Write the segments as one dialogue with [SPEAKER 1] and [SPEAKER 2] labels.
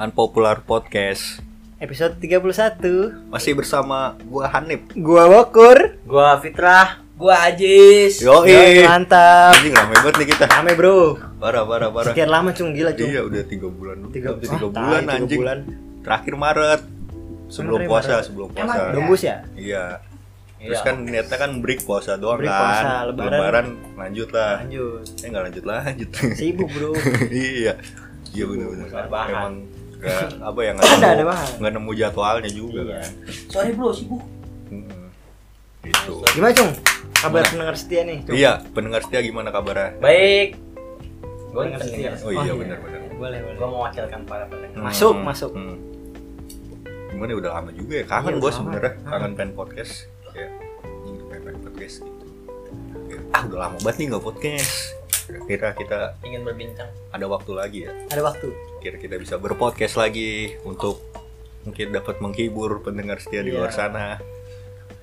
[SPEAKER 1] Unpopular Podcast
[SPEAKER 2] Episode 31
[SPEAKER 1] Masih bersama gua Hanif
[SPEAKER 2] Gua Wokur
[SPEAKER 3] Gua Fitrah, gua Ajis.
[SPEAKER 1] Yoi
[SPEAKER 2] Yoi, Mantap
[SPEAKER 1] Anjing rame banget nih kita
[SPEAKER 2] Rame bro
[SPEAKER 1] Parah parah parah
[SPEAKER 2] Ah. Sekian lama cung, gila cung
[SPEAKER 1] Iya udah 3 bulan
[SPEAKER 2] Tiga-
[SPEAKER 1] Hampir tiga
[SPEAKER 2] Ah, tai,
[SPEAKER 1] bulan
[SPEAKER 2] tiga
[SPEAKER 1] anjing
[SPEAKER 2] bulan.
[SPEAKER 1] Terakhir Maret Sebelum
[SPEAKER 2] Terakhir
[SPEAKER 1] puasa
[SPEAKER 2] Maret.
[SPEAKER 1] sebelum
[SPEAKER 3] Emang
[SPEAKER 1] puasa
[SPEAKER 2] Nembus ya?
[SPEAKER 1] Iya Terus kan niatnya kan break puasa doang
[SPEAKER 2] Break
[SPEAKER 1] kan
[SPEAKER 2] puasa, lebaran.
[SPEAKER 1] lanjut lah
[SPEAKER 2] Lanjut
[SPEAKER 1] Eh nggak lanjut lah lanjut
[SPEAKER 2] Sibuk bro
[SPEAKER 1] Iya Iya bener-bener
[SPEAKER 3] Rebahan.
[SPEAKER 1] Emang nggak apa ya
[SPEAKER 2] Ada,
[SPEAKER 1] nggak
[SPEAKER 2] ada
[SPEAKER 1] nemu,
[SPEAKER 2] bahan.
[SPEAKER 1] nggak nemu jadwalnya juga
[SPEAKER 2] Iya.
[SPEAKER 1] kan
[SPEAKER 3] Sorry bro, sibuk.
[SPEAKER 1] Mm-mm. Gitu
[SPEAKER 2] Gimana cung? Kabar
[SPEAKER 1] Gimana?
[SPEAKER 2] pendengar setia nih cung
[SPEAKER 1] Iya, pendengar setia gimana kabarnya?
[SPEAKER 3] Baik. Gua
[SPEAKER 2] Pendengar
[SPEAKER 3] ngerti
[SPEAKER 2] setia.
[SPEAKER 3] ya.
[SPEAKER 1] Oh iya benar-benar.
[SPEAKER 2] Boleh
[SPEAKER 3] Gua
[SPEAKER 2] boleh
[SPEAKER 3] mewakilkan para pendengar.
[SPEAKER 2] Masuk, masuk.
[SPEAKER 1] Hmm. Gimana ya, udah lama juga ya, kangen
[SPEAKER 2] Iya,
[SPEAKER 1] gue
[SPEAKER 2] lama.
[SPEAKER 1] sebenarnya,
[SPEAKER 2] Kangen.
[SPEAKER 1] kangen pengen podcast. Ya, ini pengen pengen podcast gitu. Ya, Ah udah lama banget nih nggak podcast. Kira-kira kita
[SPEAKER 3] Ingin berbincang.
[SPEAKER 1] ada waktu lagi ya.
[SPEAKER 2] Ada waktu
[SPEAKER 1] Kira kita bisa berpodcast lagi untuk mungkin dapat menghibur pendengar setia di
[SPEAKER 3] Iya.
[SPEAKER 1] luar sana.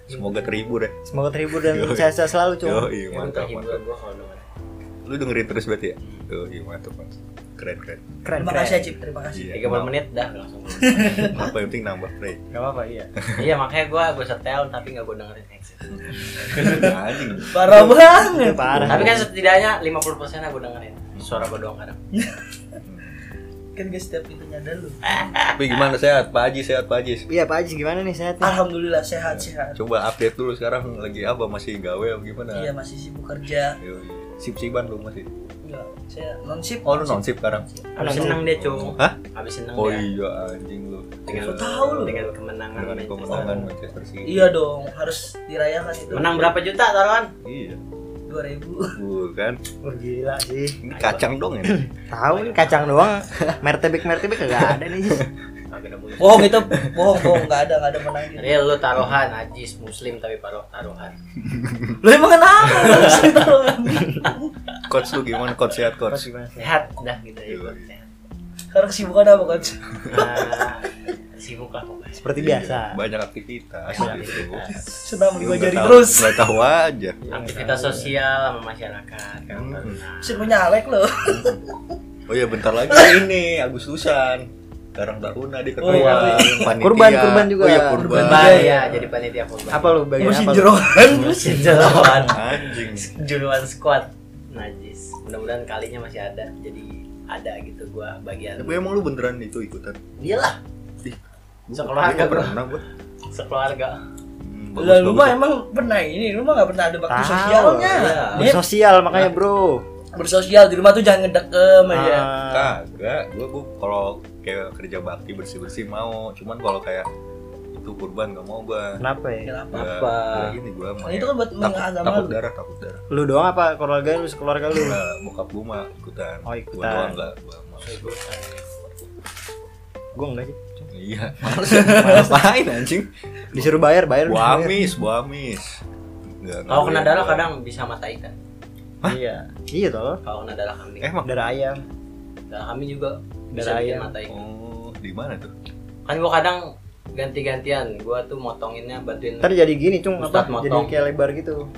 [SPEAKER 1] Semoga terhibur ya.
[SPEAKER 2] Semoga terhibur dan
[SPEAKER 1] Yoi.
[SPEAKER 2] sehat-sehat selalu cung
[SPEAKER 1] Yo, iya,
[SPEAKER 3] Gua
[SPEAKER 1] mantap,
[SPEAKER 3] terhibur
[SPEAKER 1] mantap.
[SPEAKER 3] gua kalau denger.
[SPEAKER 1] Lu dengerin terus berarti ya? Yo, iya, mantap, mantap. Keren, keren.
[SPEAKER 2] Keren
[SPEAKER 4] Terima
[SPEAKER 2] keren
[SPEAKER 4] kasih Acip, terima kasih.
[SPEAKER 1] Iya,
[SPEAKER 3] 30
[SPEAKER 1] maaf.
[SPEAKER 3] menit dah langsung.
[SPEAKER 1] apa yang penting nambah play
[SPEAKER 2] Gak apa-apa iya
[SPEAKER 3] iya, makanya gua gua setel tapi enggak gua dengerin exit.
[SPEAKER 1] anjing
[SPEAKER 4] Parah
[SPEAKER 2] Udah
[SPEAKER 4] banget.
[SPEAKER 2] parah
[SPEAKER 3] tapi kan setidaknya 50% aku dengerin. Suara gua doang kadang.
[SPEAKER 4] Kan guys setiap pintunya ada lu.
[SPEAKER 1] tapi gimana sehat Pak Haji sehat Pak Haji
[SPEAKER 2] Iya Pak Ajis gimana nih sehat nih?
[SPEAKER 4] Alhamdulillah sehat sehat.
[SPEAKER 1] coba update dulu sekarang lagi apa masih gawe apa gimana
[SPEAKER 4] Iya masih sibuk kerja.
[SPEAKER 1] sip siban lu masih
[SPEAKER 4] Enggak, saya non sip.
[SPEAKER 1] oh lu non sip sekarang
[SPEAKER 3] Habis senang dia, Cung.
[SPEAKER 1] hah
[SPEAKER 3] Habis senang
[SPEAKER 1] oh
[SPEAKER 3] dia.
[SPEAKER 1] iya anjing lu
[SPEAKER 3] Dengan
[SPEAKER 4] tahu Iya, lu.
[SPEAKER 3] Dengan kemenangan.
[SPEAKER 1] dengan
[SPEAKER 3] Manchester.
[SPEAKER 1] kemenangan Manchester City
[SPEAKER 4] Iya dong, harus dirayakan itu.
[SPEAKER 3] Menang berapa juta taruhan?
[SPEAKER 1] iya
[SPEAKER 4] 2000.
[SPEAKER 1] bukan
[SPEAKER 2] Oh, gila sih
[SPEAKER 1] ini kacang dong ini
[SPEAKER 2] Tahu nih kacang doang Mertebek-mertebek kagak ada nih Jis.
[SPEAKER 3] Kagak ada muncul.
[SPEAKER 4] Bohong itu, bohong bohong nggak ada nggak ada gitu. menangnya.
[SPEAKER 3] Real lu taruhan, Ajis muslim tapi paruh taruhan.
[SPEAKER 4] Lu emang kenapa? Lu sih taruhan.
[SPEAKER 1] coach lu gimana coach sehat
[SPEAKER 2] Terus
[SPEAKER 1] coach
[SPEAKER 2] gimana?
[SPEAKER 3] Sehat dah gitu ya. gua. Sehat.
[SPEAKER 4] Sekarang kesibukan apa coach?
[SPEAKER 3] Nah, sibuk lah pokoknya.
[SPEAKER 2] Seperti
[SPEAKER 1] Iya,
[SPEAKER 2] biasa
[SPEAKER 1] banyak aktivitas gitu Lu
[SPEAKER 4] Senam
[SPEAKER 1] nggak
[SPEAKER 4] diwajari
[SPEAKER 1] tahu-
[SPEAKER 4] Iya. terus.
[SPEAKER 1] nggak tahu aja iya.
[SPEAKER 3] Aktivitas sosial sama masyarakat. kan.
[SPEAKER 1] Hmm.
[SPEAKER 4] Sih punya Alek lu.
[SPEAKER 1] Oh iya bentar lagi ini Agustusan Karang Taruna di ketua
[SPEAKER 4] Oh, iya.
[SPEAKER 1] yang panitia.
[SPEAKER 2] Kurban, kurban juga.
[SPEAKER 1] Oh iya kurban.
[SPEAKER 2] Kurban.
[SPEAKER 3] Kurban ya, jadi panitia kurban.
[SPEAKER 2] Apa lu bagian
[SPEAKER 4] Musim
[SPEAKER 2] apa? lu?
[SPEAKER 4] jerohan.
[SPEAKER 3] Musim jeroan.
[SPEAKER 1] Anjing.
[SPEAKER 3] Jeroan squad. Najis. Mudah-mudahan kalinya masih ada. Jadi ada gitu gua bagian.
[SPEAKER 1] Tapi emang lu beneran itu ikutan?
[SPEAKER 3] Iyalah,
[SPEAKER 1] Ih, gua-
[SPEAKER 3] Sekeluarga,
[SPEAKER 1] gua pernah gua.
[SPEAKER 3] sekeluarga.
[SPEAKER 1] Hmm, bagus,
[SPEAKER 4] Lah lu
[SPEAKER 1] bagus.
[SPEAKER 4] mah emang pernah ini, lu mah nggak pernah ada bakti
[SPEAKER 2] Tahu,
[SPEAKER 4] sosialnya.
[SPEAKER 3] iya.
[SPEAKER 4] Nip,
[SPEAKER 2] Bersosial makanya bro
[SPEAKER 4] Bersosial di rumah tuh jangan ngedekem ya.
[SPEAKER 1] Iya.
[SPEAKER 2] Ah,
[SPEAKER 1] Kagak, gua gua kalau kayak kerja bakti bersih-bersih mau, cuman kalau kayak itu kurban gak mau gua.
[SPEAKER 2] Kenapa ya?
[SPEAKER 4] Kenapa?
[SPEAKER 1] Gua-
[SPEAKER 3] Apa?
[SPEAKER 1] gua Ini gua
[SPEAKER 4] Nah,
[SPEAKER 1] mau.
[SPEAKER 4] itu kan buat
[SPEAKER 1] takut,
[SPEAKER 4] mengagama
[SPEAKER 1] takut
[SPEAKER 4] lu.
[SPEAKER 1] darah, takut darah.
[SPEAKER 2] Lu doang apa keluarga lu sekeluarga lu?
[SPEAKER 1] Nah, bokap gua mah ikutan.
[SPEAKER 2] Oh,
[SPEAKER 1] Gua
[SPEAKER 2] ikutan.
[SPEAKER 1] doang enggak, gua males.
[SPEAKER 2] Gua enggak sih.
[SPEAKER 1] Iya, males. Males main anjing.
[SPEAKER 2] Disuruh bayar, bayar. disuruh bayar.
[SPEAKER 1] Buamis, buamis. Nggak, nggak
[SPEAKER 3] Kalau kena
[SPEAKER 1] boleh.
[SPEAKER 3] darah kadang bisa mata ikan.
[SPEAKER 2] Iya. Iya toh.
[SPEAKER 3] Kalau kena darah kambing.
[SPEAKER 1] emang.
[SPEAKER 2] Darah ayam.
[SPEAKER 3] Darah kambing juga bisa
[SPEAKER 2] Darah
[SPEAKER 3] bikin
[SPEAKER 2] ayam.
[SPEAKER 3] mata ikan.
[SPEAKER 1] Oh, di mana tuh?
[SPEAKER 3] Kan gua kadang ganti-gantian. Gua tuh motonginnya bantuin
[SPEAKER 2] Ntar jadi gini, cung apa?
[SPEAKER 3] Ustadz motong.
[SPEAKER 2] Jadi kayak lebar gitu.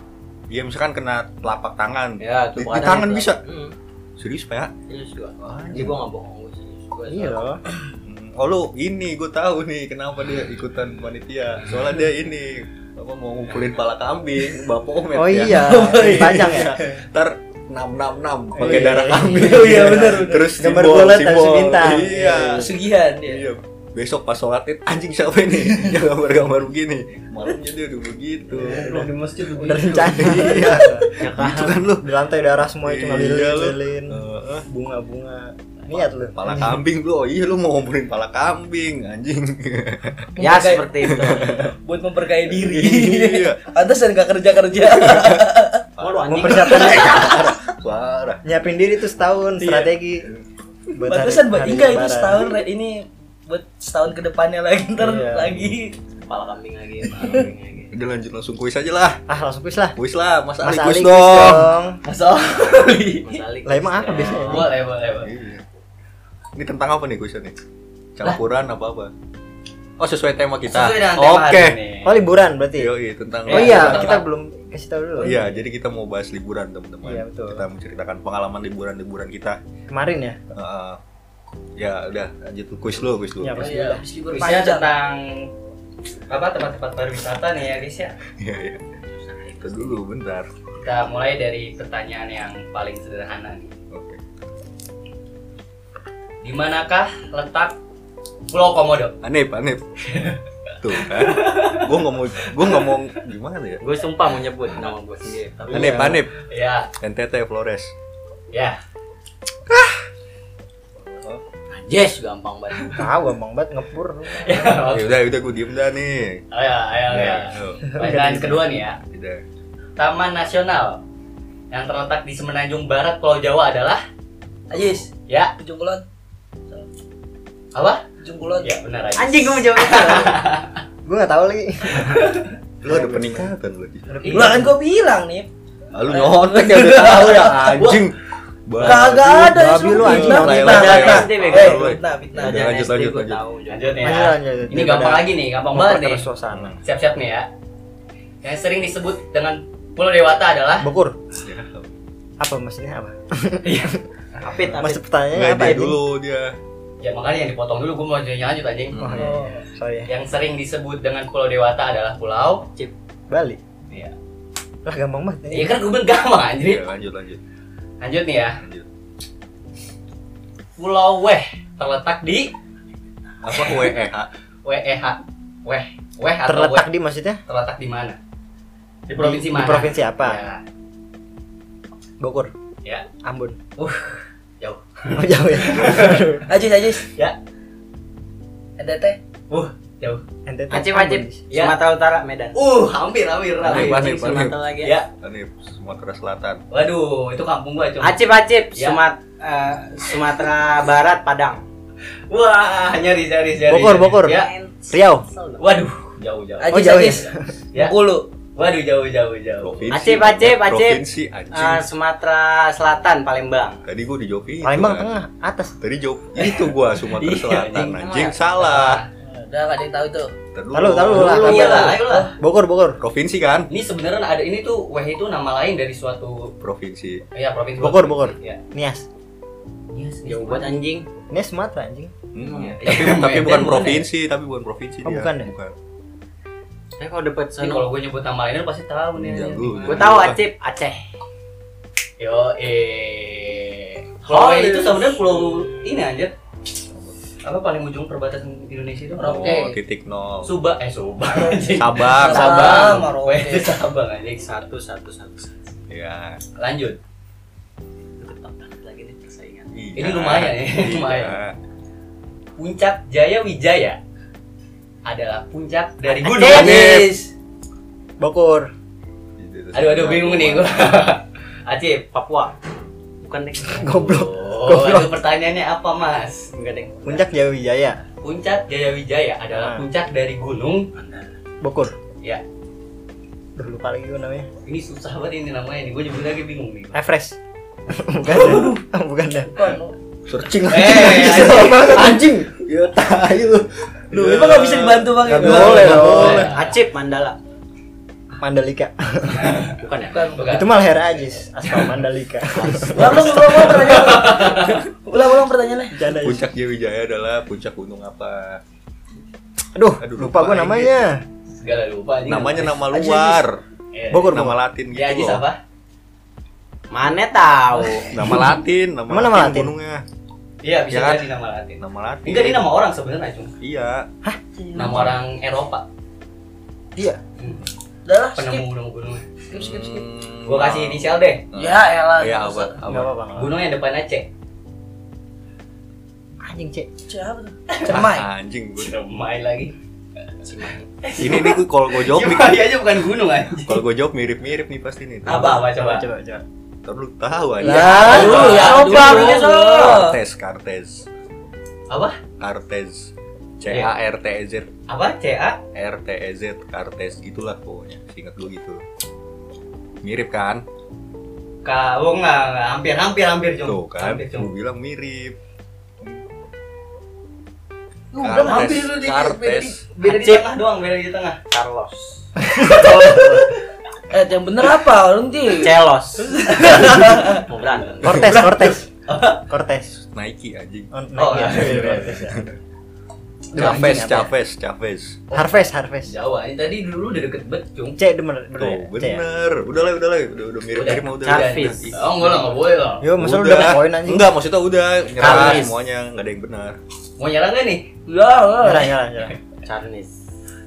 [SPEAKER 1] Ya misalkan kena telapak tangan.
[SPEAKER 3] Ya,
[SPEAKER 1] Di- di
[SPEAKER 3] tuh kadang
[SPEAKER 1] tangan
[SPEAKER 3] itu.
[SPEAKER 1] bisa?
[SPEAKER 3] Mm,
[SPEAKER 1] Serius, Pak?
[SPEAKER 3] serius gua. Jadi
[SPEAKER 1] anjing.
[SPEAKER 3] gua nggak bohong gua serius. Gua
[SPEAKER 2] Iya
[SPEAKER 3] soal-
[SPEAKER 2] loh.
[SPEAKER 1] Hmm, Oh, lu ini gue tahu nih kenapa dia ikutan panitia. Soalnya dia ini apa mau ngumpulin pala kambing, bapak omet
[SPEAKER 2] Oh
[SPEAKER 1] ya.
[SPEAKER 2] iya, panjang ya.
[SPEAKER 1] Ntar 666 pakai
[SPEAKER 2] Iya,
[SPEAKER 1] darah
[SPEAKER 2] iya,
[SPEAKER 1] kambing.
[SPEAKER 2] iya, iya, bener, bener.
[SPEAKER 1] Terus
[SPEAKER 2] Gambar
[SPEAKER 1] simbol,
[SPEAKER 2] bulat,
[SPEAKER 1] simbol.
[SPEAKER 2] harus bintang.
[SPEAKER 1] Iya.
[SPEAKER 4] Sugihan ya.
[SPEAKER 1] Iya. Besok pas sholat Id, anjing siapa ini? Yang gambar-gambar begini. Malamnya dia udah begitu.
[SPEAKER 2] Udah Iya. di masjid udah rencana.
[SPEAKER 1] Iya.
[SPEAKER 3] Ya kan?
[SPEAKER 1] Gitu kan lu.
[SPEAKER 2] Di lantai darah semua itu
[SPEAKER 1] Iya, lu.
[SPEAKER 2] ngalilin-lilin.
[SPEAKER 1] Heeh.
[SPEAKER 2] Bunga-bunga. Niat lu.
[SPEAKER 1] Pala kambing lu, oh iya lu mau ngumpulin pala kambing, anjing.
[SPEAKER 3] Ya seperti itu.
[SPEAKER 4] Buat memperkaya diri.
[SPEAKER 1] Iya.
[SPEAKER 4] Pantas dan gak kerja-kerja.
[SPEAKER 2] Iya.
[SPEAKER 3] Mau lu anjing.
[SPEAKER 2] Mempersiapkan
[SPEAKER 1] Parah.
[SPEAKER 2] nyiapin diri tuh setahun strategi. Buat hari-
[SPEAKER 4] Pantasan buat
[SPEAKER 2] hari
[SPEAKER 4] Iya. Inga itu
[SPEAKER 2] lebaran.
[SPEAKER 4] setahun Red, ini buat setahun ke depannya lagi ntar
[SPEAKER 2] Iya.
[SPEAKER 4] lagi.
[SPEAKER 3] Kepala kambing lagi, kepala kambing lagi.
[SPEAKER 1] Udah lanjut langsung kuis aja lah.
[SPEAKER 2] Ah, langsung kuis lah.
[SPEAKER 1] Kuis lah, Mas Ali
[SPEAKER 2] Mas
[SPEAKER 1] kuis
[SPEAKER 2] Ali kuis
[SPEAKER 1] dong.
[SPEAKER 2] dong.
[SPEAKER 4] Masalah. Iya,
[SPEAKER 3] Mas Ali.
[SPEAKER 2] Lah, emang apa biasanya?
[SPEAKER 3] Boleh, boleh, boleh.
[SPEAKER 1] Iya. Ini tentang apa nih kuisnya nih? Campuran apa apa? Oh sesuai tema kita.
[SPEAKER 3] Sesuai dengan tema
[SPEAKER 1] Oke.
[SPEAKER 3] hari ini.
[SPEAKER 2] Oh, liburan berarti.
[SPEAKER 1] Yoi, tentang
[SPEAKER 2] Oh
[SPEAKER 3] Iya,
[SPEAKER 2] iya,
[SPEAKER 3] betul.
[SPEAKER 2] kita belum kasih tahu dulu.
[SPEAKER 1] Iya, jadi kita mau bahas liburan teman-teman.
[SPEAKER 2] Iya, betul.
[SPEAKER 1] Kita menceritakan pengalaman liburan-liburan kita.
[SPEAKER 2] Kemarin ya.
[SPEAKER 1] Heeh. Ya udah lanjut lu kuis lu, kuis lu. Iya,
[SPEAKER 2] Ya, kuis.
[SPEAKER 4] Iya, habis libur
[SPEAKER 3] Kuisnya
[SPEAKER 4] panjang.
[SPEAKER 3] tentang apa tempat-tempat pariwisata nih ya guys ya.
[SPEAKER 1] iya. Itu dulu bentar.
[SPEAKER 3] Kita mulai dari pertanyaan yang paling sederhana nih.
[SPEAKER 1] Oke.
[SPEAKER 3] Di manakah letak Pulau Komodo?
[SPEAKER 1] Anip, Anip. Tuh kan. Gua nggak mau gua nggak mau gimana ya?
[SPEAKER 5] Gue sumpah mau nyebut nama gue sendiri. Tapi
[SPEAKER 1] Anip, Anip.
[SPEAKER 3] Ya,
[SPEAKER 1] NTT Flores.
[SPEAKER 3] ya. Ah.
[SPEAKER 5] Najis gampang banget.
[SPEAKER 2] Tahu gampang banget ngepur.
[SPEAKER 3] Ya,
[SPEAKER 1] Ya udah, udah gua diem dah nih.
[SPEAKER 3] Oh ya, ayo,
[SPEAKER 1] Ya,
[SPEAKER 3] ya.
[SPEAKER 1] yuk.
[SPEAKER 3] Pertanyaan kedua nih ya.
[SPEAKER 1] Udah.
[SPEAKER 3] Taman Nasional yang terletak di Semenanjung Barat Pulau Jawa adalah
[SPEAKER 4] Ajis,
[SPEAKER 3] ya
[SPEAKER 4] ujung kulon,
[SPEAKER 3] apa?
[SPEAKER 4] ujung kulon.
[SPEAKER 3] Ya benar aja.
[SPEAKER 2] Anjing gue menjawab itu. gue nggak tahu lagi.
[SPEAKER 1] Lu ada peningkatan lu. Di.
[SPEAKER 4] Lah kan gua bilang nih,
[SPEAKER 2] Iya.
[SPEAKER 1] Ah, Lu nyontek ya udah tahu ya anjing.
[SPEAKER 4] kagak
[SPEAKER 2] Iya.
[SPEAKER 4] ada yang
[SPEAKER 2] babi lu,
[SPEAKER 4] suruh
[SPEAKER 2] anjing,
[SPEAKER 4] bilang
[SPEAKER 2] orang
[SPEAKER 4] fitnah.
[SPEAKER 2] lewat,
[SPEAKER 4] Fitnah,
[SPEAKER 5] lewat.
[SPEAKER 4] Eh,
[SPEAKER 1] Lewat.
[SPEAKER 4] fitnah, fitnah.
[SPEAKER 1] Udah, lanjut, lanjut, lanjut.
[SPEAKER 3] Lanjut nih
[SPEAKER 2] Masih
[SPEAKER 3] ya.
[SPEAKER 2] lanjut.
[SPEAKER 3] Ini gampang lagi nih, gampang banget nih.
[SPEAKER 2] Terus suasana.
[SPEAKER 3] Siap-siap nih ya. Yang sering disebut dengan Pulau Dewata adalah
[SPEAKER 2] Bekur.
[SPEAKER 1] Ya,
[SPEAKER 2] Apa maksudnya apa?
[SPEAKER 5] Apit, apit.
[SPEAKER 2] Maksud pertanyaannya
[SPEAKER 1] Nggak,
[SPEAKER 2] apa
[SPEAKER 1] dia
[SPEAKER 2] ini?
[SPEAKER 1] dulu dia.
[SPEAKER 3] ya makanya yang dipotong dulu gue mau nyanyi lanjut anjing.
[SPEAKER 2] Oh, iya, iya. Sorry ya.
[SPEAKER 3] Yang sering disebut dengan Pulau Dewata adalah pulau
[SPEAKER 2] Bali.
[SPEAKER 3] Iya.
[SPEAKER 2] Lah gampang banget.
[SPEAKER 4] Iya,
[SPEAKER 3] Ya kan gue bilang gampang anjir.
[SPEAKER 1] Iya, lanjut lanjut.
[SPEAKER 3] Lanjut nih ya.
[SPEAKER 1] Lanjut.
[SPEAKER 3] Pulau Weh terletak di
[SPEAKER 1] Apa E? WEH?
[SPEAKER 3] WEH. Weh, Weh atau Weh
[SPEAKER 2] Terletak di maksudnya?
[SPEAKER 3] terletak di mana? Di provinsi
[SPEAKER 2] Di-
[SPEAKER 3] mana?
[SPEAKER 2] Di provinsi apa?
[SPEAKER 3] Ya,
[SPEAKER 2] Bogor.
[SPEAKER 3] Ya.
[SPEAKER 2] Ambon.
[SPEAKER 3] Uh, jauh.
[SPEAKER 2] Oh, jauh ya.
[SPEAKER 4] Ajis, Ajis.
[SPEAKER 3] Ya.
[SPEAKER 4] NTT.
[SPEAKER 3] Uh, jauh.
[SPEAKER 2] NTT.
[SPEAKER 5] Aceh, Aceh.
[SPEAKER 2] Ambon.
[SPEAKER 3] Ya.
[SPEAKER 5] Sumatera Utara, Medan.
[SPEAKER 3] Uh, hampir, hampir,
[SPEAKER 1] Anip,
[SPEAKER 3] hampir.
[SPEAKER 1] Anip, Anip.
[SPEAKER 5] Sumatera lagi.
[SPEAKER 3] Ya.
[SPEAKER 1] Anip, Sumatera Selatan.
[SPEAKER 3] Waduh, itu kampung gua cuma.
[SPEAKER 5] Acip, Acip.
[SPEAKER 3] Ya.
[SPEAKER 5] Sumat, eh, Sumatera Barat, Padang.
[SPEAKER 3] Wah, nyari, nyari, nyari.
[SPEAKER 2] Bogor,
[SPEAKER 3] nyari.
[SPEAKER 2] Bogor.
[SPEAKER 3] Ya.
[SPEAKER 2] Riau.
[SPEAKER 3] Waduh, jauh, jauh.
[SPEAKER 4] Ajis,
[SPEAKER 2] jauh ya?
[SPEAKER 4] Ajis.
[SPEAKER 3] Ya.
[SPEAKER 4] Bengkulu.
[SPEAKER 3] Waduh, jauh, jauh, jauh.
[SPEAKER 1] Provinsi.
[SPEAKER 5] Aceh, Aceh,
[SPEAKER 1] Bang.
[SPEAKER 5] Aceh.
[SPEAKER 1] Provinsi
[SPEAKER 5] Eh,
[SPEAKER 1] anjing.
[SPEAKER 5] Sumatera Selatan, Palembang.
[SPEAKER 1] Tadi gua dijawabin.
[SPEAKER 2] Palembang
[SPEAKER 1] kan.
[SPEAKER 2] tengah, atas.
[SPEAKER 1] Tadi jawab itu gua Sumatera
[SPEAKER 3] Iya,
[SPEAKER 1] Selatan
[SPEAKER 3] anjing.
[SPEAKER 1] anjing salah.
[SPEAKER 4] Udah nggak ada yang tahu itu.
[SPEAKER 1] Ntar dulu.
[SPEAKER 2] Taruh, taruh lah.
[SPEAKER 3] Iya lah, ayo lah.
[SPEAKER 2] Bogor, Bogor.
[SPEAKER 1] Provinsi kan?
[SPEAKER 3] Ini sebenarnya ada ini tuh Weh itu nama lain dari suatu
[SPEAKER 1] Provinsi.
[SPEAKER 3] ya provinsi
[SPEAKER 2] Bogor, Bogor.
[SPEAKER 3] Ya.
[SPEAKER 2] Nias.
[SPEAKER 4] Iya
[SPEAKER 5] Jauh buat anjing.
[SPEAKER 2] Nias Sumatera anjing.
[SPEAKER 1] Hmm.
[SPEAKER 3] Iya.
[SPEAKER 1] Tapi
[SPEAKER 3] Iya,
[SPEAKER 1] tapi
[SPEAKER 3] Medan
[SPEAKER 1] bukan
[SPEAKER 3] bukan
[SPEAKER 1] provinsi, tapi bukan provinsi
[SPEAKER 2] Oh,
[SPEAKER 1] dia.
[SPEAKER 2] bukan ya?
[SPEAKER 3] Eh,
[SPEAKER 5] Tapi kalau dekat
[SPEAKER 3] Ini
[SPEAKER 5] sana,
[SPEAKER 3] kalau gue nyebut nama lainnya lu pasti tahu nih.
[SPEAKER 1] Jangan dulu.
[SPEAKER 5] gue tahu Acip, Aceh.
[SPEAKER 3] Yo eh. Pulau
[SPEAKER 4] Halus.
[SPEAKER 3] itu sebenarnya pulau ini anjir. Apa paling ujung perbatasan Indonesia itu?
[SPEAKER 1] Oh,
[SPEAKER 3] Merauke.
[SPEAKER 1] titik nol.
[SPEAKER 3] Suba eh Suba anjing.
[SPEAKER 1] Sabang,
[SPEAKER 4] Sabang.
[SPEAKER 1] Sabang.
[SPEAKER 4] Merauke.
[SPEAKER 3] Weh, itu Sabang anjing.
[SPEAKER 5] Satu, satu, satu. satu.
[SPEAKER 1] Iya.
[SPEAKER 3] Lanjut.
[SPEAKER 5] Ketat banget lagi nih persaingan.
[SPEAKER 1] Iya.
[SPEAKER 3] Ini lumayan ya,
[SPEAKER 1] Iya.
[SPEAKER 3] lumayan. Puncak Jaya Wijaya adalah puncak dari gunung.
[SPEAKER 4] Ajis.
[SPEAKER 2] Bogor.
[SPEAKER 3] Aduh aduh bingung nih gue. Acip.
[SPEAKER 5] Papua. Bukan deh.
[SPEAKER 2] Goblok.
[SPEAKER 3] Oh, aduh, pertanyaannya apa mas?
[SPEAKER 5] Enggak deh.
[SPEAKER 2] Puncak Jaya Wijaya.
[SPEAKER 3] Puncak Jaya Wijaya adalah
[SPEAKER 2] Ah.
[SPEAKER 3] puncak dari gunung.
[SPEAKER 2] Bogor.
[SPEAKER 3] Ya,
[SPEAKER 2] Duh, lupa lagi gue namanya.
[SPEAKER 3] ini susah banget ini namanya nih. Gue nyebut lagi bingung nih.
[SPEAKER 2] Everest. bukan dah. bukan dah.
[SPEAKER 1] Searching
[SPEAKER 3] Eh, anjing.
[SPEAKER 2] anjing.
[SPEAKER 1] Ya tai lu.
[SPEAKER 4] Lu emang nggak bisa dibantu bang?
[SPEAKER 2] Nggak
[SPEAKER 4] Iqbal?
[SPEAKER 2] boleh dong.
[SPEAKER 3] boleh.
[SPEAKER 5] Acip, Mandala.
[SPEAKER 2] Mandalika.
[SPEAKER 5] Bukan ya?
[SPEAKER 4] Bukan.
[SPEAKER 3] Bukan.
[SPEAKER 2] Itu malah Hera Ajis. Aspal Mandalika.
[SPEAKER 4] Ulang dong, ulang ulang pertanyaannya. Ulang ulang pertanyaannya.
[SPEAKER 2] Janda Ajis.
[SPEAKER 1] Puncak Jaya Wijaya adalah puncak gunung apa?
[SPEAKER 2] Aduh,
[SPEAKER 1] Aduh,
[SPEAKER 2] lupa gue
[SPEAKER 1] lupa
[SPEAKER 2] namanya.
[SPEAKER 3] Segala lupa. anjing.
[SPEAKER 1] Namanya nama
[SPEAKER 2] Ajis,
[SPEAKER 1] luar.
[SPEAKER 3] Eh,
[SPEAKER 2] Bogor.
[SPEAKER 1] Nama Latin gitu.
[SPEAKER 3] Ya, Ajis
[SPEAKER 1] loh.
[SPEAKER 3] apa?
[SPEAKER 5] Mana tahu.
[SPEAKER 1] Nama Latin, nama,
[SPEAKER 2] Emang nama Latin?
[SPEAKER 1] gunungnya.
[SPEAKER 3] Iya, bisa
[SPEAKER 1] Ya kan?
[SPEAKER 3] jadi nama Latin.
[SPEAKER 1] Nama Latin.
[SPEAKER 3] Enggak, ini nama orang sebenarnya cuma.
[SPEAKER 1] Iya.
[SPEAKER 3] Nama orang Eropa.
[SPEAKER 2] Iya.
[SPEAKER 3] Hmm,
[SPEAKER 4] Udah lah, skip,
[SPEAKER 3] Penemu gunung-gunung.
[SPEAKER 4] skip, skip, skip.
[SPEAKER 3] Gue kasih inisial deh.
[SPEAKER 4] Ya, elah.
[SPEAKER 1] Ya,
[SPEAKER 4] nggak
[SPEAKER 1] apa?
[SPEAKER 4] usah.
[SPEAKER 2] Enggak apa-apa. nggak apa-apa.
[SPEAKER 3] Gunung yang depannya C.
[SPEAKER 2] Anjing, Cek.
[SPEAKER 4] Siapa tuh? Cermai.
[SPEAKER 1] Ah, anjing gue.
[SPEAKER 3] Cermai lagi.
[SPEAKER 1] Ini nih gue kalau gue jawab nih.
[SPEAKER 3] Cermai aja bukan gunung aja.
[SPEAKER 1] Kalau gue jawab mirip-mirip nih pasti nih.
[SPEAKER 3] Apa apa coba?
[SPEAKER 2] Coba, coba.
[SPEAKER 1] Terlalu tahu aja.
[SPEAKER 2] Lah,
[SPEAKER 4] dulu,
[SPEAKER 2] lu
[SPEAKER 4] ya,
[SPEAKER 2] coba
[SPEAKER 4] dulu.
[SPEAKER 2] lu coba.
[SPEAKER 1] Kartes, Kartes,
[SPEAKER 3] Apa?
[SPEAKER 1] Kartes. C A R T E Z
[SPEAKER 3] Apa? C A?
[SPEAKER 1] R T E Z Kartes gitulah pokoknya. Ingat gue gitu. Mirip kan?
[SPEAKER 3] Kau nggak nggak. oh, hampir hampir hampir cuma.
[SPEAKER 1] Tuh kan.
[SPEAKER 3] Hampir
[SPEAKER 1] Gue
[SPEAKER 3] cuma.
[SPEAKER 1] bilang mirip.
[SPEAKER 4] Lu udah hampir
[SPEAKER 1] Kartes,
[SPEAKER 4] lu di
[SPEAKER 1] Kartes.
[SPEAKER 3] Beda di
[SPEAKER 5] Aceh.
[SPEAKER 3] tengah doang, beda di tengah.
[SPEAKER 5] Carlos.
[SPEAKER 4] Eh, yang bener apa? Lu nanti.
[SPEAKER 5] Celos. Mau berantem.
[SPEAKER 2] Cortez, Cortez. Cortez.
[SPEAKER 1] Nike anjing.
[SPEAKER 2] Oh,
[SPEAKER 3] Oh,
[SPEAKER 2] Nike ya. Duh,
[SPEAKER 1] Chavez,
[SPEAKER 2] anjing, apa ya?
[SPEAKER 1] Chavez, Chavez.
[SPEAKER 2] Harvest, harvest.
[SPEAKER 3] Jawa. Ini tadi dulu udah deket banget, Cung.
[SPEAKER 2] C itu bener, bener.
[SPEAKER 1] Tuh,
[SPEAKER 2] ya? C ya?
[SPEAKER 1] bener. Udah lah, udah lah. Udah, udah mirip-mirip mah udah.
[SPEAKER 5] Chavez.
[SPEAKER 3] Oh, enggak lah, enggak boleh lah.
[SPEAKER 2] Yo, masa lu udah poin anjing.
[SPEAKER 1] Enggak, maksudnya udah nyerah
[SPEAKER 5] Kamis.
[SPEAKER 1] semuanya, enggak ada yang benar.
[SPEAKER 3] Mau nyerang gak nih?
[SPEAKER 2] Nyerah, nyerah, nyerah.
[SPEAKER 5] Charnis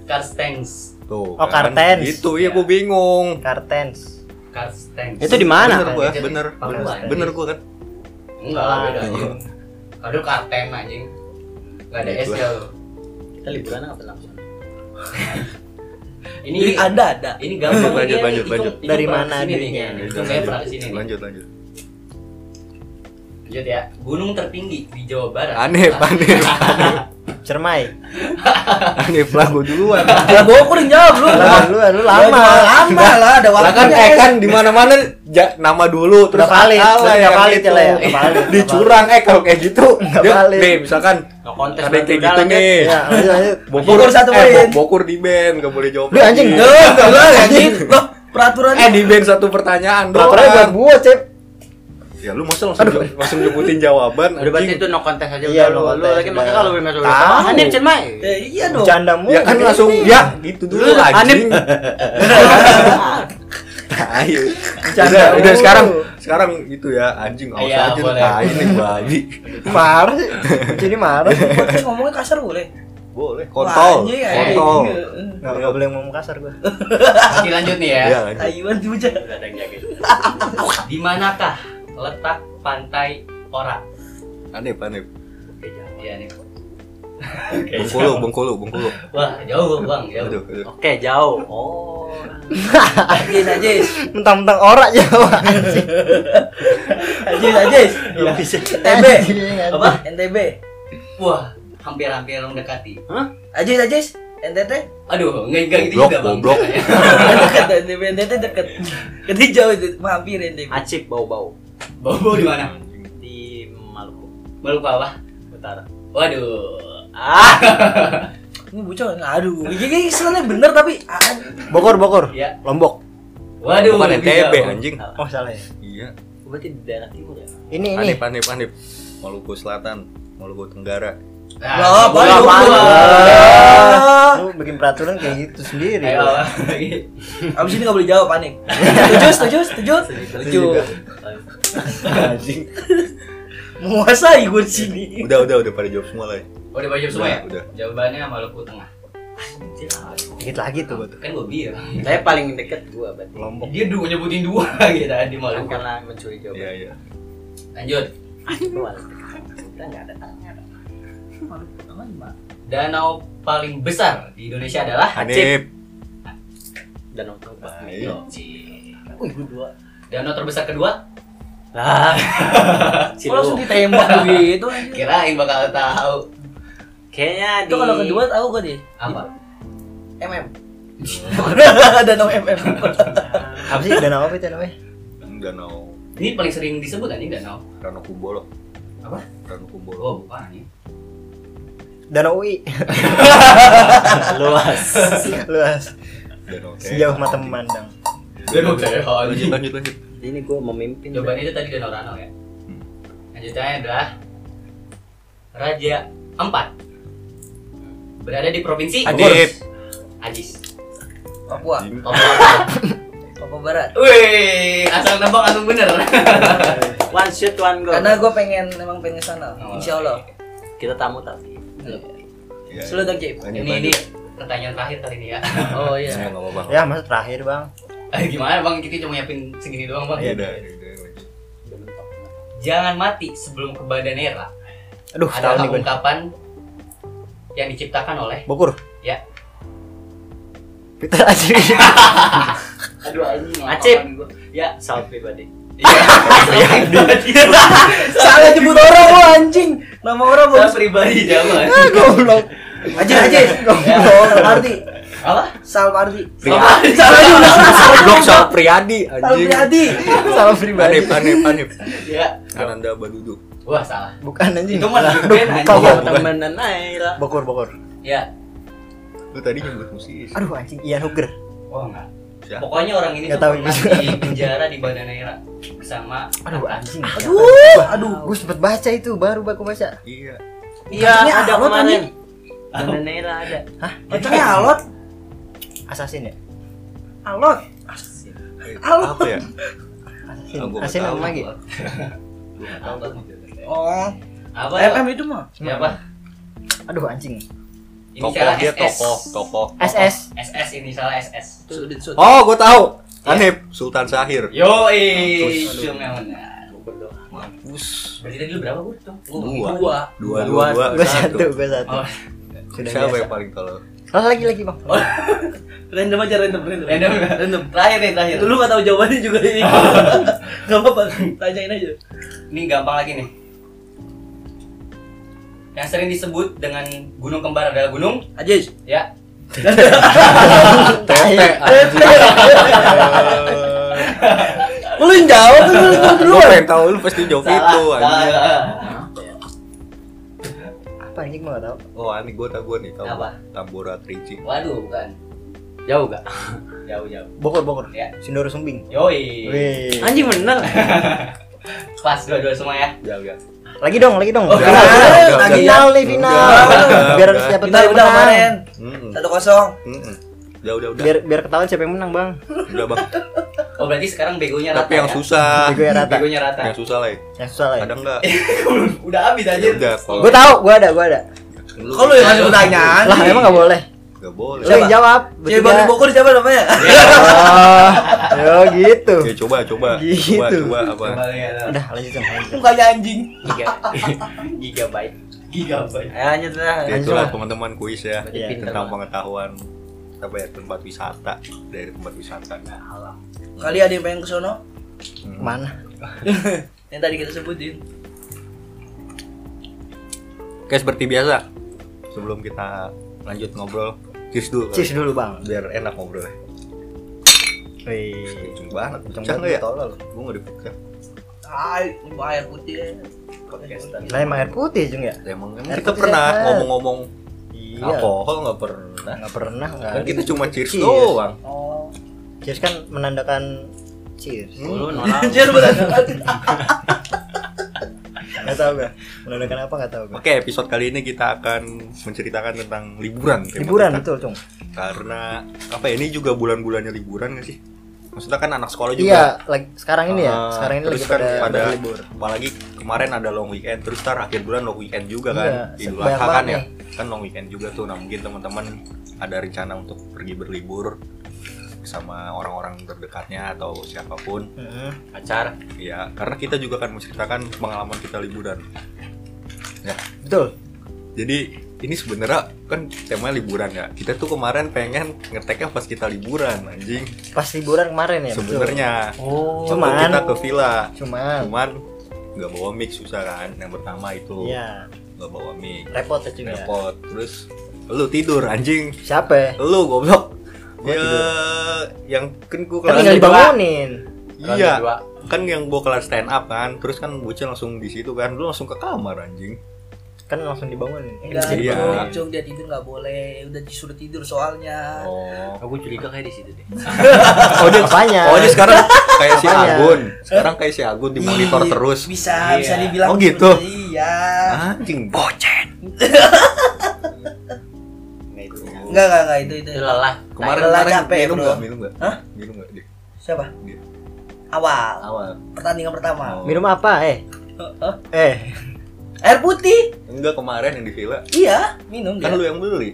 [SPEAKER 3] Karstens.
[SPEAKER 1] Tuh.
[SPEAKER 2] Oh, Kartens.
[SPEAKER 1] Itu iya gua bingung.
[SPEAKER 2] Kartens.
[SPEAKER 3] Karstens.
[SPEAKER 2] Itu di mana?
[SPEAKER 1] Bener gua,
[SPEAKER 3] Jadi,
[SPEAKER 1] bener.
[SPEAKER 3] Papua,
[SPEAKER 1] Bener,
[SPEAKER 3] kan?
[SPEAKER 1] bener gua kan.
[SPEAKER 3] Enggak lah, Ah, beda Iya. aja. Aduh, Karten anjing. Enggak ada
[SPEAKER 1] Ini Iya,
[SPEAKER 3] S
[SPEAKER 1] gua.
[SPEAKER 3] ya lu.
[SPEAKER 5] kita liburan apa langsung
[SPEAKER 3] Ini
[SPEAKER 4] Jadi ada ada.
[SPEAKER 3] Ini
[SPEAKER 1] Lanjut,
[SPEAKER 3] gampang nih,
[SPEAKER 1] lanjut,
[SPEAKER 3] Cung.
[SPEAKER 1] lanjut.
[SPEAKER 3] Cung
[SPEAKER 2] Dari
[SPEAKER 3] pernah
[SPEAKER 2] mana
[SPEAKER 3] kesini nih
[SPEAKER 2] duitnya?
[SPEAKER 3] kayaknya. Cung kayak pernah kesini nih.
[SPEAKER 1] Lanjut, lanjut.
[SPEAKER 3] Lanjut ya. Gunung tertinggi di Jawa Barat.
[SPEAKER 1] Aneh, aneh.
[SPEAKER 2] Cermai.
[SPEAKER 1] Aneh lah gua duluan.
[SPEAKER 4] Lah gua kurang jawab lu.
[SPEAKER 2] Lah, lu, lu
[SPEAKER 4] Gua cuma
[SPEAKER 2] lama.
[SPEAKER 4] lama lah ada
[SPEAKER 1] Lah kan
[SPEAKER 4] waktunya.
[SPEAKER 1] eh kan di mana-mana ja- nama dulu terus
[SPEAKER 2] Udah valid,
[SPEAKER 1] salah
[SPEAKER 2] udah
[SPEAKER 1] yang
[SPEAKER 2] valid,
[SPEAKER 1] itu.
[SPEAKER 2] Cele, udah valid,
[SPEAKER 1] Dicurang eh kalau kayak gitu.
[SPEAKER 2] Nggak
[SPEAKER 1] dia-
[SPEAKER 2] valid.
[SPEAKER 1] Nih, misalkan
[SPEAKER 3] No kontes
[SPEAKER 1] ada yang kayak
[SPEAKER 3] bantu
[SPEAKER 1] gitu
[SPEAKER 3] dalam, ya.
[SPEAKER 1] nih.
[SPEAKER 2] Ya, lanjut, lanjut.
[SPEAKER 1] Bokur,
[SPEAKER 4] Bokur satu
[SPEAKER 1] eh,
[SPEAKER 4] poin.
[SPEAKER 1] bo- Bokur di band, Iya. enggak boleh jawab.
[SPEAKER 2] Lu anjing.
[SPEAKER 1] lagi.
[SPEAKER 4] Enggak, enggak lah anjing. Loh, peraturan
[SPEAKER 1] Eh di band satu pertanyaan
[SPEAKER 2] Peraturannya buat
[SPEAKER 1] doang.
[SPEAKER 2] gua, Cep.
[SPEAKER 1] Ya lu masa langsung langsung nyebutin jawaban
[SPEAKER 3] Udah berarti itu
[SPEAKER 1] anjing.
[SPEAKER 3] no kontes aja
[SPEAKER 2] Iya, no
[SPEAKER 3] udah lu. Lu
[SPEAKER 2] contest,
[SPEAKER 3] lagi
[SPEAKER 2] udah.
[SPEAKER 3] makanya kalau gue masuk
[SPEAKER 1] Tahu.
[SPEAKER 3] udah. Aneh, Cen, Mai.
[SPEAKER 4] Ya iya dong.
[SPEAKER 2] Bercanda mulu.
[SPEAKER 1] Ya kan langsung ya gitu dulu
[SPEAKER 3] Lu,
[SPEAKER 1] anjing. Tai. Udah, udah
[SPEAKER 2] mulu.
[SPEAKER 1] sekarang sekarang gitu ya anjing awas
[SPEAKER 3] oh. Iya,
[SPEAKER 1] aja lu
[SPEAKER 3] boleh.
[SPEAKER 1] tai nih babi.
[SPEAKER 2] marah sih. Jadi marah.
[SPEAKER 4] Pocong ngomongnya kasar boleh.
[SPEAKER 1] Boleh kontol.
[SPEAKER 4] Wah, anjing, anjing.
[SPEAKER 1] Kontol.
[SPEAKER 2] Enggak enggak boleh ngomong kasar gua.
[SPEAKER 3] Masih lanjut nih ya.
[SPEAKER 1] Iya anjing.
[SPEAKER 4] Taiwan juga.
[SPEAKER 3] Udah ada yang jaga. Di manakah letak pantai Ora?
[SPEAKER 1] Aneh, aneh.
[SPEAKER 3] Iya nih.
[SPEAKER 1] Bengkulu, Bengkulu, Bengkulu.
[SPEAKER 3] Wah, jauh Bang, jauh.
[SPEAKER 1] Aduh, aduh.
[SPEAKER 5] oke jauh oh
[SPEAKER 4] Ajis, Ajis.
[SPEAKER 2] Mentang-mentang ora Jawa.
[SPEAKER 4] Ajis, Ajis.
[SPEAKER 2] Belum bisa.
[SPEAKER 4] NTB.
[SPEAKER 3] Apa?
[SPEAKER 4] NTB.
[SPEAKER 3] Wah, hampir-hampir mendekati.
[SPEAKER 4] Ajis, Ajis. NTT.
[SPEAKER 3] Aduh, enggak enggak gitu
[SPEAKER 1] Goblok,
[SPEAKER 3] juga, Bang.
[SPEAKER 1] goblok.
[SPEAKER 4] Dekat NTB, NTT dekat. Jadi jauh itu mampir NTB.
[SPEAKER 5] acik bau bau
[SPEAKER 3] Bobo di mana?
[SPEAKER 5] di Maluku
[SPEAKER 3] Maluku apa?
[SPEAKER 5] Utara
[SPEAKER 3] Waduh.
[SPEAKER 5] ah
[SPEAKER 4] Ini bocah aduh. Jadi istilahnya bener tapi ah,
[SPEAKER 2] Bogor, Bogor.
[SPEAKER 3] Iya.
[SPEAKER 2] Lombok.
[SPEAKER 3] Waduh.
[SPEAKER 1] Bukan
[SPEAKER 3] lebih
[SPEAKER 1] NTB
[SPEAKER 3] jauh.
[SPEAKER 1] anjing.
[SPEAKER 2] Oh, salah ya.
[SPEAKER 1] Iya.
[SPEAKER 5] Nah, berarti di daerah timur ya
[SPEAKER 2] Ini ini.
[SPEAKER 1] Anip, Anip, Anip. Maluku Selatan, Maluku Tenggara.
[SPEAKER 3] Nah,
[SPEAKER 4] Lah,
[SPEAKER 3] gua
[SPEAKER 4] Bandung,
[SPEAKER 3] apaan?
[SPEAKER 4] Bandung.
[SPEAKER 2] Lu bikin peraturan kayak gitu sendiri.
[SPEAKER 3] Ayo, apa?
[SPEAKER 4] Abis ini gak boleh jawab panik. Setuju, setuju, setuju. Setuju.
[SPEAKER 1] Anjing.
[SPEAKER 4] Menguasai gue di sini.
[SPEAKER 1] Udah, udah, udah pada jawab semua lah. ya.
[SPEAKER 3] Udah banyak semua
[SPEAKER 5] Nah,
[SPEAKER 3] ya?
[SPEAKER 1] Udah.
[SPEAKER 3] Jawabannya Maluku Tengah.
[SPEAKER 2] Dikit lagi tuh.
[SPEAKER 3] Kan gue bilang.
[SPEAKER 5] saya paling deket gua berarti
[SPEAKER 2] Lombok.
[SPEAKER 3] Dia dua nyebutin dua gitu di
[SPEAKER 5] Bukan
[SPEAKER 3] Maluku.
[SPEAKER 5] karena mencuri
[SPEAKER 1] Iya,
[SPEAKER 5] jawaban
[SPEAKER 1] iya.
[SPEAKER 3] Lanjut.
[SPEAKER 5] Luar. udah nggak ada tangan
[SPEAKER 3] Danau paling besar di Indonesia adalah
[SPEAKER 1] Anip.
[SPEAKER 5] dan otobat
[SPEAKER 1] Ayo.
[SPEAKER 3] Cil.
[SPEAKER 4] Wih, gue dua.
[SPEAKER 3] Danau terbesar kedua?
[SPEAKER 5] lah
[SPEAKER 4] Kok langsung
[SPEAKER 5] Cilung.
[SPEAKER 4] ditembak begitu anjing?
[SPEAKER 3] Kirain bakal tahu
[SPEAKER 5] kayaknya di
[SPEAKER 4] Itu kalau kedua tahu gue deh.
[SPEAKER 3] apa?
[SPEAKER 4] MM. Danau MM.
[SPEAKER 2] Apa sih danau apa itu namanya?
[SPEAKER 1] Danau
[SPEAKER 3] Ini paling sering disebut anjing danau.
[SPEAKER 1] Danau Kumbolo.
[SPEAKER 3] Apa?
[SPEAKER 1] Danau Kumbolo.
[SPEAKER 3] Oh, bukan anjing.
[SPEAKER 2] Danau UI.
[SPEAKER 5] luas
[SPEAKER 2] Luas.
[SPEAKER 1] Danau Teh.
[SPEAKER 2] Sejauh mata memandang.
[SPEAKER 3] Danau Teh,
[SPEAKER 1] Lanjut,
[SPEAKER 3] anjing.
[SPEAKER 1] lanjut, lanjut.
[SPEAKER 5] ini gua memimpin
[SPEAKER 3] Jawaban itu tadi danau Rano ya. Lanjutannya adalah Raja Empat berada di provinsi
[SPEAKER 1] Anip.
[SPEAKER 3] Ajis.
[SPEAKER 4] Papua.
[SPEAKER 1] Anjing.
[SPEAKER 4] Papua Barat.
[SPEAKER 3] Wih, asal nebak langsung bener.
[SPEAKER 5] one shoot one go
[SPEAKER 4] Karena gue pengen emang pengen ke sana. Insya Allah.
[SPEAKER 5] kita tamu tapi
[SPEAKER 1] Iya,
[SPEAKER 4] Selalu
[SPEAKER 1] iya.
[SPEAKER 4] dong Cip.
[SPEAKER 1] Lanjut,
[SPEAKER 3] Ini ini
[SPEAKER 1] lanjut.
[SPEAKER 3] pertanyaan terakhir kali ini ya.
[SPEAKER 4] Oh
[SPEAKER 1] Ya,
[SPEAKER 4] iya.
[SPEAKER 1] nggak apa-apa.
[SPEAKER 2] Ya, masa terakhir, Bang.
[SPEAKER 3] Eh, Gimana bang? Kita cuma nyiapin segini doang
[SPEAKER 1] Iya,
[SPEAKER 3] bang.
[SPEAKER 1] udah, udah, lanjut.
[SPEAKER 3] Jangan mati sebelum ke badan era.
[SPEAKER 2] Aduh, tahu
[SPEAKER 3] Ada
[SPEAKER 2] nih gue.
[SPEAKER 3] ungkapan yang diciptakan oleh
[SPEAKER 2] Bogor.
[SPEAKER 3] ya.
[SPEAKER 2] Peter Aji.
[SPEAKER 3] Aduh anjing.
[SPEAKER 5] Acip.
[SPEAKER 3] Ya.
[SPEAKER 5] soal pribadi
[SPEAKER 3] Iya.
[SPEAKER 4] Salah nyebut orang lo anjing. Nama orang
[SPEAKER 3] Saya
[SPEAKER 4] bagus.
[SPEAKER 3] pribadi ya, jangan.
[SPEAKER 5] Iya.
[SPEAKER 2] Ah, Goblok.
[SPEAKER 4] Ajis, Ajis. Oh, Salpardi.
[SPEAKER 3] Apa?
[SPEAKER 4] Salpardi.
[SPEAKER 1] Pri-
[SPEAKER 4] Salah juga.
[SPEAKER 1] Goblok sama Priadi anjing.
[SPEAKER 4] Salpardi.
[SPEAKER 2] Salah pribadi.
[SPEAKER 1] Anip, Anip, Anip.
[SPEAKER 3] Ya.
[SPEAKER 1] Ananda Badudu.
[SPEAKER 3] Wah salah.
[SPEAKER 2] Bukan anjing. Iya,
[SPEAKER 3] Itu mah
[SPEAKER 2] Aduh,
[SPEAKER 3] band,
[SPEAKER 2] bukan,
[SPEAKER 3] anjing.
[SPEAKER 2] bukan.
[SPEAKER 5] temenan aja lah
[SPEAKER 2] Bogor, Bogor.
[SPEAKER 3] Ya.
[SPEAKER 1] Lu tadi nyebut musisi.
[SPEAKER 2] Aduh anjing, Ian Hooker.
[SPEAKER 3] Oh enggak.
[SPEAKER 1] siapa?
[SPEAKER 3] Pokoknya orang ini
[SPEAKER 2] Nggak tahu
[SPEAKER 3] tuh pernah di penjara di Bandaneira sama
[SPEAKER 2] Aduh
[SPEAKER 3] Atta.
[SPEAKER 2] anjing.
[SPEAKER 4] Aduh, aduh.
[SPEAKER 2] Gue sempet baca itu, baru aku baca.
[SPEAKER 1] Iya.
[SPEAKER 4] Iya,
[SPEAKER 5] Iya, ada
[SPEAKER 4] alot
[SPEAKER 5] kemarin. Dana Naira ada.
[SPEAKER 4] Kacangnya alot,
[SPEAKER 2] Assassin ya?
[SPEAKER 4] alot.
[SPEAKER 1] Eh,
[SPEAKER 4] Halo.
[SPEAKER 1] Apa ya?
[SPEAKER 2] Assassin.
[SPEAKER 1] Ah, gua nggak
[SPEAKER 2] Assassin
[SPEAKER 1] tahu.
[SPEAKER 2] apa lagi?
[SPEAKER 1] Gua nggak tahu tuh.
[SPEAKER 4] Oh,
[SPEAKER 3] Apa?
[SPEAKER 4] FM itu mah.
[SPEAKER 3] Siapa?
[SPEAKER 2] Aduh anjing.
[SPEAKER 3] Ini
[SPEAKER 1] Tokoh
[SPEAKER 3] salah
[SPEAKER 1] dia
[SPEAKER 3] SS.
[SPEAKER 1] tokoh, tokoh.
[SPEAKER 2] SS.
[SPEAKER 3] SS ini salah SS.
[SPEAKER 4] Sudin sud.
[SPEAKER 1] Oh, gua tahu. Anip Sultan Sahir.
[SPEAKER 3] Yo,
[SPEAKER 1] Terus, aduh.
[SPEAKER 3] cuma benar.
[SPEAKER 1] Bus.
[SPEAKER 3] Berarti tadi lu berapa gue tuh?
[SPEAKER 1] Dua.
[SPEAKER 4] Dua.
[SPEAKER 1] Dua, dua, dua,
[SPEAKER 2] Gue satu, gue satu.
[SPEAKER 3] Oh,
[SPEAKER 2] Sudah
[SPEAKER 1] Siapa
[SPEAKER 2] biasa.
[SPEAKER 1] yang paling tolol?
[SPEAKER 2] Oh, lagi lagi bang.
[SPEAKER 4] Random aja random, random.
[SPEAKER 3] random, random. Terakhir nih, terakhir.
[SPEAKER 4] Lu gak tahu jawabannya juga ini. Gak apa-apa, tanyain aja.
[SPEAKER 3] Ini gampang lagi nih. Yang sering disebut dengan gunung kembar adalah gunung,
[SPEAKER 4] Ajis.
[SPEAKER 3] ya.
[SPEAKER 1] Tete.
[SPEAKER 2] Eh.
[SPEAKER 4] Lu yang jawab tuh lu jawab
[SPEAKER 1] Lu
[SPEAKER 4] duluan.
[SPEAKER 1] pengen tahu lu pasti jawab itu.
[SPEAKER 3] salah,
[SPEAKER 1] anjing.
[SPEAKER 3] salah.
[SPEAKER 2] Apa anjing gue gak tau.
[SPEAKER 1] Oh, anjing gua tahu gua nih tahu.
[SPEAKER 3] Apa?
[SPEAKER 1] Tambora Trinci.
[SPEAKER 3] Waduh, bukan.
[SPEAKER 5] Jauh gak?
[SPEAKER 3] Jauh, jauh.
[SPEAKER 2] Bogor, Bogor.
[SPEAKER 3] Ya.
[SPEAKER 2] Sindoro Sumbing.
[SPEAKER 3] Yoi.
[SPEAKER 2] Wih.
[SPEAKER 5] Anjing bener.
[SPEAKER 3] Pas dua-dua semua ya.
[SPEAKER 1] Jauh ya.
[SPEAKER 2] Lagi dong, lagi dong.
[SPEAKER 1] Oh,
[SPEAKER 2] Final,
[SPEAKER 1] udah, udah,
[SPEAKER 2] final
[SPEAKER 1] udah.
[SPEAKER 2] nih final.
[SPEAKER 1] Udah,
[SPEAKER 2] Biar
[SPEAKER 1] udah.
[SPEAKER 2] siapa
[SPEAKER 4] Kita
[SPEAKER 2] tahu
[SPEAKER 4] udah
[SPEAKER 2] menang.
[SPEAKER 4] kemarin. Satu kosong.
[SPEAKER 1] Jauh, udah udah.
[SPEAKER 2] Biar biar ketahuan siapa yang menang bang.
[SPEAKER 1] Udah, Bang.
[SPEAKER 3] Oh, berarti sekarang begonya rata.
[SPEAKER 1] Tapi yang
[SPEAKER 3] ya?
[SPEAKER 1] susah.
[SPEAKER 2] Gue rata.
[SPEAKER 3] Begonya rata.
[SPEAKER 1] Yang susah lah. ya.
[SPEAKER 2] Yang susah lah.
[SPEAKER 1] Ada enggak?
[SPEAKER 3] Udah habis
[SPEAKER 1] Ya
[SPEAKER 3] aja.
[SPEAKER 1] udah kalau
[SPEAKER 2] Gue tahu, gue ada, gue ada.
[SPEAKER 4] Kok lu yang ngasih pertanyaan?
[SPEAKER 2] Lah emang gak boleh.
[SPEAKER 1] Gak boleh.
[SPEAKER 2] Lu yang jawab.
[SPEAKER 4] Cewek baru
[SPEAKER 2] bertiga.
[SPEAKER 4] Bogor siapa namanya?
[SPEAKER 2] Oh, yo gitu.
[SPEAKER 1] Oke, Ya, coba coba.
[SPEAKER 2] Gitu.
[SPEAKER 1] Coba coba apa?
[SPEAKER 2] Udah lanjut Bang, lanjut.
[SPEAKER 4] Mukanya anjing.
[SPEAKER 3] Giga. Gigabyte. Gigabyte.
[SPEAKER 4] Ayo lanjut lah.
[SPEAKER 1] Ya, itulah teman-teman kuis ya
[SPEAKER 2] Iya.
[SPEAKER 3] Pinter
[SPEAKER 1] tentang
[SPEAKER 3] banget.
[SPEAKER 1] pengetahuan apa ya tempat wisata dari tempat wisata.
[SPEAKER 3] Alam.
[SPEAKER 4] Kali ada yang pengen ke sono?
[SPEAKER 1] Hmm.
[SPEAKER 2] Mana?
[SPEAKER 4] Yang tadi kita sebutin.
[SPEAKER 1] Oke seperti biasa sebelum kita lanjut ngobrol cheers dulu kali.
[SPEAKER 2] Cheers dulu bang.
[SPEAKER 1] biar enak ngobrolnya.
[SPEAKER 2] Wih.
[SPEAKER 1] Kenceng banget. Bisa
[SPEAKER 2] Kenceng Iya, banget,
[SPEAKER 1] nggak ya?
[SPEAKER 2] tolol.
[SPEAKER 1] Gue nggak dipegang.
[SPEAKER 4] Ay, mau air putih. Podcastan.
[SPEAKER 2] Lah emang air putih Jung ya?
[SPEAKER 1] Emang emang
[SPEAKER 2] Air
[SPEAKER 1] kita
[SPEAKER 2] putih
[SPEAKER 1] pernah
[SPEAKER 2] sehat.
[SPEAKER 1] ngomong-ngomong
[SPEAKER 2] Iya. Nah,
[SPEAKER 1] alkohol nggak pernah.
[SPEAKER 2] Nggak pernah nggak.
[SPEAKER 1] Kan kita cuma cheers
[SPEAKER 2] Cheers.
[SPEAKER 1] doang.
[SPEAKER 4] Oh.
[SPEAKER 2] Cheers kan menandakan cheers.
[SPEAKER 3] Lu nolak.
[SPEAKER 4] Anjir
[SPEAKER 1] Iya.
[SPEAKER 4] berat.
[SPEAKER 2] Nggak tahu gue. Menandakan apa nggak tahu gue.
[SPEAKER 1] Oke, episode kali ini kita akan menceritakan tentang liburan. tema
[SPEAKER 2] Liburan
[SPEAKER 1] kita.
[SPEAKER 2] betul Cung.
[SPEAKER 1] Karena apa ya ini juga bulan-bulannya liburan nggak sih? Maksudnya kan anak sekolah juga.
[SPEAKER 2] Iya, lagi sekarang ini ya.
[SPEAKER 1] Ah,
[SPEAKER 2] Sekarang ini
[SPEAKER 1] terus
[SPEAKER 2] lagi
[SPEAKER 1] kan
[SPEAKER 2] pada,
[SPEAKER 1] pada
[SPEAKER 2] pada libur.
[SPEAKER 1] Apalagi kemarin ada long weekend, terus tar akhir bulan long weekend juga kan.
[SPEAKER 2] Iya,
[SPEAKER 1] Idul
[SPEAKER 2] banyak
[SPEAKER 1] Adha
[SPEAKER 2] banget
[SPEAKER 1] kan ya.
[SPEAKER 2] nih.
[SPEAKER 1] Kan long weekend juga tuh. Nah, mungkin teman-teman ada rencana untuk pergi berlibur sama orang-orang terdekatnya atau siapapun.
[SPEAKER 2] Heeh.
[SPEAKER 3] Pacar.
[SPEAKER 1] Ya, karena kita juga akan menceritakan pengalaman kita liburan.
[SPEAKER 2] Betul.
[SPEAKER 1] Jadi ini sebenarnya kan temanya liburan ya. Kita tuh kemarin pengen ngeteknya pas kita liburan, anjing.
[SPEAKER 2] Pas liburan kemarin ya. betul.
[SPEAKER 1] sebenarnya.
[SPEAKER 2] Oh,
[SPEAKER 1] Waktu
[SPEAKER 2] cuman
[SPEAKER 1] kita ke villa.
[SPEAKER 2] cuman
[SPEAKER 1] Cuman nggak bawa mic susah kan. Yang pertama itu
[SPEAKER 2] Iya,
[SPEAKER 1] nggak bawa mic.
[SPEAKER 2] repot ya Cung ya.
[SPEAKER 1] repot terus lu tidur anjing
[SPEAKER 2] Siapa? ya?
[SPEAKER 1] lu goblok ya
[SPEAKER 2] Gua tidur.
[SPEAKER 1] yang kan gua
[SPEAKER 2] Kan
[SPEAKER 1] kelas
[SPEAKER 2] tinggal
[SPEAKER 1] dua.
[SPEAKER 2] dibangunin.
[SPEAKER 3] Round
[SPEAKER 1] iya
[SPEAKER 3] kedua.
[SPEAKER 1] kan yang gua kelas stand up kan terus kan bocil langsung di situ kan lu langsung ke kamar anjing
[SPEAKER 2] Kan langsung dibangunin. Kan
[SPEAKER 4] Enggak,
[SPEAKER 2] bisa
[SPEAKER 1] Iya.
[SPEAKER 2] dibangunin.
[SPEAKER 4] Cung, Cung, dia tidur nggak boleh. Udah disuruh tidur soalnya.
[SPEAKER 1] oh
[SPEAKER 3] Aku curiga kayak di situ deh.
[SPEAKER 2] Oh, dia apanya?
[SPEAKER 4] Iya.
[SPEAKER 1] oh dia sekarang kayak si
[SPEAKER 2] Apanya?
[SPEAKER 1] Agun sekarang kayak si Agun di monitor
[SPEAKER 4] Ih,
[SPEAKER 1] terus
[SPEAKER 4] Iya. Bisa,
[SPEAKER 3] Iya.
[SPEAKER 4] bisa dibilang.
[SPEAKER 1] Oh, gitu?
[SPEAKER 4] seperti- Iya.
[SPEAKER 1] anjing bocet
[SPEAKER 3] Nah itu.
[SPEAKER 4] Enggak, enggak, enggak itu itu.
[SPEAKER 3] Itu lelah.
[SPEAKER 1] kemarin
[SPEAKER 4] Lelah
[SPEAKER 1] kemarin
[SPEAKER 4] capek,
[SPEAKER 1] minum
[SPEAKER 4] bro.
[SPEAKER 1] nggak minum nggak
[SPEAKER 4] Hah?
[SPEAKER 1] minum nggak dia
[SPEAKER 4] Siapa?
[SPEAKER 1] Dia.
[SPEAKER 4] Awal.
[SPEAKER 1] awal
[SPEAKER 4] Pertandingan pertama.
[SPEAKER 1] Oh.
[SPEAKER 2] Minum apa, eh?
[SPEAKER 4] Heeh.
[SPEAKER 2] Eh,
[SPEAKER 4] Air putih.
[SPEAKER 1] enggak kemarin yang di villa
[SPEAKER 4] Iya, minum
[SPEAKER 1] kan
[SPEAKER 4] dia.
[SPEAKER 1] lu yang beli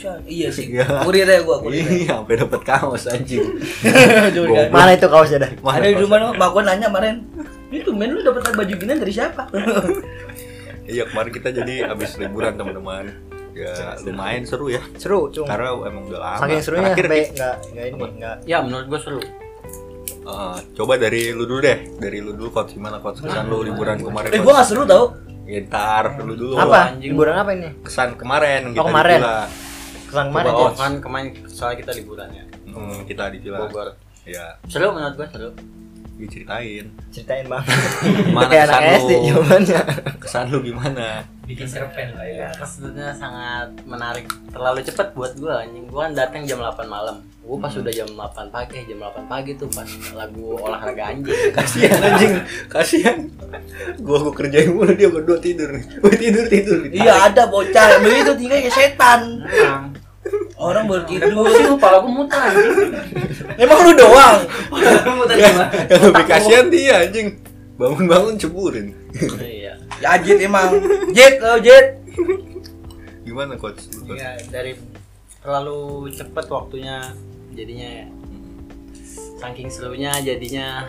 [SPEAKER 4] Siapa? Iya sih.
[SPEAKER 1] Iya.
[SPEAKER 4] Kurirnya gua, kurirnya.
[SPEAKER 1] iya sampai dapet kaos anjing
[SPEAKER 4] Jauh kan.
[SPEAKER 1] Goblok.
[SPEAKER 2] mana itu kaosnya dah?
[SPEAKER 1] Mana
[SPEAKER 4] ada di
[SPEAKER 1] kaos?
[SPEAKER 4] rumah lu, mak gua nanya kemarin. Itu men lu dapat baju gini dari siapa?
[SPEAKER 1] Iya kemarin kita jadi habis liburan teman-teman. Ya lumayan seru ya.
[SPEAKER 2] Seru, Cung.
[SPEAKER 1] Karena emang udah lama.
[SPEAKER 2] Saking serunya
[SPEAKER 1] Terakhir
[SPEAKER 2] sampai
[SPEAKER 1] nih,
[SPEAKER 2] enggak enggak ini, enggak
[SPEAKER 3] Ya menurut gua seru.
[SPEAKER 1] eh, coba dari lu dulu deh, dari lu dulu kot gimana kot kesan lu liburan kemarin.
[SPEAKER 4] eh gua nggak seru tau.
[SPEAKER 1] Gitar Ya, lu dulu.
[SPEAKER 2] apa?
[SPEAKER 3] anjing.
[SPEAKER 2] Liburan apa ini?
[SPEAKER 1] Kesan kemarin kita di
[SPEAKER 2] kemarin.
[SPEAKER 1] villa.
[SPEAKER 2] Kesan kemarin
[SPEAKER 3] Oh,
[SPEAKER 2] ya?
[SPEAKER 3] kan kemarin soalnya kita liburan ya.
[SPEAKER 1] Hmm, kita di villa.
[SPEAKER 3] Bogor.
[SPEAKER 1] Ya,
[SPEAKER 3] Seru menurut gua seru.
[SPEAKER 1] diceritain.
[SPEAKER 2] Ceritain, Bang.
[SPEAKER 1] Mana
[SPEAKER 2] Kayak
[SPEAKER 1] kesan
[SPEAKER 2] anak SD
[SPEAKER 1] lu?
[SPEAKER 2] jawabannya.
[SPEAKER 1] Kesan lu gimana?
[SPEAKER 3] bikin cerpen lah ya.
[SPEAKER 5] Ya, kesulitnya sangat menarik. Terlalu cepat buat gua anjing. Gua kan datang jam 8 malam. Gua pas udah jam 8 pagi, eh, jam 8 pagi tuh pas lagu olahraga anjing.
[SPEAKER 1] kasihan anjing kasihan gua gua kerjain mulu dia berdua tidur nih gua tidur tidur
[SPEAKER 4] Iya ada bocah yang begitu tinggal kayak setan. Orang baru
[SPEAKER 1] Kan
[SPEAKER 4] tidur.
[SPEAKER 3] Gue sih kepala gue muter anjing.
[SPEAKER 4] Emang lu doang.
[SPEAKER 3] Muter
[SPEAKER 1] Ya,
[SPEAKER 3] gimana?
[SPEAKER 1] yang lebih kasihan dia anjing bangun-bangun ceburin
[SPEAKER 5] Iya.
[SPEAKER 4] Ya Jet emang. oh, Jet lo Jet.
[SPEAKER 1] gimana coach Lu, coach?
[SPEAKER 5] Iya, dari terlalu cepat waktunya jadinya saking slownya jadinya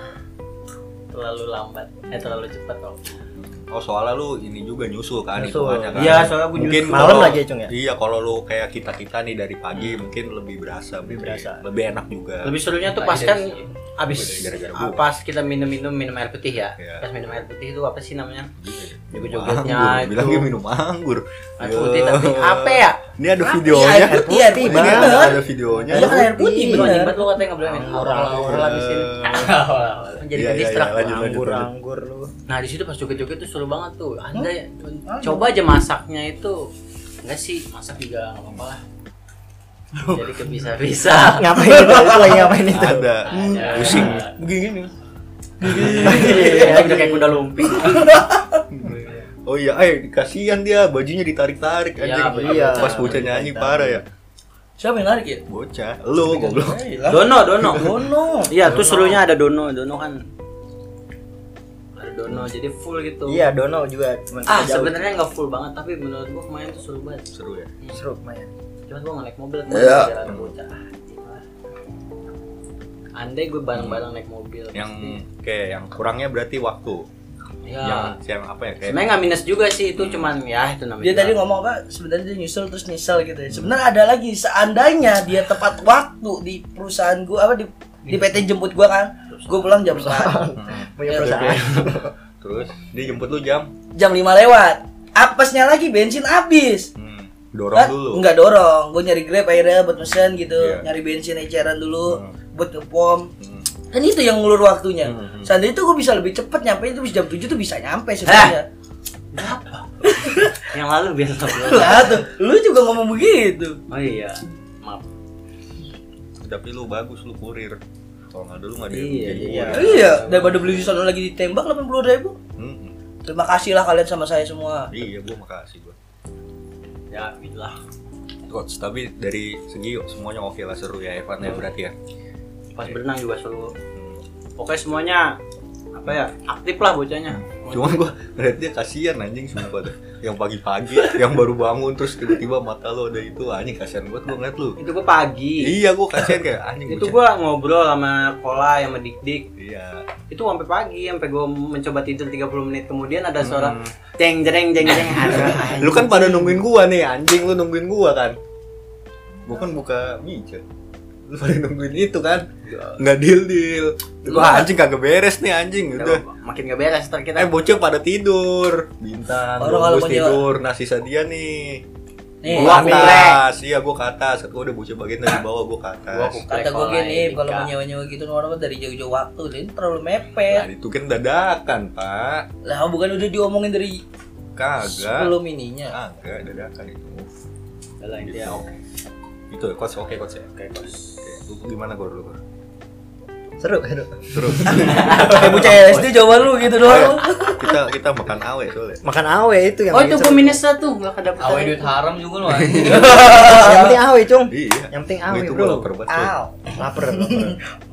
[SPEAKER 5] terlalu lambat. Eh terlalu cepat waktunya.
[SPEAKER 1] oh soalnya lu ini juga nyusul kan
[SPEAKER 5] Nyusul.
[SPEAKER 1] hitungannya kan
[SPEAKER 4] Iya, soalnya gua
[SPEAKER 1] mungkin
[SPEAKER 2] nyusul. Malam
[SPEAKER 1] kalau-
[SPEAKER 2] lagi, Cung, ya? Hmm.
[SPEAKER 1] iya kalau lu kayak kita kita nih dari pagi mungkin lebih berasa lebih,
[SPEAKER 2] berasa.
[SPEAKER 1] lebih enak juga
[SPEAKER 5] Lebih serunya tuh
[SPEAKER 1] Nah,
[SPEAKER 3] Lagi
[SPEAKER 5] pas
[SPEAKER 3] dari
[SPEAKER 5] kan
[SPEAKER 3] sini.
[SPEAKER 5] abis
[SPEAKER 1] Gara-gara gua.
[SPEAKER 5] pas kita minum-minum minum air putih ya.
[SPEAKER 1] Iya.
[SPEAKER 5] Pas minum air putih itu apa sih namanya? Joget-jogetnya
[SPEAKER 1] Joget-jogetnya
[SPEAKER 5] itu.
[SPEAKER 1] Bilangnya minum anggur
[SPEAKER 5] Air putih tapi apa ya?
[SPEAKER 1] Ini ada
[SPEAKER 4] Tapi
[SPEAKER 1] videonya
[SPEAKER 4] air putih, air putih,
[SPEAKER 1] Ini ada,
[SPEAKER 4] bener.
[SPEAKER 1] ada videonya
[SPEAKER 4] Iya kan air putih
[SPEAKER 5] Ih,
[SPEAKER 4] bener.
[SPEAKER 5] banget lu katanya nggak boleh main aura aura di sini. Menjadi
[SPEAKER 1] Iya, iya,
[SPEAKER 5] kedistrak.
[SPEAKER 1] iya, lanjut, lanjut, lanjut.
[SPEAKER 2] Anggur-anggur lu.
[SPEAKER 5] Nah di situ pas joget-joget tuh seru banget tuh. Anda
[SPEAKER 4] Ah, iya.
[SPEAKER 5] coba aja masaknya itu enggak sih masak juga nggak apa-apa lah. Jadi kebisa-bisa.
[SPEAKER 2] Ngapain itu? Lu lagi ngapain itu?
[SPEAKER 1] Ada Pusing Begini
[SPEAKER 5] Iya, udah kayak kuda lumping.
[SPEAKER 1] Oh iya, eh kasihan dia bajunya ditarik-tarik
[SPEAKER 5] Iya,
[SPEAKER 1] anjing.
[SPEAKER 5] iya.
[SPEAKER 1] Pas bocah nyanyi parah ya.
[SPEAKER 4] Siapa yang narik ya?
[SPEAKER 1] Bocah, lu goblok.
[SPEAKER 5] Dono, Dono.
[SPEAKER 4] Bono.
[SPEAKER 5] Iya, tuh serunya ada Dono, Dono kan. Ada Dono, jadi full gitu.
[SPEAKER 2] Iya, Dono juga cuman
[SPEAKER 5] Ah,
[SPEAKER 2] jauh.
[SPEAKER 5] sebenarnya nggak full banget, tapi menurut gua kemarin tuh seru banget.
[SPEAKER 1] Seru ya.
[SPEAKER 2] seru lumayan.
[SPEAKER 5] Cuman gue naik mobil kemarin
[SPEAKER 1] Iya.
[SPEAKER 5] jalan bocah anjing lah. Andai gue bareng-bareng naik mobil
[SPEAKER 1] Yang
[SPEAKER 5] pasti.
[SPEAKER 1] kayak yang kurangnya berarti waktu.
[SPEAKER 5] ya.
[SPEAKER 1] Yang yang apa ya kayak Hmm.
[SPEAKER 5] Sebenarnya nggak minus juga sih itu cuman ya itu namanya.
[SPEAKER 4] Dia tadi ngomong apa? Sebenarnya dia nyusul terus nyesel gitu ya. Sebenarnya ada lagi seandainya dia tepat waktu di perusahaan gua apa di di PT jemput gua kan. Gua pulang jam 9.
[SPEAKER 1] Iya,
[SPEAKER 2] Punya perusahaan.
[SPEAKER 1] Hmm. terus dia jemput lu jam
[SPEAKER 4] Jam 5 lewat. Apesnya lagi bensin habis.
[SPEAKER 1] hmm, dorong
[SPEAKER 4] Kan?
[SPEAKER 1] dulu.
[SPEAKER 4] Enggak dorong. Gua nyari Grab akhirnya buat mesen gitu.
[SPEAKER 1] Iya.
[SPEAKER 4] Nyari bensin eceran dulu
[SPEAKER 1] Hmm.
[SPEAKER 4] buat ngepom.
[SPEAKER 1] Hmm.
[SPEAKER 4] Kan itu yang ngulur waktunya.
[SPEAKER 1] Hmm, hmm.
[SPEAKER 4] Seandainya itu gua bisa lebih cepet nyampe itu bisa jam 7 tuh bisa nyampe sebenarnya.
[SPEAKER 5] yang lalu biar ngobrol.
[SPEAKER 4] Lah tuh, lu juga ngomong begitu.
[SPEAKER 5] Oh iya. Maaf.
[SPEAKER 1] Tapi lu bagus lu kurir. Kalau nggak dulu nggak ada
[SPEAKER 5] Iya,
[SPEAKER 1] jadi
[SPEAKER 5] iya.
[SPEAKER 1] kurir.
[SPEAKER 4] Iya, daripada beli di sana lagi ditembak 80 ribu.
[SPEAKER 1] Hmm, hmm.
[SPEAKER 4] Terima kasih lah kalian sama saya semua.
[SPEAKER 1] Iya, gua makasih gua.
[SPEAKER 5] Ya bilah.
[SPEAKER 1] Coach, tapi dari segi semuanya oke lah seru ya Evan ya berarti ya.
[SPEAKER 5] Pas berenang juga seru.
[SPEAKER 1] Hmm.
[SPEAKER 5] Pokoknya semuanya apa ya? Aktif lah bocahnya.
[SPEAKER 1] Cuman gua ngeliat dia kasihan anjing sumpah dah. Yang pagi-pagi, yang baru bangun terus tiba-tiba mata lo ada itu anjing kasihan banget gua ngeliat lu.
[SPEAKER 5] Itu gue pagi.
[SPEAKER 1] Iya, gua kasihan kayak anjing
[SPEAKER 5] Itu
[SPEAKER 1] bocah.
[SPEAKER 5] gue ngobrol sama Kola sama Dik Dik
[SPEAKER 1] Iya.
[SPEAKER 5] itu sampai pagi sampai gue mencoba tidur 30 menit kemudian ada suara
[SPEAKER 1] Hmm.
[SPEAKER 5] jeng jeng jeng jeng
[SPEAKER 1] Lu kan pada nungguin gua nih anjing lu nungguin gua kan. Gua kan buka mijet. Lu pada nungguin itu kan. Nggak deal-deal. Gua anjing kagak beres nih
[SPEAKER 5] Iya,
[SPEAKER 1] anjing udah.
[SPEAKER 5] makin gak beres ntar kita
[SPEAKER 1] Eh bocah pada tidur. Bintang,
[SPEAKER 4] Orang
[SPEAKER 1] Orang
[SPEAKER 4] kalau punya-
[SPEAKER 1] tidur, nah sisa dia nih.
[SPEAKER 4] Nih,
[SPEAKER 1] gua ke
[SPEAKER 5] ambil.
[SPEAKER 1] atas, iya gua ke atas. Gua udah bocah bagian dari bawah gua ke
[SPEAKER 5] Gua
[SPEAKER 1] atas.
[SPEAKER 5] kumpul.
[SPEAKER 4] kata gue
[SPEAKER 5] Kolai,
[SPEAKER 4] gini, kalau
[SPEAKER 5] Dika.
[SPEAKER 4] mau nyewa-nyewa gitu orang dari jauh-jauh waktu, ini terlalu
[SPEAKER 1] Nah,
[SPEAKER 4] mepet.
[SPEAKER 1] itu kan dadakan, Pak.
[SPEAKER 4] Lah bukan udah diomongin dari
[SPEAKER 1] Kagak.
[SPEAKER 4] sebelum ininya.
[SPEAKER 1] Kagak dadakan itu.
[SPEAKER 5] Udah lah, intinya oke
[SPEAKER 1] Itu ya, coach. Oke, coach ya.
[SPEAKER 5] oke kos
[SPEAKER 1] Oke, lu gimana gua dulu? Gor?
[SPEAKER 2] Seru, seru.
[SPEAKER 1] Terus
[SPEAKER 4] Kayak Eh, bocah LSD jawaban lu gitu
[SPEAKER 1] Oh,
[SPEAKER 4] doang.
[SPEAKER 1] iya. kita kita makan awe soalnya.
[SPEAKER 2] Makan awe itu yang
[SPEAKER 5] oh
[SPEAKER 2] bikin
[SPEAKER 5] itu gue
[SPEAKER 2] seru.
[SPEAKER 5] minus satu gak kedapetan
[SPEAKER 3] Awe duit haram juga lu anjing.
[SPEAKER 2] Yang penting awe, Cung.
[SPEAKER 1] Iya.
[SPEAKER 2] Yang penting awe,
[SPEAKER 1] Itu
[SPEAKER 2] Bro.
[SPEAKER 1] gua lapar banget, cuy.
[SPEAKER 2] Aw, Lapar, lapar.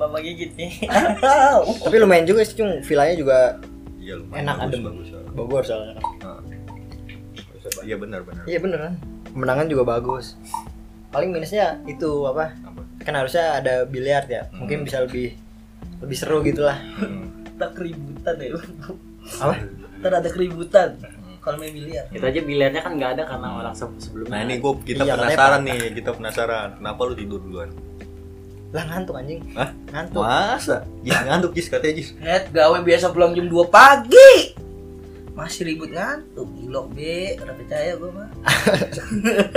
[SPEAKER 4] Bapak gigit nih.
[SPEAKER 2] Tapi lumayan juga sih, Cung. Vilanya juga
[SPEAKER 1] Iya, lumayan.
[SPEAKER 2] enak
[SPEAKER 1] Bagus,
[SPEAKER 2] adem.
[SPEAKER 1] bagus, ya.
[SPEAKER 2] Bogor soalnya.
[SPEAKER 1] Nah. Iya benar benar.
[SPEAKER 2] Iya bener kan. Pemenangan juga bagus. Paling minusnya itu apa?
[SPEAKER 1] Apa?
[SPEAKER 2] Kan harusnya ada biliar ya.
[SPEAKER 4] Hmm.
[SPEAKER 2] Mungkin bisa lebih lebih seru gitu lah.
[SPEAKER 1] Hmm.
[SPEAKER 4] Tak keributan ya.
[SPEAKER 2] Apa?
[SPEAKER 4] Ntar ada keributan. Kalau main biliar.
[SPEAKER 5] itu aja biliarnya kan gak ada karena orang se- sebelumnya
[SPEAKER 1] Nah, ini gua kita
[SPEAKER 2] Iya,
[SPEAKER 1] penasaran nih, kita penasaran. Kenapa lu tidur duluan?
[SPEAKER 2] Lah ngantuk anjing.
[SPEAKER 1] Hah?
[SPEAKER 2] Ngantuk.
[SPEAKER 1] Masa? Gis ngantuk Gis katanya Gis.
[SPEAKER 4] Net gawe biasa pulang jam 2 pagi. masih ribut ngantuk gilok be udah percaya gue mah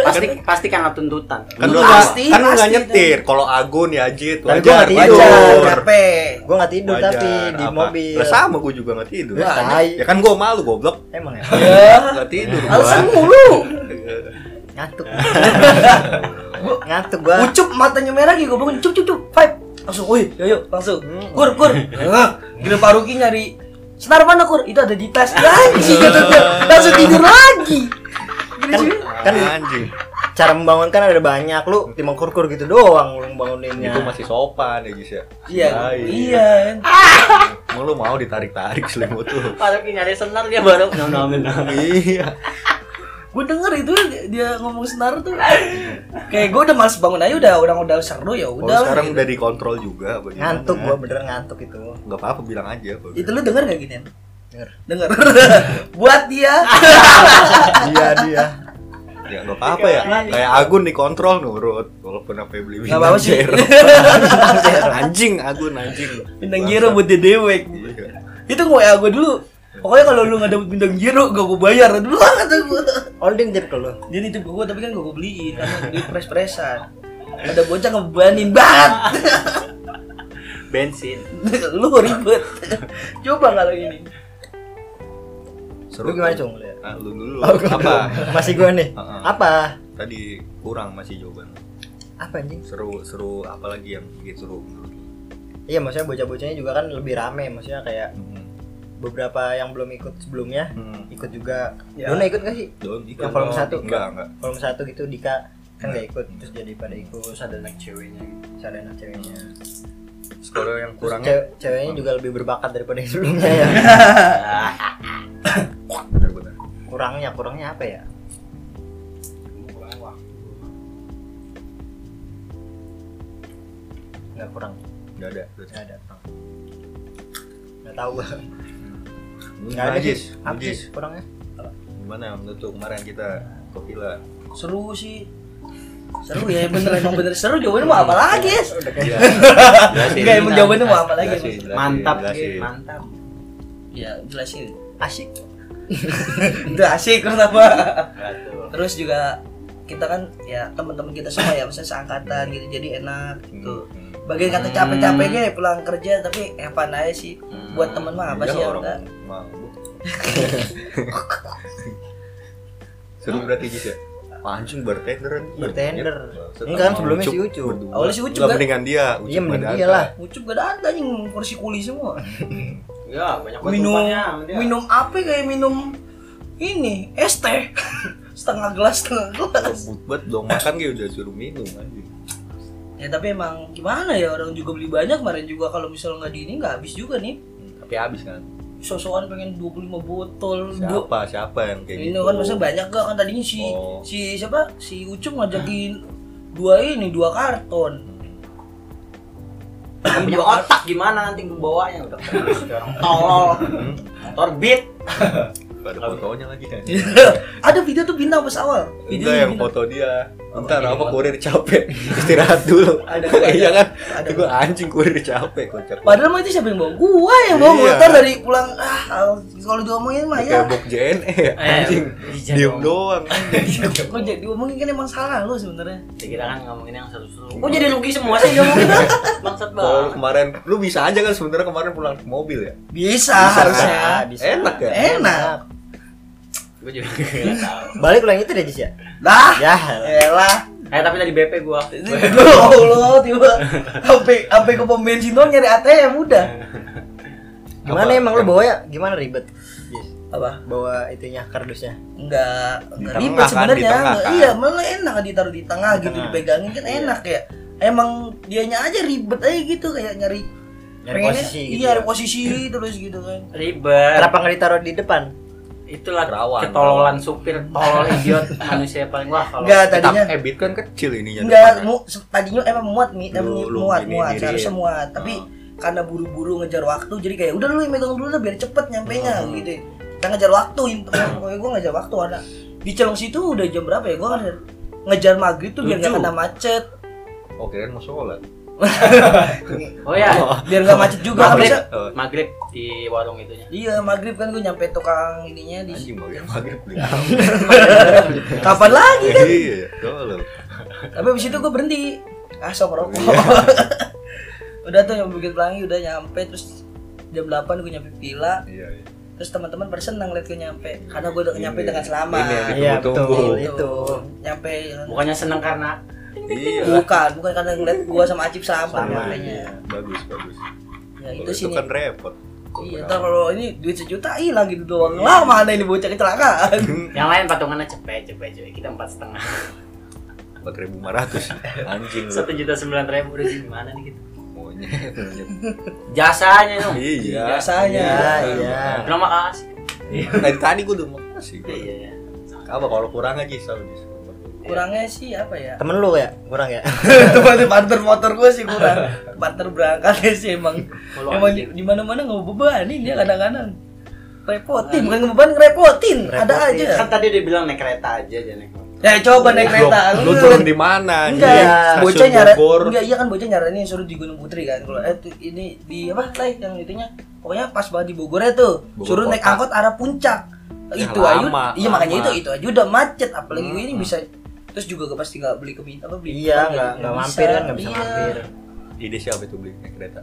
[SPEAKER 5] pasti pasti karena tuntutan
[SPEAKER 1] Kan lu
[SPEAKER 4] Lu
[SPEAKER 1] pasti,
[SPEAKER 4] pasti,
[SPEAKER 1] kan lu nggak
[SPEAKER 4] pasti,
[SPEAKER 1] nyetir. Kalau Agun ya Ajit wajar.
[SPEAKER 2] Kan gua nggak tidur.
[SPEAKER 4] wajar
[SPEAKER 1] Wajar.
[SPEAKER 4] capek
[SPEAKER 2] Gue nggak tidur
[SPEAKER 1] Wajar,
[SPEAKER 2] tapi di
[SPEAKER 1] apa?
[SPEAKER 2] mobil.
[SPEAKER 1] Lah sama gue juga nggak tidur.
[SPEAKER 2] Ya, tai.
[SPEAKER 1] Ya kan gue malu goblok.
[SPEAKER 2] Emang ya?
[SPEAKER 1] Nggak tidur. gua.
[SPEAKER 4] Iya. alasan mulu
[SPEAKER 2] Ngantuk. Ngantuk gue.
[SPEAKER 4] ucup matanya merah gitu gue bangun cup cup cup five langsung woi yo yo langsung
[SPEAKER 1] Hmm.
[SPEAKER 4] kur kur Eh, gila paruki nyari senar mana kur itu ada di tas ya anjing kata dia. langsung tidur lagi Gila,
[SPEAKER 2] Kan,
[SPEAKER 4] cuy.
[SPEAKER 2] kan
[SPEAKER 1] anjing.
[SPEAKER 2] cara membangunkan ada banyak lu cuma kurkur gitu doang lu membanguninnya
[SPEAKER 1] Itu masih sopan ya guys ya.
[SPEAKER 4] iya
[SPEAKER 1] Tai.
[SPEAKER 4] iya kan.
[SPEAKER 1] Mau lu mau ditarik-tarik selimut lu.
[SPEAKER 5] Padahal nyari senar dia baru nonamin
[SPEAKER 1] Iya.
[SPEAKER 4] gue denger itu dia ngomong senar tuh kayak gue udah males bangun aja udah orang udah seru ya
[SPEAKER 1] Kalau
[SPEAKER 4] udah lah,
[SPEAKER 1] sekarang
[SPEAKER 4] gitu.
[SPEAKER 1] udah dikontrol juga bagaimana?
[SPEAKER 2] ngantuk Iya, gua bener ngantuk itu
[SPEAKER 1] Enggak apa-apa bilang aja. Bang.
[SPEAKER 4] itu lu denger gak gini
[SPEAKER 2] Denger.
[SPEAKER 4] denger buat dia
[SPEAKER 2] dia dia
[SPEAKER 1] Ya enggak apa-apa ya. Kayak Agun dikontrol nurut walaupun apa yang beli
[SPEAKER 4] nggak apa apa sih
[SPEAKER 1] anjing Agun anjing.
[SPEAKER 4] bintang jero buat dia dewek
[SPEAKER 1] Iya.
[SPEAKER 4] itu gue ya gue dulu pokoknya kalau lu nggak dapet bintang jero gak gue bayar dulu lah kata gue
[SPEAKER 2] all dia nitip ke lu
[SPEAKER 4] dia nitip ke gue tapi kan gak gue beliin karena duit pres presan ada bocah ngebebanin banget
[SPEAKER 5] bensin
[SPEAKER 4] lu ribet coba kalau ini
[SPEAKER 1] Seru
[SPEAKER 2] lu gimana cung lu ya?
[SPEAKER 1] Ah, lu dulu.
[SPEAKER 2] Oh, gua
[SPEAKER 1] apa?
[SPEAKER 2] dulu. masih gua nih
[SPEAKER 1] Heeh.
[SPEAKER 2] apa
[SPEAKER 1] Tadi kurang masih jawaban.
[SPEAKER 2] apa anjing
[SPEAKER 1] Seru seru apalagi yang bikin seru menurut lu?
[SPEAKER 2] iya maksudnya bocah-bocahnya juga kan lebih rame maksudnya kayak
[SPEAKER 1] Hmm.
[SPEAKER 2] beberapa yang belum ikut sebelumnya
[SPEAKER 1] Hmm.
[SPEAKER 2] ikut juga
[SPEAKER 4] Ya.
[SPEAKER 2] Dona ikut gak sih
[SPEAKER 1] Don, ikut
[SPEAKER 2] yang volume
[SPEAKER 1] dong.
[SPEAKER 2] satu
[SPEAKER 1] Enggak, enggak.
[SPEAKER 2] volume satu gitu Dika kan gak ikut terus jadi pada ikut
[SPEAKER 5] terus ada anak ceweknya gitu.
[SPEAKER 2] ada anak ceweknya
[SPEAKER 1] Terus Kalau yang
[SPEAKER 2] Iya. Terus
[SPEAKER 1] kurangnya
[SPEAKER 2] cewe- ceweknya juga lebih berbakat daripada yang sebelumnya ya
[SPEAKER 1] benar-benar.
[SPEAKER 2] kurangnya kurangnya apa ya nggak kurang
[SPEAKER 1] Enggak ada.
[SPEAKER 2] nggak ada kurang nggak tahu gua
[SPEAKER 1] Enggak ada. Jis.
[SPEAKER 2] apa
[SPEAKER 1] Jis.
[SPEAKER 2] sih kurangnya
[SPEAKER 1] Gimana menurut lu kemarin kita Kokila?
[SPEAKER 4] seru sih seru ya bener emang bener seru jawabannya mau apa lagi ya
[SPEAKER 1] Iya.
[SPEAKER 4] Enggak, emang jawabannya mau apa lagi?
[SPEAKER 1] Jelasin, jelasin,
[SPEAKER 5] mantap
[SPEAKER 1] jelasin.
[SPEAKER 5] Gin, mantap
[SPEAKER 4] ya jelasin
[SPEAKER 2] asik
[SPEAKER 4] udah asik kenapa
[SPEAKER 5] Betul.
[SPEAKER 4] terus juga kita kan ya teman-teman kita semua ya maksudnya seangkatan gitu jadi enak gitu
[SPEAKER 1] Hmm.
[SPEAKER 4] bagian kata capek-capeknya ya pulang kerja tapi evan aja sih buat temen mah apa
[SPEAKER 1] Iya,
[SPEAKER 4] sih ya
[SPEAKER 1] orang
[SPEAKER 4] enggak
[SPEAKER 1] mabuk. Seru berarti Jis ya? Iya. Pancing bertenderan
[SPEAKER 2] Bertender. Enggak, kan sebelumnya si Ucup.
[SPEAKER 4] Awalnya si Ucup
[SPEAKER 1] Enggak
[SPEAKER 4] kan?
[SPEAKER 1] mendingan dia
[SPEAKER 2] Iya, mending
[SPEAKER 1] Badanta.
[SPEAKER 2] dia lah.
[SPEAKER 4] ucup gak ada ada yang kursi kuli semua
[SPEAKER 5] ya banyak
[SPEAKER 4] minum
[SPEAKER 5] ketupannya sama dia.
[SPEAKER 4] minum apa kayak minum ini es teh setengah gelas setengah gelas
[SPEAKER 1] Ngebut banget dong makan kayak udah suruh minum anjing.
[SPEAKER 4] ya tapi emang gimana ya orang juga beli banyak kemarin juga kalau misalnya nggak di ini nggak habis juga nih
[SPEAKER 1] Tapi habis kan.
[SPEAKER 4] sosokan pengen 25 botol dua
[SPEAKER 1] Siapa siapa yang kayak
[SPEAKER 4] ini
[SPEAKER 1] gitu?
[SPEAKER 4] kan maksudnya banyak gak kan tadinya si
[SPEAKER 1] Oh.
[SPEAKER 4] si siapa si Ucup ngajakin dua ini dua karton
[SPEAKER 1] Hmm.
[SPEAKER 5] Kan punya otak gimana nanti bawanya udah orang tolol torbit
[SPEAKER 1] Gak ada fotonya lagi kan?
[SPEAKER 4] ada video tuh bintang pas awal video
[SPEAKER 1] Enggak yang foto dia. Ntar apa kurir capek istirahat dulu.
[SPEAKER 4] Oh, iya, Ada,
[SPEAKER 1] iya kan?
[SPEAKER 4] ada.
[SPEAKER 1] Itu gua anjing kurir capek kocak.
[SPEAKER 4] padahal mah itu siapa yang bawa gua yang bawa
[SPEAKER 1] Iya.
[SPEAKER 4] motor dari pulang ah al- kalau diomongin mah ya
[SPEAKER 1] Kayak bok JNE ya,
[SPEAKER 5] Eh,
[SPEAKER 1] anjing.
[SPEAKER 5] iya
[SPEAKER 1] Diem
[SPEAKER 5] dong.
[SPEAKER 1] doang.
[SPEAKER 4] kok jadi diomongin kan emang salah lu sebenarnya
[SPEAKER 5] Ya, kita kan ngomongin yang seru-seru
[SPEAKER 4] Iya.
[SPEAKER 5] kok jadi rugi semua sih ngomongin bangsat
[SPEAKER 1] Kalau lu
[SPEAKER 5] banget
[SPEAKER 1] kemarin lu bisa aja kan sebenarnya kemarin pulang ke mobil ya. Bisa.
[SPEAKER 4] bisa, harusnya
[SPEAKER 2] Ah, bisa.
[SPEAKER 1] Enak ya?
[SPEAKER 4] enak
[SPEAKER 5] gue juga gak tau
[SPEAKER 2] Nah. balik lu yang itu deh Jis ya
[SPEAKER 4] dah
[SPEAKER 2] ya
[SPEAKER 4] elah
[SPEAKER 5] eh tapi tadi BP gue
[SPEAKER 4] Ini Allah tiba sampai sampai ke pom bensin doang nyari ATM udah
[SPEAKER 1] Ya.
[SPEAKER 2] gimana
[SPEAKER 1] Apa?
[SPEAKER 2] emang lu bawa ya gimana ribet Jis?
[SPEAKER 4] apa
[SPEAKER 2] bawa itunya kardusnya
[SPEAKER 4] Enggak, enggak
[SPEAKER 1] tengah
[SPEAKER 4] ribet
[SPEAKER 1] kan,
[SPEAKER 4] sebenarnya.
[SPEAKER 1] di tengah
[SPEAKER 4] Nggak-
[SPEAKER 1] kan.
[SPEAKER 4] Iya, malah enak ditaruh di tengah gitu,
[SPEAKER 2] tengah.
[SPEAKER 4] dipegangin kan enak kayak. Emang dianya aja ribet aja gitu kayak nyari
[SPEAKER 2] Nyari posisi gitu
[SPEAKER 4] Iya,
[SPEAKER 2] ya.
[SPEAKER 4] nyari posisi terus gitu kan.
[SPEAKER 5] ribet
[SPEAKER 2] kenapa nggak ditaruh di depan
[SPEAKER 5] itulah
[SPEAKER 1] Kerawan.
[SPEAKER 5] ketololan supir tolol idiot manusia paling wah kalau
[SPEAKER 4] Enggak
[SPEAKER 1] Tetap
[SPEAKER 4] tadinya.
[SPEAKER 1] ebit kan kecil ininya.
[SPEAKER 4] Enggak,
[SPEAKER 1] depannya.
[SPEAKER 4] mu, se- tadinya emang muat nih,
[SPEAKER 1] kan. Lu-
[SPEAKER 4] emang
[SPEAKER 1] lu
[SPEAKER 4] muat,
[SPEAKER 1] gini
[SPEAKER 4] muat,
[SPEAKER 1] diri.
[SPEAKER 4] harusnya muat. Tapi karena buru-buru ngejar waktu, jadi kayak udah lu yang megang dulu lah biar cepet nyampe nya gitu. Kita ngejar waktu, intinya. pokoknya gua ngejar waktu ada. Di Celong situ udah jam berapa ya? Gua ngejar, ngejar maghrib tuh biar nggak
[SPEAKER 5] Tujuh.
[SPEAKER 4] kena macet.
[SPEAKER 1] Oh, kirain mau sholat.
[SPEAKER 5] Oh ya,
[SPEAKER 4] biar nggak macet
[SPEAKER 1] ya?
[SPEAKER 4] juga
[SPEAKER 5] Maghrib.
[SPEAKER 4] habisnya
[SPEAKER 1] Eh,
[SPEAKER 5] maghrib di warung itunya.
[SPEAKER 4] iya maghrib kan gue nyampe tukang ininya di
[SPEAKER 1] Anjing mau ya maghrib beli.
[SPEAKER 4] Iya. kapan lagi kan
[SPEAKER 1] Iya, tolol.
[SPEAKER 4] tapi abis itu gue berhenti ah sok rokok udah tuh yang Bukit Pelangi udah nyampe terus jam 8 gue nyampe Pila
[SPEAKER 1] Iya, iya.
[SPEAKER 4] terus teman-teman pada senang liat gue nyampe karena gue udah nyampe
[SPEAKER 1] Ini,
[SPEAKER 4] dengan selamat Gitu.
[SPEAKER 1] ini yang
[SPEAKER 2] Iya,
[SPEAKER 1] ditunggu-tunggu.
[SPEAKER 2] betul. Itu.
[SPEAKER 4] nyampe
[SPEAKER 5] Bukannya seneng karena
[SPEAKER 1] Iya.
[SPEAKER 4] bukan bukan karena ngeliat gue sama Acip sama
[SPEAKER 1] Sama,
[SPEAKER 4] nyampenya
[SPEAKER 1] iya. Bagus, bagus.
[SPEAKER 4] ya
[SPEAKER 1] Kalau
[SPEAKER 4] itu sih
[SPEAKER 1] kan repot.
[SPEAKER 4] Iya, ntar kalau ini duit sejuta hilang gitu doang. Lah mana ini bocah kecelakaan?
[SPEAKER 5] yang lain patungannya cepet cepet cuy. Kita empat setengah.
[SPEAKER 1] 4500 anjing lu.
[SPEAKER 5] Satu juta sembilan ribu udah gimana nih kita?
[SPEAKER 1] Monyet. monyet.
[SPEAKER 5] Jasanya dong.
[SPEAKER 1] Iya.
[SPEAKER 4] Biasanya.
[SPEAKER 2] iya.
[SPEAKER 5] Terima kasih.
[SPEAKER 1] Dari tadi Nah, gua udah mau kasih.
[SPEAKER 5] Iya, Iya. iya.
[SPEAKER 1] Apa kalau kurang aja selalu dis.
[SPEAKER 4] Kurangnya sih apa ya?
[SPEAKER 2] Temen lu ya? Kurang ya?
[SPEAKER 4] Teman partner motor gue sih kurang. Partner berangkat sih emang.
[SPEAKER 5] Kalau
[SPEAKER 4] emang
[SPEAKER 5] anjing.
[SPEAKER 4] di mana mana nggak bebanin dia kadang-kadang. Repotin, bukan ngebeban ngerepotin. Ada aja.
[SPEAKER 5] Kan tadi dia bilang naik kereta aja jangan naik motor.
[SPEAKER 4] Ya coba naik kereta.
[SPEAKER 1] Lu
[SPEAKER 4] Enggak.
[SPEAKER 1] turun di mana?
[SPEAKER 4] Enggak,
[SPEAKER 1] anjing?
[SPEAKER 4] bocah
[SPEAKER 1] Stasiun
[SPEAKER 4] nyara,
[SPEAKER 1] Bogor.
[SPEAKER 4] enggak iya kan bocah nyaranin suruh di Gunung Putri kan. Kalau eh tuh, ini di apa lah yang itunya, pokoknya pas banget di Bogor tuh,
[SPEAKER 1] Bogor
[SPEAKER 4] suruh naik
[SPEAKER 1] kota.
[SPEAKER 4] angkot arah puncak.
[SPEAKER 1] Ya,
[SPEAKER 4] itu ayu,
[SPEAKER 1] lama, Hmm.
[SPEAKER 4] iya
[SPEAKER 1] lama.
[SPEAKER 4] makanya itu itu aja udah macet, apalagi gue ini bisa terus juga gue pasti nggak beli ke apa beli
[SPEAKER 2] Iya, nggak
[SPEAKER 4] apa,
[SPEAKER 2] nggak
[SPEAKER 4] nggak- nggak
[SPEAKER 2] mampir
[SPEAKER 4] bisa.
[SPEAKER 2] kan nggak bisa
[SPEAKER 4] Iya.
[SPEAKER 2] mampir.
[SPEAKER 1] Ide siapa itu beli naik kereta?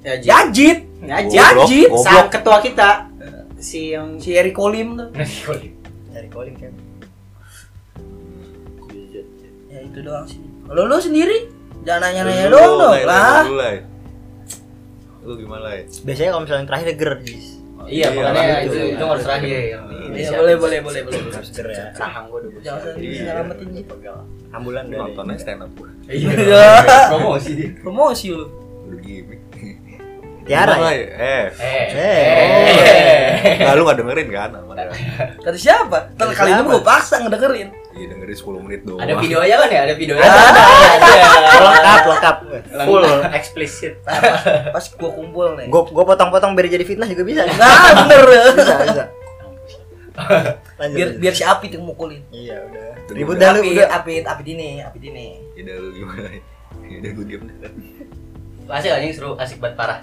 [SPEAKER 5] Ya, Ji.
[SPEAKER 4] Jajit,
[SPEAKER 5] Ya,
[SPEAKER 1] Goblok,
[SPEAKER 5] Ji.
[SPEAKER 4] Jajit.
[SPEAKER 1] goblok.
[SPEAKER 5] Sang ketua kita si yang
[SPEAKER 4] si Eri Kolim tuh.
[SPEAKER 2] Dari calling kan.
[SPEAKER 4] Ya itu doang sih. Kalau lu sendiri jangan nanya-nanya
[SPEAKER 1] Lu,
[SPEAKER 4] doang dong
[SPEAKER 1] Lai,
[SPEAKER 4] lah.
[SPEAKER 1] Lu, Lai. Lu gimana, Lai?
[SPEAKER 2] Biasanya kalau misalnya yang terakhir deger, Jis.
[SPEAKER 3] Iya,
[SPEAKER 1] Iya,
[SPEAKER 3] makanya
[SPEAKER 1] betul.
[SPEAKER 3] itu itu harus terakhir. yang ini
[SPEAKER 4] Iya,
[SPEAKER 3] siapa?
[SPEAKER 4] boleh boleh boleh boleh.
[SPEAKER 2] Harus deger ya.
[SPEAKER 5] sahang gua dulu.
[SPEAKER 4] Jangan usah
[SPEAKER 1] Iya.
[SPEAKER 4] diselamatin Ji.
[SPEAKER 2] Ambulan dari.
[SPEAKER 1] Nontonnya stand up gua.
[SPEAKER 4] Iya.
[SPEAKER 3] Promosi dia.
[SPEAKER 4] Promosi lu.
[SPEAKER 1] Lu gimmick.
[SPEAKER 2] Tiara
[SPEAKER 1] Gimana,
[SPEAKER 2] ya?
[SPEAKER 1] Lai? Eh.
[SPEAKER 3] Eh.
[SPEAKER 1] Nah, lu gak dengerin kan? Aman, ya?
[SPEAKER 4] Kata siapa? Ntar
[SPEAKER 2] Kata
[SPEAKER 4] kali ini
[SPEAKER 2] siapa?
[SPEAKER 4] gue paksa ngedengerin
[SPEAKER 1] Iya, dengerin 10 menit doang.
[SPEAKER 3] Ada videonya kan ya? Ada videonya.
[SPEAKER 2] Lengkap, lengkap.
[SPEAKER 5] Full explicit.
[SPEAKER 4] Nah, Pas gue kumpul nih
[SPEAKER 2] Gue gue potong-potong biar jadi fitnah juga bisa.
[SPEAKER 4] Nah bener
[SPEAKER 2] Bisa, bisa. Lanjut.
[SPEAKER 4] Biar, biar si Apit yang mukulin
[SPEAKER 2] Iya udah.
[SPEAKER 1] Tuh,
[SPEAKER 2] Ribut
[SPEAKER 1] udah.
[SPEAKER 2] dah lu
[SPEAKER 4] Apit,
[SPEAKER 2] udah.
[SPEAKER 4] Apit, Apit ini, Apit ini
[SPEAKER 1] Ya udah lu gimana? Ya udah gue diem deh.
[SPEAKER 3] Asik anjing seru, asik banget parah.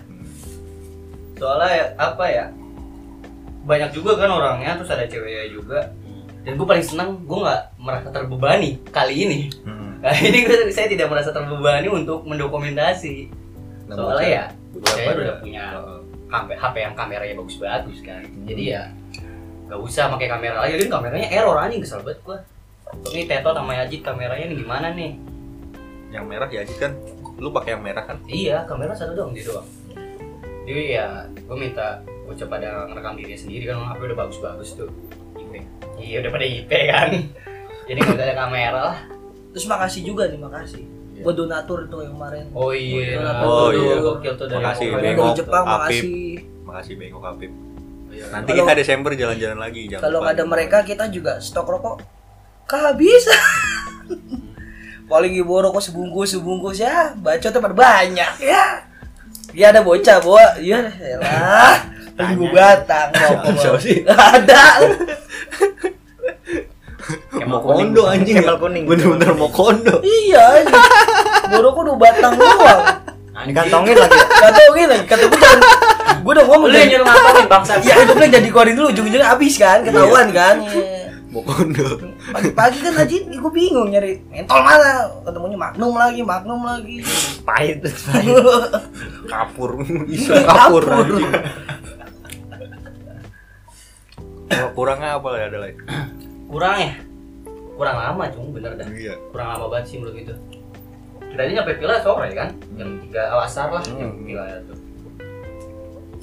[SPEAKER 3] Soalnya ya, apa ya? Banyak juga kan orangnya, terus ada ceweknya juga. Dan gue paling senang, gue nggak merasa terbebani kali ini. Kali ini gua- saya tidak merasa terbebani untuk mendokumentasi.
[SPEAKER 1] Nah,
[SPEAKER 3] Soalnya
[SPEAKER 1] bocah-
[SPEAKER 3] ya,
[SPEAKER 1] bocah
[SPEAKER 3] saya
[SPEAKER 1] pada-
[SPEAKER 3] udah punya
[SPEAKER 1] Heeh.
[SPEAKER 3] kamera HP yang kameranya bagus-bagus kan. Jadi ya nggak usah pakai kamera lagi, kan kameranya error anjing kesel banget gue. Ini Teto sama Yajid kameranya ini gimana nih?
[SPEAKER 1] yang merah ya Ajit, kan. Lu pakai yang merah kan?
[SPEAKER 3] Iya, kamera satu doang dia doang. Jadi ya, gue minta gue coba ada ngerekam diri sendiri kan, orang HP udah bagus-bagus tuh. IP. Iya, udah pada IP kan. Jadi nggak ada kamera lah.
[SPEAKER 4] Terus makasih juga nih, makasih Buat donatur tuh yang kemarin
[SPEAKER 3] Oh iya.
[SPEAKER 1] Oh,
[SPEAKER 3] Tuh,
[SPEAKER 1] iya.
[SPEAKER 3] Gokil tuh dari
[SPEAKER 1] Makasih,
[SPEAKER 3] Korea.
[SPEAKER 4] Yang
[SPEAKER 1] bengok,
[SPEAKER 4] Dari Jepang,
[SPEAKER 1] Apit.
[SPEAKER 4] makasih
[SPEAKER 1] Makasih bengok Apip.
[SPEAKER 3] Iya.
[SPEAKER 1] Nanti
[SPEAKER 4] Kalau-
[SPEAKER 1] kita Desember jalan-jalan lagi. jangan
[SPEAKER 4] Kalau
[SPEAKER 1] lupa.
[SPEAKER 4] nggak ada mereka, kita juga stok rokok Kehabisan
[SPEAKER 5] Hmm.
[SPEAKER 4] Paling ibu rokok sebungkus-sebungkus ya Bacotnya pada banyak ya Iya ada bocah bawa, iya lah, ibu batang rokok.
[SPEAKER 1] Siapa sih?
[SPEAKER 4] Ada,
[SPEAKER 1] mau kondo anjing.
[SPEAKER 2] Kempel kuning.
[SPEAKER 1] Bener-bener mau kondo.
[SPEAKER 4] Iya aja. Borokku dua batang doang.
[SPEAKER 2] Digantongin lagi. ya.
[SPEAKER 4] Gak tau gini lagi kata gue jangan Gue udah ngomong
[SPEAKER 5] Lu yang
[SPEAKER 4] dari
[SPEAKER 5] nyuruh Iya. ngapain bangsa?
[SPEAKER 4] Ya gue bilang jadi keluarin dulu ujung-ujungnya habis kan ketahuan kan
[SPEAKER 1] Mau kondo.
[SPEAKER 4] Pagi-pagi kan Haji gue bingung nyari mentol mana Ketemunya Magnum lagi, Magnum lagi
[SPEAKER 2] Pahit.
[SPEAKER 1] Kapur. Isu
[SPEAKER 4] Iya,
[SPEAKER 1] kapur anjing. Kalau kurangnya apa ya ada lagi?
[SPEAKER 3] Kurang ya? Kurang lama cung, bener dah.
[SPEAKER 1] Iya.
[SPEAKER 3] Kurang lama banget sih menurut itu. Kita aja nyampe pila sore kan, jam tiga alasar lah jam
[SPEAKER 1] Hmm.
[SPEAKER 3] pila itu.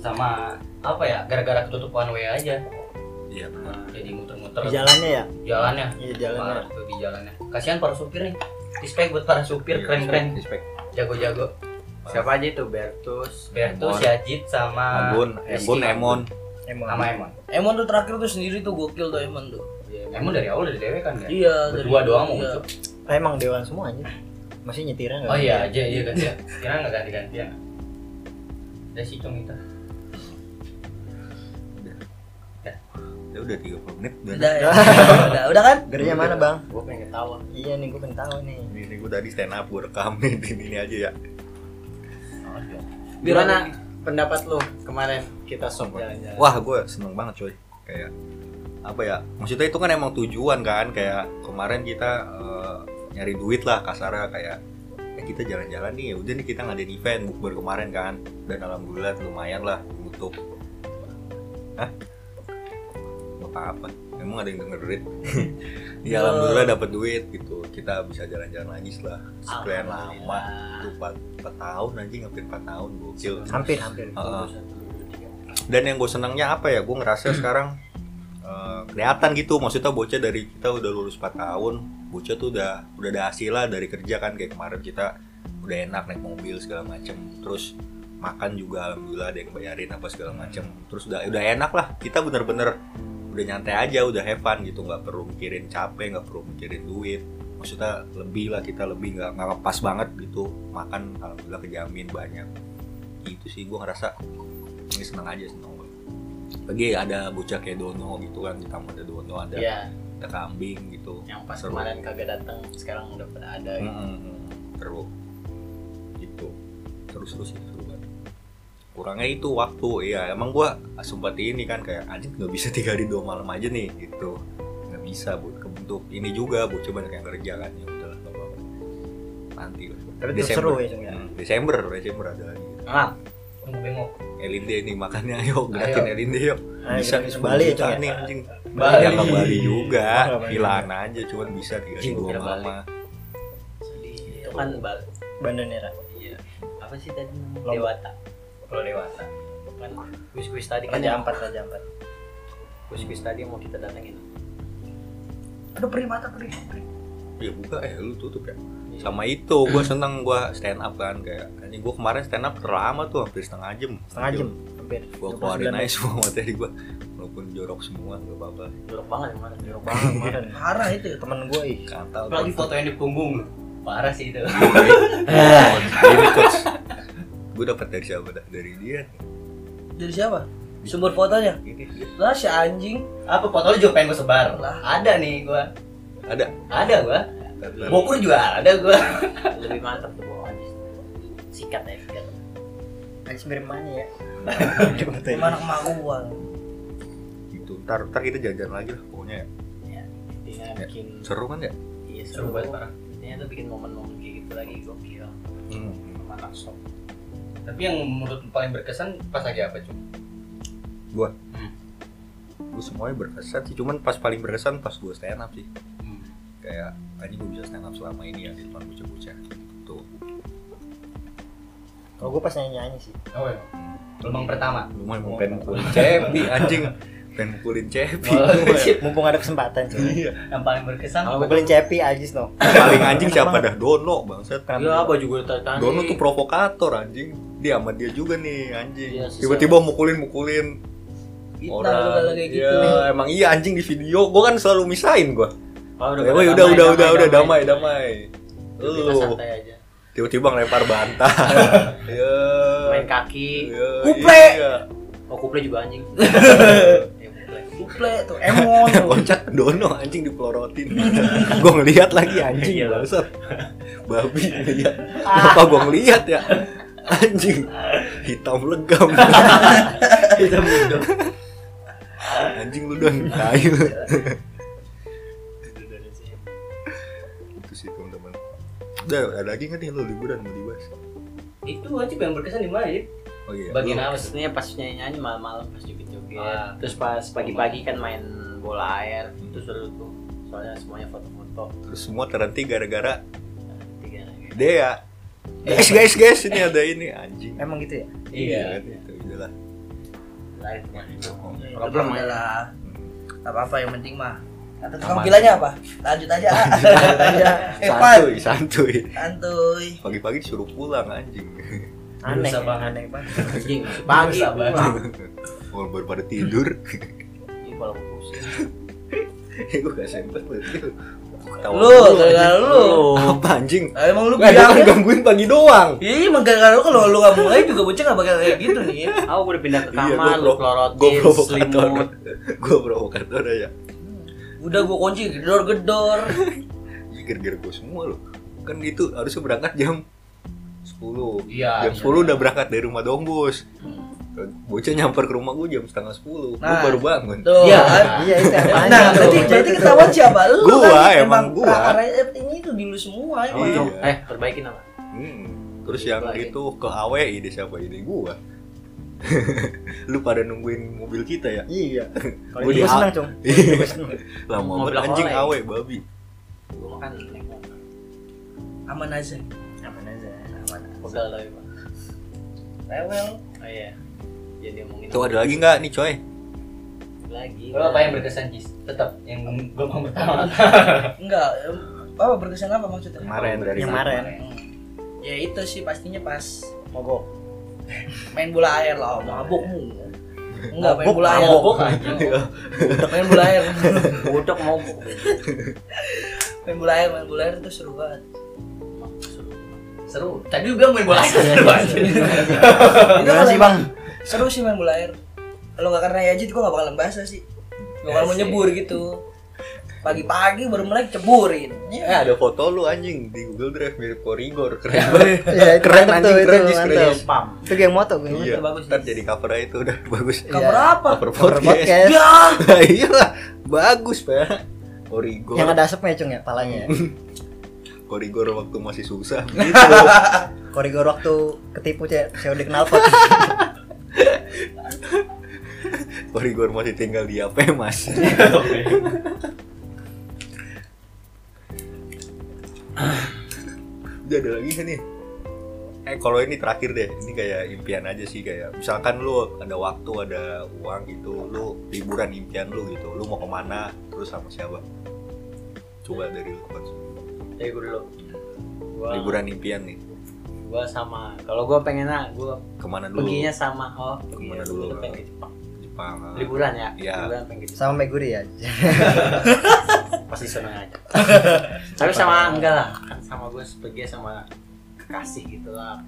[SPEAKER 3] Sama apa ya? Gara-gara ketutupan WA aja.
[SPEAKER 1] Iya.
[SPEAKER 3] Nah, jadi muter-muter
[SPEAKER 2] Di Jalannya ya.
[SPEAKER 3] jalannya
[SPEAKER 2] Iya jalannya.
[SPEAKER 3] parah tuh di jalannya kasihan para supir nih respect buat para supir keren-keren
[SPEAKER 1] iya, Respect.
[SPEAKER 3] jago-jago
[SPEAKER 5] Siapa aja itu Bertus.
[SPEAKER 3] Bertus
[SPEAKER 1] Emon.
[SPEAKER 3] Yajid sama
[SPEAKER 1] Ambon,
[SPEAKER 4] Ah,
[SPEAKER 3] Rizky.
[SPEAKER 1] Ambon, Emon.
[SPEAKER 2] Emang.
[SPEAKER 3] sama Emon Iya,
[SPEAKER 4] Emon tuh terakhir tuh sendiri tuh gokil tuh Emon tuh
[SPEAKER 3] Emon dari awal dari dewe kan kan
[SPEAKER 4] Iya
[SPEAKER 3] berdua
[SPEAKER 4] dari-
[SPEAKER 3] doang mau
[SPEAKER 4] iya.
[SPEAKER 3] muncul
[SPEAKER 2] Ah, Emang dewan semua aja. Masih nyetiran nggak?
[SPEAKER 3] oh iya aja iya kan ya kira nggak ganti gantian dari situ kita
[SPEAKER 1] Ya udah 30 menit dan
[SPEAKER 4] Udah ya Udah, udah kan?
[SPEAKER 2] Gernya mana bang?
[SPEAKER 3] gue pengen ketawa
[SPEAKER 2] Iya nih gue pengen tahu nih.
[SPEAKER 1] ini gue tadi stand up gue rekam nih di sini aja ya.
[SPEAKER 3] banget juga.
[SPEAKER 5] Gimana pendapat lu kemarin kita sok
[SPEAKER 1] Wah.
[SPEAKER 5] jalan-jalan?
[SPEAKER 1] Wah, gue seneng banget coy. Kayak apa ya? Maksudnya itu kan emang tujuan kan. Kayak kemarin kita eh, nyari duit lah kasarnya kayak eh, kita jalan-jalan nih. Udah nih kita ngadain event bukber kemarin kan. Dan alhamdulillah lumayan lah untuk Hah? Apa-apa. Emang ada yang dengerin? ya alhamdulillah dapat duit gitu. Kita bisa jalan-jalan lagi setelah sekian lama. Itu 4, tahun anjing hampir 4 tahun gokil.
[SPEAKER 2] hampir hampir
[SPEAKER 1] Heeh dan yang gue senangnya apa ya gue ngerasa sekarang eh, kelihatan gitu maksudnya bocah dari kita udah lulus 4 tahun bocah tuh udah udah ada hasil lah dari kerja kan kayak kemarin kita udah enak naik mobil segala macem terus makan juga alhamdulillah ada yang bayarin apa segala macem terus udah udah enak lah kita bener-bener udah nyantai aja udah have fun gitu nggak perlu mikirin capek nggak perlu mikirin duit maksudnya lebih lah kita lebih nggak nggak pas banget gitu makan alhamdulillah kejamin banyak itu sih gue ngerasa ini senang aja senang gue lagi ada bocah kayak Dono gitu kan kita mau ada Dono ada
[SPEAKER 5] Iya,
[SPEAKER 1] ada kambing gitu
[SPEAKER 5] yang pas
[SPEAKER 1] Seru.
[SPEAKER 5] kemarin kagak datang, sekarang udah pada ada.
[SPEAKER 1] Hmm.
[SPEAKER 5] gitu.
[SPEAKER 1] Mm-mm. seru gitu terus terus itu seru banget kurangnya itu waktu iya emang gua sempat ini kan kayak anjing nggak bisa tiga hari dua malam aja nih gitu nggak bisa buat kebentuk ini juga bocah banyak yang kerja kan ya udahlah nggak apa-apa nanti lah
[SPEAKER 2] Tapi tetap seru ya, Cung, ya? Ah,
[SPEAKER 1] Hmm, Desember Desember ada lagi gitu.
[SPEAKER 3] Nah, tunggu bengok.
[SPEAKER 1] Elinde nih makannya yuk gerakin Elinde yuk
[SPEAKER 2] Ayo,
[SPEAKER 1] bisa
[SPEAKER 2] kita
[SPEAKER 1] nih 10
[SPEAKER 2] bisa Bali ya,
[SPEAKER 1] juta
[SPEAKER 2] Cung, ya?
[SPEAKER 1] nih anjing
[SPEAKER 3] Bali.
[SPEAKER 1] ya nggak Bali juga
[SPEAKER 2] Oh, nggak Bali.
[SPEAKER 1] hilang aja cuman bisa tiga
[SPEAKER 3] Anjing,
[SPEAKER 1] dua
[SPEAKER 3] kira Bali.
[SPEAKER 1] malam
[SPEAKER 5] Itu kan
[SPEAKER 1] Oh.
[SPEAKER 5] bal
[SPEAKER 2] Bandanera
[SPEAKER 5] iya. Apa sih tadi
[SPEAKER 2] Lombok.
[SPEAKER 5] namanya? Dewata.
[SPEAKER 3] Kalau dewasa.
[SPEAKER 5] Kan kuis-kuis tadi kan
[SPEAKER 2] Raja
[SPEAKER 5] yang
[SPEAKER 2] Ampat Raja Ampat
[SPEAKER 5] kuis-kuis tadi yang mau kita datengin.
[SPEAKER 4] Aduh perih mata perih.
[SPEAKER 1] ya buka eh lu tutup ya
[SPEAKER 2] Iya.
[SPEAKER 1] sama itu gua seneng gua stand up kan kayak anjing gua kemarin stand up lama tuh hampir setengah jam
[SPEAKER 2] setengah jam hampir
[SPEAKER 1] gua keluarin aja semua materi gua walaupun jorok semua nggak apa-apa
[SPEAKER 5] Jorok banget kemarin, jorok banget.
[SPEAKER 2] Makan.
[SPEAKER 4] Parah itu. ya.
[SPEAKER 2] temen gue ih
[SPEAKER 1] kata
[SPEAKER 3] Apalagi foto yang di punggung. Parah sih itu.
[SPEAKER 1] ini coach gua dapat dari siapa dah dari dia
[SPEAKER 4] Dari siapa? Sumber fotonya?
[SPEAKER 1] ini dia.
[SPEAKER 4] Lah si anjing.
[SPEAKER 3] Apa foto lu juga pengen gue sebar?
[SPEAKER 4] Lah.
[SPEAKER 3] Ada nih gua.
[SPEAKER 1] ada
[SPEAKER 3] Ada gua. Bokul juga ada gua.
[SPEAKER 5] Lebih mantap tuh bohongannya. Sikat ya, sikat.
[SPEAKER 2] Anjing mirip mana ya
[SPEAKER 4] Gimana kemauan?
[SPEAKER 1] gitu ntar ntar kita jajan lagi lah pokoknya ya.
[SPEAKER 5] Ya, intinya
[SPEAKER 1] Ya.
[SPEAKER 5] bikin
[SPEAKER 1] seru kan ya
[SPEAKER 5] iya,
[SPEAKER 3] Seru banget parah.
[SPEAKER 5] Intinya tuh bikin momen-momen kayak gitu lagi gokil.
[SPEAKER 2] Hmm.
[SPEAKER 5] Sama anak sok.
[SPEAKER 3] Tapi yang menurut lu paling berkesan pas lagi apa cuy?
[SPEAKER 2] Hmm.
[SPEAKER 1] gue semuanya berkesan sih cuman pas paling berkesan pas gue stand up sih
[SPEAKER 3] Hmm.
[SPEAKER 1] kayak anjing gue bisa stand up selama ini ya di depan bocah-bocah Gitu. tuh
[SPEAKER 2] kalau gue pas nyanyi nyanyi sih
[SPEAKER 3] Oh iya. Gelombang pertama.
[SPEAKER 1] lumayan mau pengen mukulin cepi anjing pengen mukulin cepi
[SPEAKER 2] mumpung ada kesempatan cuy
[SPEAKER 1] Iya.
[SPEAKER 3] yang paling berkesan
[SPEAKER 5] Kalau
[SPEAKER 2] gue beliin cepi ajis no
[SPEAKER 1] paling anjing siapa dah dono bangsat
[SPEAKER 5] Gila baju gue tertarik.
[SPEAKER 1] dono tuh provokator anjing dia sama dia juga nih anjing
[SPEAKER 5] Iya, sih.
[SPEAKER 1] tiba-tiba mukulin mukulin
[SPEAKER 4] Kita
[SPEAKER 1] orang
[SPEAKER 4] kalau kayak gitu.
[SPEAKER 1] ya, emang iya anjing di video gue kan selalu misain gue
[SPEAKER 5] Oh,
[SPEAKER 1] udah udah udah udah udah, damai damai, Lu.
[SPEAKER 5] Kita santai aja.
[SPEAKER 1] tiba-tiba ngelempar bantal ya
[SPEAKER 5] Main kaki.
[SPEAKER 1] ya,
[SPEAKER 4] Kuple.
[SPEAKER 1] iya.
[SPEAKER 5] Oh, kuple juga anjing. Ya, kuple.
[SPEAKER 4] Kuple tuh emon.
[SPEAKER 1] kocak dono anjing dipelorotin gue ngelihat lagi anjing
[SPEAKER 5] Iya.
[SPEAKER 1] bangsat babi ngeliat kenapa gue ngelihat ya anjing hitam legam hitam legam anjing lu dong kayu itu sih teman-teman udah ada lagi nggak nih lu liburan mau dibahas
[SPEAKER 3] itu aja yang berkesan di mana ya?
[SPEAKER 1] oh iya
[SPEAKER 3] Bagian
[SPEAKER 1] lu-
[SPEAKER 3] apa sih?
[SPEAKER 5] Maksudnya pas nyanyi-nyanyi malam-malam pas joget-joget
[SPEAKER 3] Ah.
[SPEAKER 5] Terus pas pagi-pagi kan main bola air Itu seru tuh Soalnya semuanya foto-foto
[SPEAKER 1] terus semua terhenti gara-gara
[SPEAKER 5] Tiga lagi
[SPEAKER 1] Dea guys guys guys ini ada ini anjing
[SPEAKER 2] emang gitu ya
[SPEAKER 1] iya itu udahlah
[SPEAKER 5] Lain teman itu
[SPEAKER 4] Problem lah. Gak apa-apa yang penting mah. Kata tukang
[SPEAKER 1] Aman.
[SPEAKER 4] bilanya apa? Lanjut aja. ah. Lanjut aja. Eh, Pan.
[SPEAKER 1] santuy santuy
[SPEAKER 4] Santuy.
[SPEAKER 1] pagi-pagi disuruh pulang anjing
[SPEAKER 2] aneh
[SPEAKER 3] Dosa banget.
[SPEAKER 2] aneh banget
[SPEAKER 5] Anjing, pagi
[SPEAKER 3] Dosa banget.
[SPEAKER 1] Orang baru pada tidur
[SPEAKER 5] Ini kalau gua pusing
[SPEAKER 1] gue gak sempet berarti
[SPEAKER 4] Lu, gara-gara lu.
[SPEAKER 1] apa anjing
[SPEAKER 4] Lah, Emang lu
[SPEAKER 1] Gak ada kan
[SPEAKER 4] bilang
[SPEAKER 1] gangguin pagi doang
[SPEAKER 4] Iya, emang gara-gara lu kalau lu gak mulai juga bocah gak bakal kayak gitu nih.
[SPEAKER 5] Aku udah pindah ke
[SPEAKER 1] Iya,
[SPEAKER 5] kamar,
[SPEAKER 1] gua
[SPEAKER 5] lu
[SPEAKER 1] pro- kan.
[SPEAKER 5] pelorotin,
[SPEAKER 1] Gue provokator
[SPEAKER 5] selimut
[SPEAKER 1] Gue provokator aja
[SPEAKER 4] Udah gua kunci gedor-gedor.
[SPEAKER 1] Ini gara-gara gue semua loh Kan itu harusnya berangkat jam 10
[SPEAKER 3] Iya,
[SPEAKER 1] jam
[SPEAKER 3] iya.
[SPEAKER 1] 10 udah berangkat dari rumah dongbus bocah nyamper ke rumah gue jam setengah 10 Gua
[SPEAKER 4] Nah.
[SPEAKER 1] baru bangun
[SPEAKER 2] Tuh,
[SPEAKER 3] Iya.
[SPEAKER 2] iya itu yang banyak
[SPEAKER 4] kan? Nah,
[SPEAKER 2] tuh.
[SPEAKER 4] berarti berarti ketahuan siapa lu
[SPEAKER 1] Gua,
[SPEAKER 4] kan?
[SPEAKER 1] emang gua.
[SPEAKER 4] arahnya ini tuh di lu semua ya.
[SPEAKER 1] Oh,
[SPEAKER 4] Bang.
[SPEAKER 1] iya.
[SPEAKER 5] Eh, perbaikin apa?
[SPEAKER 1] Hmm. Terus
[SPEAKER 5] Gitu
[SPEAKER 1] yang
[SPEAKER 2] ya.
[SPEAKER 5] lagi.
[SPEAKER 1] itu ke HW ide siapa ide gua. lu pada nungguin mobil kita ya?
[SPEAKER 2] Iya. Kalau
[SPEAKER 1] Gua
[SPEAKER 2] itu
[SPEAKER 1] di-
[SPEAKER 2] gua senang, Cung. Gua senang.
[SPEAKER 1] Lama
[SPEAKER 5] Mobil
[SPEAKER 1] banget anjing
[SPEAKER 5] oleng.
[SPEAKER 1] HW babi.
[SPEAKER 5] Gue makan naik motor.
[SPEAKER 4] Aman aja.
[SPEAKER 2] Aman aja. aman.
[SPEAKER 5] Pegal tapi pak.
[SPEAKER 2] Rewel.
[SPEAKER 5] Oh iya. Jadi ngomongin
[SPEAKER 1] Tuh ada lagi nggak nih coy?
[SPEAKER 5] lagi.
[SPEAKER 3] Lo apa yang Iya. berkesan Jis? Tetap yang gelombang pertama.
[SPEAKER 4] Enggak. em, Apa berkesan apa maksudnya?
[SPEAKER 1] Kemarin dari
[SPEAKER 2] Yang kemarin.
[SPEAKER 4] Ya itu sih pastinya pas mogok. Main bola air lah, mabuk mu. Enggak main bola air.
[SPEAKER 5] Mabok aja.
[SPEAKER 4] Main bola air.
[SPEAKER 5] Bodok mabok.
[SPEAKER 4] Main bola air, main bola air itu seru banget.
[SPEAKER 3] Seru. Tadi lu bilang main bola aja seru aja.
[SPEAKER 2] Iya.
[SPEAKER 4] Itu
[SPEAKER 2] Gimana sih,
[SPEAKER 4] kalau-
[SPEAKER 2] Bang?
[SPEAKER 4] Seru sih main bola air. Kalau nggak karena Yazid gua nggak bakalan bahasa sih. Gak bakal mau
[SPEAKER 5] Asik.
[SPEAKER 4] nyebur gitu. Pagi-pagi baru mulai ceburin.
[SPEAKER 1] Eh
[SPEAKER 4] Ya.
[SPEAKER 1] ada foto lu anjing di Google Drive mirip Korigor keren banget.
[SPEAKER 2] Iya, itu
[SPEAKER 1] Keren,
[SPEAKER 2] mantep
[SPEAKER 1] anjing,
[SPEAKER 2] tuh,
[SPEAKER 1] keren,
[SPEAKER 2] itu
[SPEAKER 1] Jis, keren,
[SPEAKER 2] mantep.
[SPEAKER 1] Jis.
[SPEAKER 5] Pam.
[SPEAKER 2] Itu geng moto gue.
[SPEAKER 1] Iya,
[SPEAKER 4] bagus,
[SPEAKER 1] ntar
[SPEAKER 4] Jis.
[SPEAKER 1] jadi cover aja itu udah bagus.
[SPEAKER 4] Cover apa?
[SPEAKER 1] Cover
[SPEAKER 2] Iya. Cover
[SPEAKER 1] podcast.
[SPEAKER 2] podcast.
[SPEAKER 4] Ya.
[SPEAKER 1] Iya lah, bagus pak. Korigor,
[SPEAKER 2] Yang ada asapnya, Cung ya, palanya.
[SPEAKER 1] Korigor waktu masih susah. gitu.
[SPEAKER 2] Korigor waktu ketipu cek, saya udah kenal pot.
[SPEAKER 1] Korigor masih tinggal di apa ya, mas? Udah ada lagi nggak nih? Eh kalau ini terakhir deh, ini kayak impian aja sih kayak misalkan lu ada waktu ada uang gitu, lu liburan impian lu gitu, lu mau kemana, terus sama siapa? Coba dari lu Coach.
[SPEAKER 5] Dari gue dulu. Gua,
[SPEAKER 1] liburan impian nih,
[SPEAKER 5] Gua sama. Kalau gue pengennya gue
[SPEAKER 1] kemana dulu?
[SPEAKER 5] perginya sama. Oh,
[SPEAKER 1] Kemana
[SPEAKER 5] iya,
[SPEAKER 1] dulu?
[SPEAKER 5] gua Pengen ke Jepang.
[SPEAKER 1] Jepang. ah.
[SPEAKER 5] Liburan ya.
[SPEAKER 1] Iya.
[SPEAKER 5] Liburan pengen ke Jepang.
[SPEAKER 2] Sama Meguri ya.
[SPEAKER 5] Pasti seneng aja. Tapi sama enggak lah. Kan sama gue pergi sama kekasih gitu lah.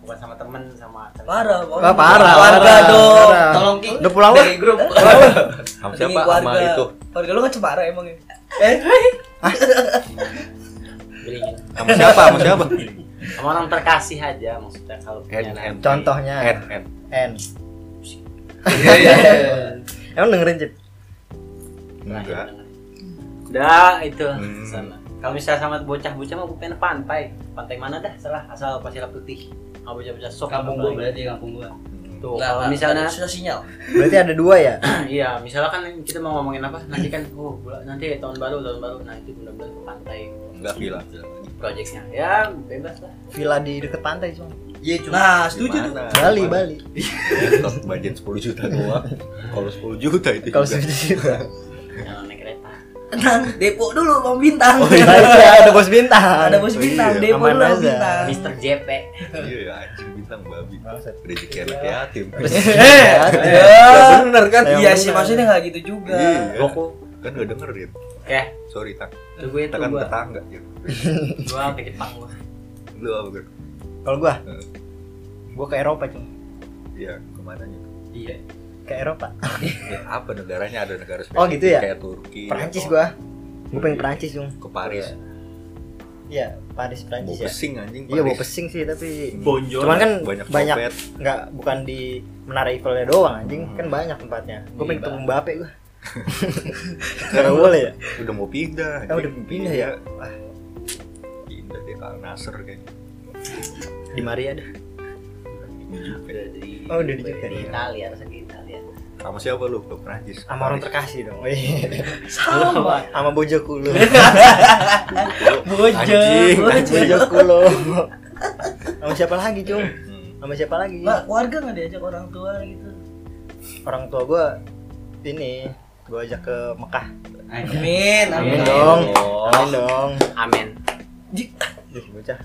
[SPEAKER 5] Bukan sama temen sama.
[SPEAKER 4] Oh, Parah,
[SPEAKER 2] Wah, parah.
[SPEAKER 4] Keluarga
[SPEAKER 2] parah,
[SPEAKER 4] dong.
[SPEAKER 2] parah.
[SPEAKER 3] Tolong King.
[SPEAKER 2] Udah pulang lu?
[SPEAKER 3] Dari grup.
[SPEAKER 1] Sama
[SPEAKER 4] Pergi
[SPEAKER 1] siapa? Sama
[SPEAKER 4] keluarga.
[SPEAKER 1] itu.
[SPEAKER 4] Keluarga lu kan cemara emang ya.
[SPEAKER 5] Beringin.
[SPEAKER 1] Sama siapa? Sama siapa?
[SPEAKER 5] Sama orang terkasih aja maksudnya kalau
[SPEAKER 1] Hand, hand.
[SPEAKER 2] Contohnya
[SPEAKER 1] N, N.
[SPEAKER 2] N.
[SPEAKER 3] Iya iya.
[SPEAKER 2] Emang dengerin Cip?
[SPEAKER 1] Enggak.
[SPEAKER 5] Udah itu
[SPEAKER 1] Hmm.
[SPEAKER 5] sana. Kalau misalnya sama bocah-bocah mah gue pengen pantai. Pantai mana dah? Salah asal pasir putih. Sama bocah-bocah sok.
[SPEAKER 3] Kampung
[SPEAKER 5] apalagi.
[SPEAKER 3] gua berarti ya, kampung gua.
[SPEAKER 1] Hmm.
[SPEAKER 5] Tuh,
[SPEAKER 1] Nah,
[SPEAKER 5] kalau misalnya
[SPEAKER 4] susah sinyal.
[SPEAKER 2] Berarti ada dua ya?
[SPEAKER 5] iya, misalnya kan kita mau ngomongin apa? Nanti kan oh, bulan- nanti tahun baru, tahun baru. Nah, itu benar-benar ke pantai
[SPEAKER 1] Enggak gila.
[SPEAKER 5] projectnya. Ya, bebas lah.
[SPEAKER 2] Villa di deket pantai cuma.
[SPEAKER 1] Iya cuma.
[SPEAKER 4] Nah, setuju tuh.
[SPEAKER 1] Gimana?
[SPEAKER 2] Bali, Bali.
[SPEAKER 1] Laptop budget 10 juta doang. Kalau 10 juta itu
[SPEAKER 2] Kalau
[SPEAKER 1] Iya juga.
[SPEAKER 2] setuju juta.
[SPEAKER 5] Jangan naik kereta.
[SPEAKER 4] Tenang, depo Nah, dulu Bang Bintang.
[SPEAKER 2] Baik, ya, ada bos bintang.
[SPEAKER 4] Ada bos Iya, bintang,
[SPEAKER 1] Iya,
[SPEAKER 4] depo
[SPEAKER 2] aman
[SPEAKER 4] dulu Bang
[SPEAKER 2] aja.
[SPEAKER 4] Bintang.
[SPEAKER 5] Mister JP.
[SPEAKER 1] Iya ya anjing bintang babi.
[SPEAKER 2] Bangsat.
[SPEAKER 1] Rezeki anak yatim.
[SPEAKER 2] Eh,
[SPEAKER 1] Ya bener kan?
[SPEAKER 2] Yang
[SPEAKER 4] Iya sih
[SPEAKER 2] bener.
[SPEAKER 4] maksudnya nggak gitu juga.
[SPEAKER 1] Iya.
[SPEAKER 5] Roku.
[SPEAKER 1] Kan udah dengerin.
[SPEAKER 5] Oke,
[SPEAKER 1] Sorry tak.
[SPEAKER 5] itu gue itu
[SPEAKER 1] Kita kan
[SPEAKER 5] gua.
[SPEAKER 1] tetangga gitu.
[SPEAKER 5] Gua ke Jepang gua.
[SPEAKER 1] Lu apa Ger?
[SPEAKER 2] Kalau gua, gua ke Eropa cuma.
[SPEAKER 1] Iya, kemana gitu?
[SPEAKER 5] Iya.
[SPEAKER 2] Ke Eropa.
[SPEAKER 1] Ya, apa negaranya ada negara spesifik
[SPEAKER 2] Oh, gitu ya?
[SPEAKER 1] kayak Turki.
[SPEAKER 2] Perancis
[SPEAKER 1] atau
[SPEAKER 2] gua. Gua pengen Perancis cuma.
[SPEAKER 1] Ke Paris.
[SPEAKER 2] Iya, Paris
[SPEAKER 1] Bau
[SPEAKER 2] Perancis ya.
[SPEAKER 1] pesing anjing.
[SPEAKER 2] Iya, bau
[SPEAKER 1] Paris.
[SPEAKER 2] pesing sih tapi
[SPEAKER 5] Bonjour.
[SPEAKER 2] Cuman kan
[SPEAKER 1] Banyak
[SPEAKER 2] banyak,
[SPEAKER 1] copet.
[SPEAKER 2] nggak bukan di Menara Eiffelnya doang anjing, kan banyak tempatnya. Gua
[SPEAKER 3] Iya,
[SPEAKER 2] pengen ketemu
[SPEAKER 3] Bang.
[SPEAKER 2] Mbappe gua. Enggak boleh ya?
[SPEAKER 1] Udah mau pindah.
[SPEAKER 2] Eh, udah
[SPEAKER 1] anjing.
[SPEAKER 2] pindah ya?
[SPEAKER 1] Wah. Pindah deh ke Al Nasr kayaknya.
[SPEAKER 2] Di Maria dah.
[SPEAKER 5] Udah di
[SPEAKER 2] Oh, udah di Jepang.
[SPEAKER 5] di Italia, harusnya di Italia.
[SPEAKER 1] Sama siapa lu ke Perancis?
[SPEAKER 2] Sama orang terkasih dong.
[SPEAKER 4] Sama.
[SPEAKER 2] Sama bojoku lu.
[SPEAKER 1] Anjing, anjing.
[SPEAKER 2] bojoku lu. Sama siapa lagi, Cung?
[SPEAKER 1] Hmm.
[SPEAKER 2] Sama siapa lagi?
[SPEAKER 4] Mbak, keluarga nggak diajak orang tua gitu.
[SPEAKER 2] Orang tua gua ini gua ajak ke Mekah.
[SPEAKER 4] Amin, ya
[SPEAKER 2] Amin
[SPEAKER 4] amin.
[SPEAKER 2] dong. Amin dong.
[SPEAKER 5] Amin.
[SPEAKER 4] Di-
[SPEAKER 2] Duh, bocah.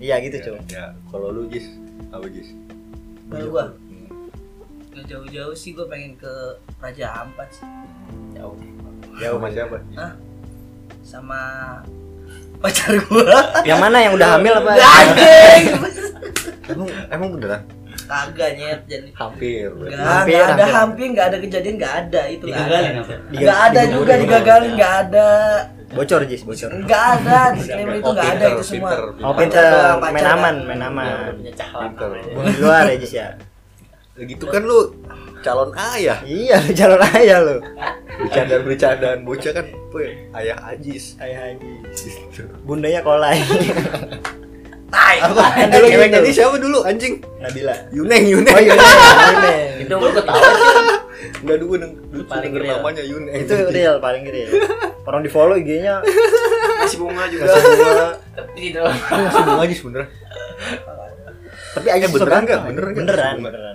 [SPEAKER 2] Iya gitu,
[SPEAKER 1] Ya,
[SPEAKER 2] Cung.
[SPEAKER 1] ya. kalau lu Jis, apa Jis?
[SPEAKER 4] Kalau gua nggak jauh-jauh sih gua pengen ke Raja Ampat sih.
[SPEAKER 5] Jauh.
[SPEAKER 1] Ya, sama siapa?
[SPEAKER 4] Hah? Sama pacar gua.
[SPEAKER 2] Iya. Yang mana yang udah hamil apa?
[SPEAKER 4] Anjing.
[SPEAKER 1] Emang, emang beneran?
[SPEAKER 4] kagak nyet jadi
[SPEAKER 1] hampir
[SPEAKER 4] Nggak,
[SPEAKER 2] Hampir,
[SPEAKER 4] nggak ada
[SPEAKER 2] hampir.
[SPEAKER 4] hampir nggak ada kejadian nggak ada itu nggak ada
[SPEAKER 3] digagalin apa
[SPEAKER 4] nggak ada
[SPEAKER 2] Digagalin.
[SPEAKER 4] juga digagalin nggak ada
[SPEAKER 2] Bocor Jis, bocor.
[SPEAKER 4] nggak ada disclaimer itu nggak ada itu semua
[SPEAKER 1] pinter
[SPEAKER 2] Oh, pinter,
[SPEAKER 4] Pacaran.
[SPEAKER 2] main aman,
[SPEAKER 4] Iya,
[SPEAKER 2] main
[SPEAKER 5] Udah
[SPEAKER 2] aman.
[SPEAKER 5] punya caklan
[SPEAKER 1] Pinter.
[SPEAKER 5] namanya.
[SPEAKER 2] Bukan di luar ya Jis ya.
[SPEAKER 1] gitu kan lu calon ayah
[SPEAKER 2] Iya, lu calon aja lu.
[SPEAKER 1] bercandaan bercandaan bocah kan weh, ayah ajis
[SPEAKER 2] Ayah Haji.
[SPEAKER 1] gitu.
[SPEAKER 2] Bundanya kolai.
[SPEAKER 4] tai
[SPEAKER 1] apa
[SPEAKER 2] Ah,
[SPEAKER 1] dulu
[SPEAKER 2] cewek
[SPEAKER 1] yang jadi
[SPEAKER 2] dulu.
[SPEAKER 1] siapa dulu anjing
[SPEAKER 2] Nabila.
[SPEAKER 1] Yuneng Yuneng
[SPEAKER 2] Oh iya, iya,
[SPEAKER 3] itu lu ketawa
[SPEAKER 1] nggak dulu neng dulu
[SPEAKER 5] Paling
[SPEAKER 1] denger
[SPEAKER 5] real.
[SPEAKER 1] namanya Yuneng
[SPEAKER 2] itu real paling real. Orang di follow IG-nya
[SPEAKER 1] masih bunga juga masih bunga
[SPEAKER 3] tapi
[SPEAKER 5] gitu
[SPEAKER 3] dong
[SPEAKER 1] masih bunga aja sebenernya
[SPEAKER 2] tapi aja
[SPEAKER 1] Eh, beneran nggak? Beneran
[SPEAKER 2] beneran
[SPEAKER 1] nggak?
[SPEAKER 2] beneran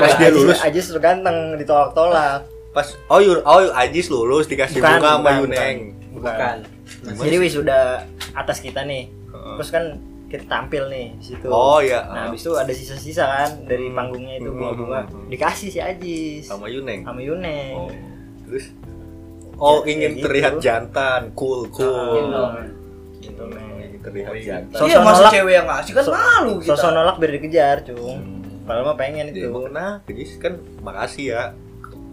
[SPEAKER 1] pas dia lulus
[SPEAKER 2] aja sudah ganteng ditolak-tolak
[SPEAKER 1] pas oh Yur oh Ajis lulus dikasih
[SPEAKER 2] Bukan,
[SPEAKER 1] bunga sama
[SPEAKER 2] bukan,
[SPEAKER 1] Yuneng
[SPEAKER 5] Bukan.
[SPEAKER 1] Gimana?
[SPEAKER 2] jadi wis sudah atas kita nih
[SPEAKER 1] Heeh.
[SPEAKER 2] terus kan kita tampil nih di situ
[SPEAKER 1] oh iya
[SPEAKER 2] nah habis itu ada sisa-sisa kan dari
[SPEAKER 1] Hmm.
[SPEAKER 2] panggungnya itu
[SPEAKER 1] Hmm.
[SPEAKER 2] bunga-bunga dikasih si Ajis
[SPEAKER 1] sama Yuneng
[SPEAKER 2] sama Yune
[SPEAKER 1] oh terus oh
[SPEAKER 2] Ya,
[SPEAKER 1] ingin
[SPEAKER 2] kayak
[SPEAKER 1] terlihat
[SPEAKER 2] gitu.
[SPEAKER 1] jantan cool cool
[SPEAKER 5] Nah,
[SPEAKER 2] gitu
[SPEAKER 1] ingin
[SPEAKER 2] men
[SPEAKER 1] terlihat jantan
[SPEAKER 2] Sosok
[SPEAKER 4] iya masa
[SPEAKER 2] nolak.
[SPEAKER 4] cewek yang ngasih kan
[SPEAKER 2] So-
[SPEAKER 4] malu kita
[SPEAKER 2] sosok nolak biar dikejar cung
[SPEAKER 1] Hmm.
[SPEAKER 2] padahal mah pengen
[SPEAKER 1] Jadi
[SPEAKER 2] itu
[SPEAKER 1] emang kenapa Jis kan makasih ya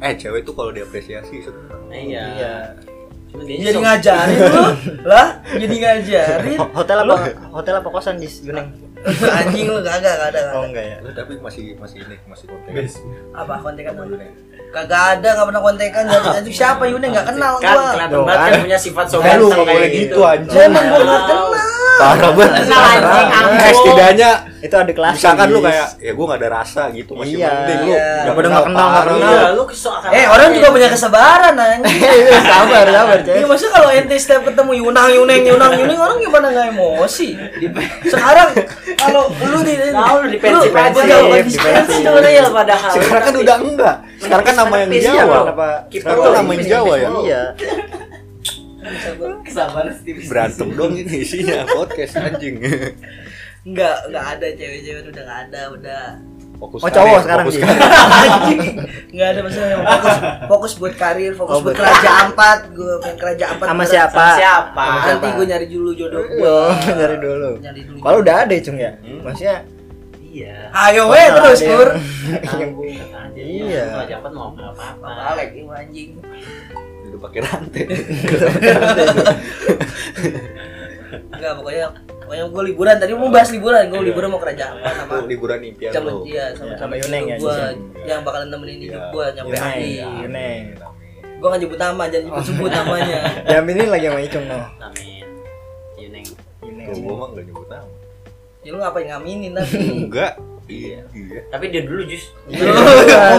[SPEAKER 1] eh cewek itu kalau diapresiasi seneng.
[SPEAKER 5] Nah, Iya.
[SPEAKER 2] iya
[SPEAKER 5] Cuma dia
[SPEAKER 4] jadi
[SPEAKER 5] sok-
[SPEAKER 4] ngajarin lu lah jadi ngajarin
[SPEAKER 2] Ho- hotel apa hotel apa kosan di Yuneng
[SPEAKER 4] anjing lu kagak kagak ada
[SPEAKER 2] oh
[SPEAKER 4] kagak ada.
[SPEAKER 2] enggak ya
[SPEAKER 1] Lu tapi masih masih ini masih konten
[SPEAKER 4] apa kontekan
[SPEAKER 1] sama
[SPEAKER 4] sama
[SPEAKER 1] Yuneng
[SPEAKER 4] kagak ada nggak pernah kontekan jadi itu siapa Yune nggak kenal
[SPEAKER 5] kan
[SPEAKER 4] gua
[SPEAKER 5] kelihatan
[SPEAKER 2] Doang.
[SPEAKER 5] banget kan punya sifat
[SPEAKER 1] Lu
[SPEAKER 5] sobat
[SPEAKER 1] nggak boleh gitu, anjing.
[SPEAKER 2] Nah.
[SPEAKER 4] emang gua
[SPEAKER 5] Iya,
[SPEAKER 4] nggak kenal
[SPEAKER 1] parah banget
[SPEAKER 5] Kenal anjing, ampun.
[SPEAKER 1] Eh, setidaknya
[SPEAKER 2] itu ada kelas
[SPEAKER 1] misalkan lu
[SPEAKER 2] Jis.
[SPEAKER 1] kayak ya gue gak ada rasa gitu masih
[SPEAKER 2] Iya.
[SPEAKER 1] penting lu
[SPEAKER 4] Iya.
[SPEAKER 2] Daripada nggak kenal, nggak
[SPEAKER 1] parah.
[SPEAKER 2] kenal.
[SPEAKER 5] Iya, lu kesel gitu. akan-
[SPEAKER 4] eh orang juga punya kesebaran anjing
[SPEAKER 2] sabar sabar
[SPEAKER 4] Iya
[SPEAKER 2] Jis
[SPEAKER 4] maksudnya kalau ente setiap ketemu Yunang Yuneng Yunang Yuneng orang gimana nggak emosi? Sekarang kalau lu di
[SPEAKER 5] Tahu lu defensif,
[SPEAKER 4] aja
[SPEAKER 2] defensif,
[SPEAKER 4] jawaban
[SPEAKER 2] defensif.
[SPEAKER 4] defensif.
[SPEAKER 5] Kan itu real padahal
[SPEAKER 1] sekarang kan udah enggak sekarang kan nama yang
[SPEAKER 5] Iya,
[SPEAKER 1] Jawa
[SPEAKER 2] kenapa
[SPEAKER 1] Sekarang kan
[SPEAKER 2] kenapa-
[SPEAKER 1] nama yang Jawa ya?
[SPEAKER 2] iya
[SPEAKER 3] kesabaran tipis
[SPEAKER 1] berantem dong ini isinya podcast anjing
[SPEAKER 4] Enggak, enggak ada cewek-cewek udah enggak ada, udah.
[SPEAKER 1] fokus
[SPEAKER 2] Oh, cowok
[SPEAKER 1] karir,
[SPEAKER 2] sekarang
[SPEAKER 1] fokus
[SPEAKER 2] Jis.
[SPEAKER 1] karir.
[SPEAKER 4] Anjing. Enggak ada maksudnya yang fokus fokus buat karir, fokus
[SPEAKER 2] Oh,
[SPEAKER 4] buat
[SPEAKER 2] buat-
[SPEAKER 4] kerajaan empat, gua pengen kerajaan empat.
[SPEAKER 2] sama
[SPEAKER 4] bener.
[SPEAKER 2] siapa
[SPEAKER 5] siapa
[SPEAKER 4] Nanti gua nyari dulu jodoh
[SPEAKER 2] Yo,
[SPEAKER 4] gua.
[SPEAKER 2] nyari dulu.
[SPEAKER 4] Nyari dulu.
[SPEAKER 2] Kalau udah ada ya, Cung ya. Maksudnya
[SPEAKER 5] iya
[SPEAKER 4] Ayo weh
[SPEAKER 2] Kalau
[SPEAKER 4] terus
[SPEAKER 2] ada
[SPEAKER 4] Kur.
[SPEAKER 2] yang- Iya.
[SPEAKER 5] iya jawaban mau nggak apa-apa
[SPEAKER 4] Alek ini anjing.
[SPEAKER 1] udah pakai rantai
[SPEAKER 4] Enggak, pokoknya pokoknya gua liburan tadi mau bahas liburan,
[SPEAKER 2] Iya.
[SPEAKER 4] gua liburan mau kerajaan empat sama
[SPEAKER 1] Tuh, liburan impian
[SPEAKER 4] sama
[SPEAKER 1] lu
[SPEAKER 4] dia
[SPEAKER 2] Ya,
[SPEAKER 4] sama sama
[SPEAKER 2] sama Yuneng ya,
[SPEAKER 4] gua
[SPEAKER 2] Yuneng. Iya.
[SPEAKER 4] yang bakalan nemenin hidup gua nyampe
[SPEAKER 2] Yuneng,
[SPEAKER 4] hari.
[SPEAKER 2] Yuneng.
[SPEAKER 4] Gua nggak nyebut nama, jangan nyebut sebut namanya.
[SPEAKER 2] Diaminin lagi sama Icung no.
[SPEAKER 5] amin Iya, Yuneng
[SPEAKER 2] Yuneng.
[SPEAKER 1] gue mah nggak nyebut nama
[SPEAKER 4] Ya lu ngapain ngaminin tapi?
[SPEAKER 1] enggak iya iya
[SPEAKER 5] tapi dia dulu jus
[SPEAKER 2] Iya,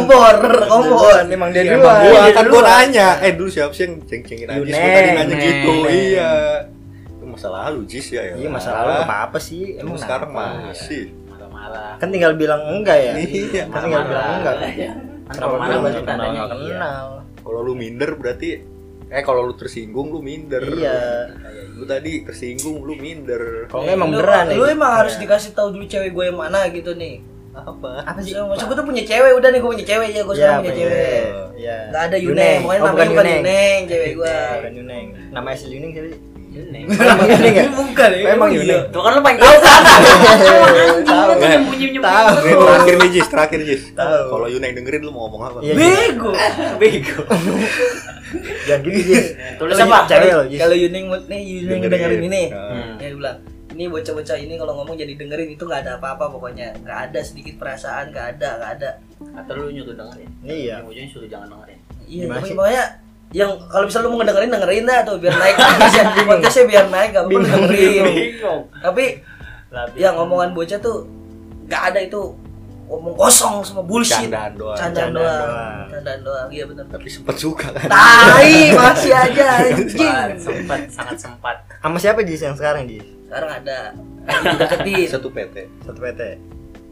[SPEAKER 4] Kompor, kompor.
[SPEAKER 2] Duluan, Iya, Emang dia
[SPEAKER 1] Ya, emang
[SPEAKER 2] duluan.
[SPEAKER 1] gua
[SPEAKER 2] Dia
[SPEAKER 1] kan gua
[SPEAKER 2] duluan.
[SPEAKER 1] nanya eh dulu siapa sih yang ceng-cengin Ajis Gua tadi
[SPEAKER 2] Yuneng,
[SPEAKER 1] nanya
[SPEAKER 2] Neng.
[SPEAKER 1] gitu
[SPEAKER 2] Neng.
[SPEAKER 1] iya itu masa lalu Jis ya ya
[SPEAKER 2] Iya, masa lalu nggak apa-apa sih.
[SPEAKER 1] emang
[SPEAKER 2] Emang
[SPEAKER 1] sekarang
[SPEAKER 2] kenapa?
[SPEAKER 1] masih
[SPEAKER 5] marah-marah
[SPEAKER 2] Kan tinggal bilang enggak ya.
[SPEAKER 1] Iya,
[SPEAKER 2] Kan tinggal bilang enggak. kan? Kenapa
[SPEAKER 5] marah-marah
[SPEAKER 2] bilang
[SPEAKER 5] baru
[SPEAKER 2] enggak kenal?
[SPEAKER 5] tandanya
[SPEAKER 2] Enggak
[SPEAKER 5] iya.
[SPEAKER 2] kenal.
[SPEAKER 1] kalau lu minder berarti eh kalau lu tersinggung lu minder
[SPEAKER 2] Iya.
[SPEAKER 1] lu tadi tersinggung lu minder
[SPEAKER 2] Kalau enggak emang
[SPEAKER 4] Lu-
[SPEAKER 2] beneran.
[SPEAKER 4] Lu
[SPEAKER 2] ya.
[SPEAKER 4] emang harus
[SPEAKER 2] Iya.
[SPEAKER 4] dikasih tahu dulu cewek gue yang mana gitu nih.
[SPEAKER 1] apa
[SPEAKER 2] apa sih?
[SPEAKER 4] Maksudnya maksud gua tuh punya cewek, udah nih gua punya cewek ya,
[SPEAKER 2] Iya,
[SPEAKER 4] gua sekarang punya
[SPEAKER 2] punya
[SPEAKER 4] cewek.
[SPEAKER 2] cewek. Iya.
[SPEAKER 4] Enggak ada Yuneng, pokoknya
[SPEAKER 2] Oh,
[SPEAKER 4] namanya bukan
[SPEAKER 2] Yuneng. Iya,
[SPEAKER 4] Yuneng, cewek gua.
[SPEAKER 2] Bukan Yuneng. Nama asli Yuneng siapa sih?
[SPEAKER 5] Yuneng
[SPEAKER 2] Emang Yuneng ya?
[SPEAKER 4] Bukan. ya?
[SPEAKER 2] Emang
[SPEAKER 4] iya.
[SPEAKER 2] Yuneng.
[SPEAKER 5] tuh kan lu paling tahu kan
[SPEAKER 1] Eh,
[SPEAKER 2] Tahu.
[SPEAKER 1] tahu Ini terakhir nih Jis terakhir Jis
[SPEAKER 2] Tahu.
[SPEAKER 1] kalau Yuneng dengerin lu mau ngomong apa
[SPEAKER 2] Iya.
[SPEAKER 4] Bego.
[SPEAKER 5] bego
[SPEAKER 2] Jangan gitu, Jis.
[SPEAKER 5] tulis apa
[SPEAKER 2] Cewek lo, Jis.
[SPEAKER 4] Kalau Yuneng mut nih Yuneng dengerin ini.
[SPEAKER 2] Iya. Hmm.
[SPEAKER 5] Hmm.
[SPEAKER 1] Nah,
[SPEAKER 4] Ya dia bilang, ini bocah-bocah ini kalau ngomong jadi dengerin itu nggak ada apa-apa pokoknya. Nggak ada sedikit perasaan, nggak ada, nggak ada.
[SPEAKER 5] atau lu nyuruh dengerin
[SPEAKER 2] Iya.
[SPEAKER 5] ujungnya suruh jangan dengerin
[SPEAKER 4] Iya,
[SPEAKER 2] Gimana
[SPEAKER 4] tapi
[SPEAKER 2] sih?
[SPEAKER 4] pokoknya yang kalau bisa lu mau ngedengerin dengerin dah tuh biar naik podcastnya podcastnya biar naik gak apa-apa lu
[SPEAKER 2] Bingung,
[SPEAKER 4] dengerin
[SPEAKER 5] bingung
[SPEAKER 4] tapi
[SPEAKER 5] Labil.
[SPEAKER 4] yang ngomongan bocah tuh nggak ada itu ngomong kosong semua bullshit
[SPEAKER 1] candaan doang
[SPEAKER 4] candaan
[SPEAKER 2] Candaan
[SPEAKER 4] doang
[SPEAKER 2] doang.
[SPEAKER 4] candaan doang iya bener
[SPEAKER 1] tapi sempet suka kan
[SPEAKER 4] tai masih aja anjing
[SPEAKER 5] Sempat, sempat sangat sempat
[SPEAKER 2] Sama siapa Jis yang sekarang Jis?
[SPEAKER 4] sekarang ada deketin
[SPEAKER 1] satu PT
[SPEAKER 2] Satu PT.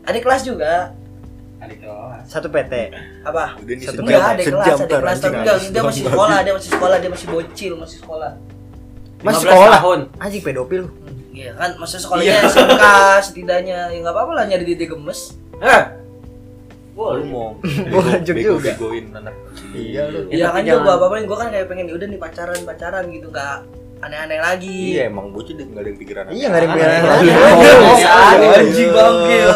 [SPEAKER 4] ada kelas juga
[SPEAKER 3] adik kelas
[SPEAKER 2] Satu PT.
[SPEAKER 4] apa
[SPEAKER 1] udah ini
[SPEAKER 2] Satu
[SPEAKER 1] sejam
[SPEAKER 4] Enggak, ada
[SPEAKER 1] sejam
[SPEAKER 4] kelas, ada
[SPEAKER 1] ntar
[SPEAKER 4] kelas, tapi
[SPEAKER 1] anjing,
[SPEAKER 4] enggak,
[SPEAKER 1] habis
[SPEAKER 4] dia masih
[SPEAKER 1] doang.
[SPEAKER 4] sekolah, dia masih sekolah, dia masih bocil, masih sekolah.
[SPEAKER 2] Mas
[SPEAKER 5] 15
[SPEAKER 2] sekolah.
[SPEAKER 5] tahun.
[SPEAKER 2] Anjing pedofil.
[SPEAKER 4] Iya kan, maksudnya sekolahnya SMK setidaknya, ya nggak apa-apa lah nyari dia gemes.
[SPEAKER 5] eh
[SPEAKER 1] lu mau
[SPEAKER 2] Gua hancur juga.
[SPEAKER 1] begoin anak
[SPEAKER 2] Iya lu.
[SPEAKER 5] Ya,
[SPEAKER 4] Iya
[SPEAKER 5] tapi
[SPEAKER 4] kan gua
[SPEAKER 5] jangan.
[SPEAKER 4] "Ya apa-apain, gua kan kayak pengen udah nih pacaran pacaran gitu nggak aneh-aneh lagi
[SPEAKER 1] Iya emang bocah deh nggak ada yang pikiran.
[SPEAKER 2] Iya nggak ada yang pikiran
[SPEAKER 1] Aneh.
[SPEAKER 2] lagi.
[SPEAKER 1] Aneh.
[SPEAKER 2] Oh,
[SPEAKER 1] Aneh.
[SPEAKER 2] aneh.
[SPEAKER 1] Anjing,
[SPEAKER 4] bangkil
[SPEAKER 1] iya,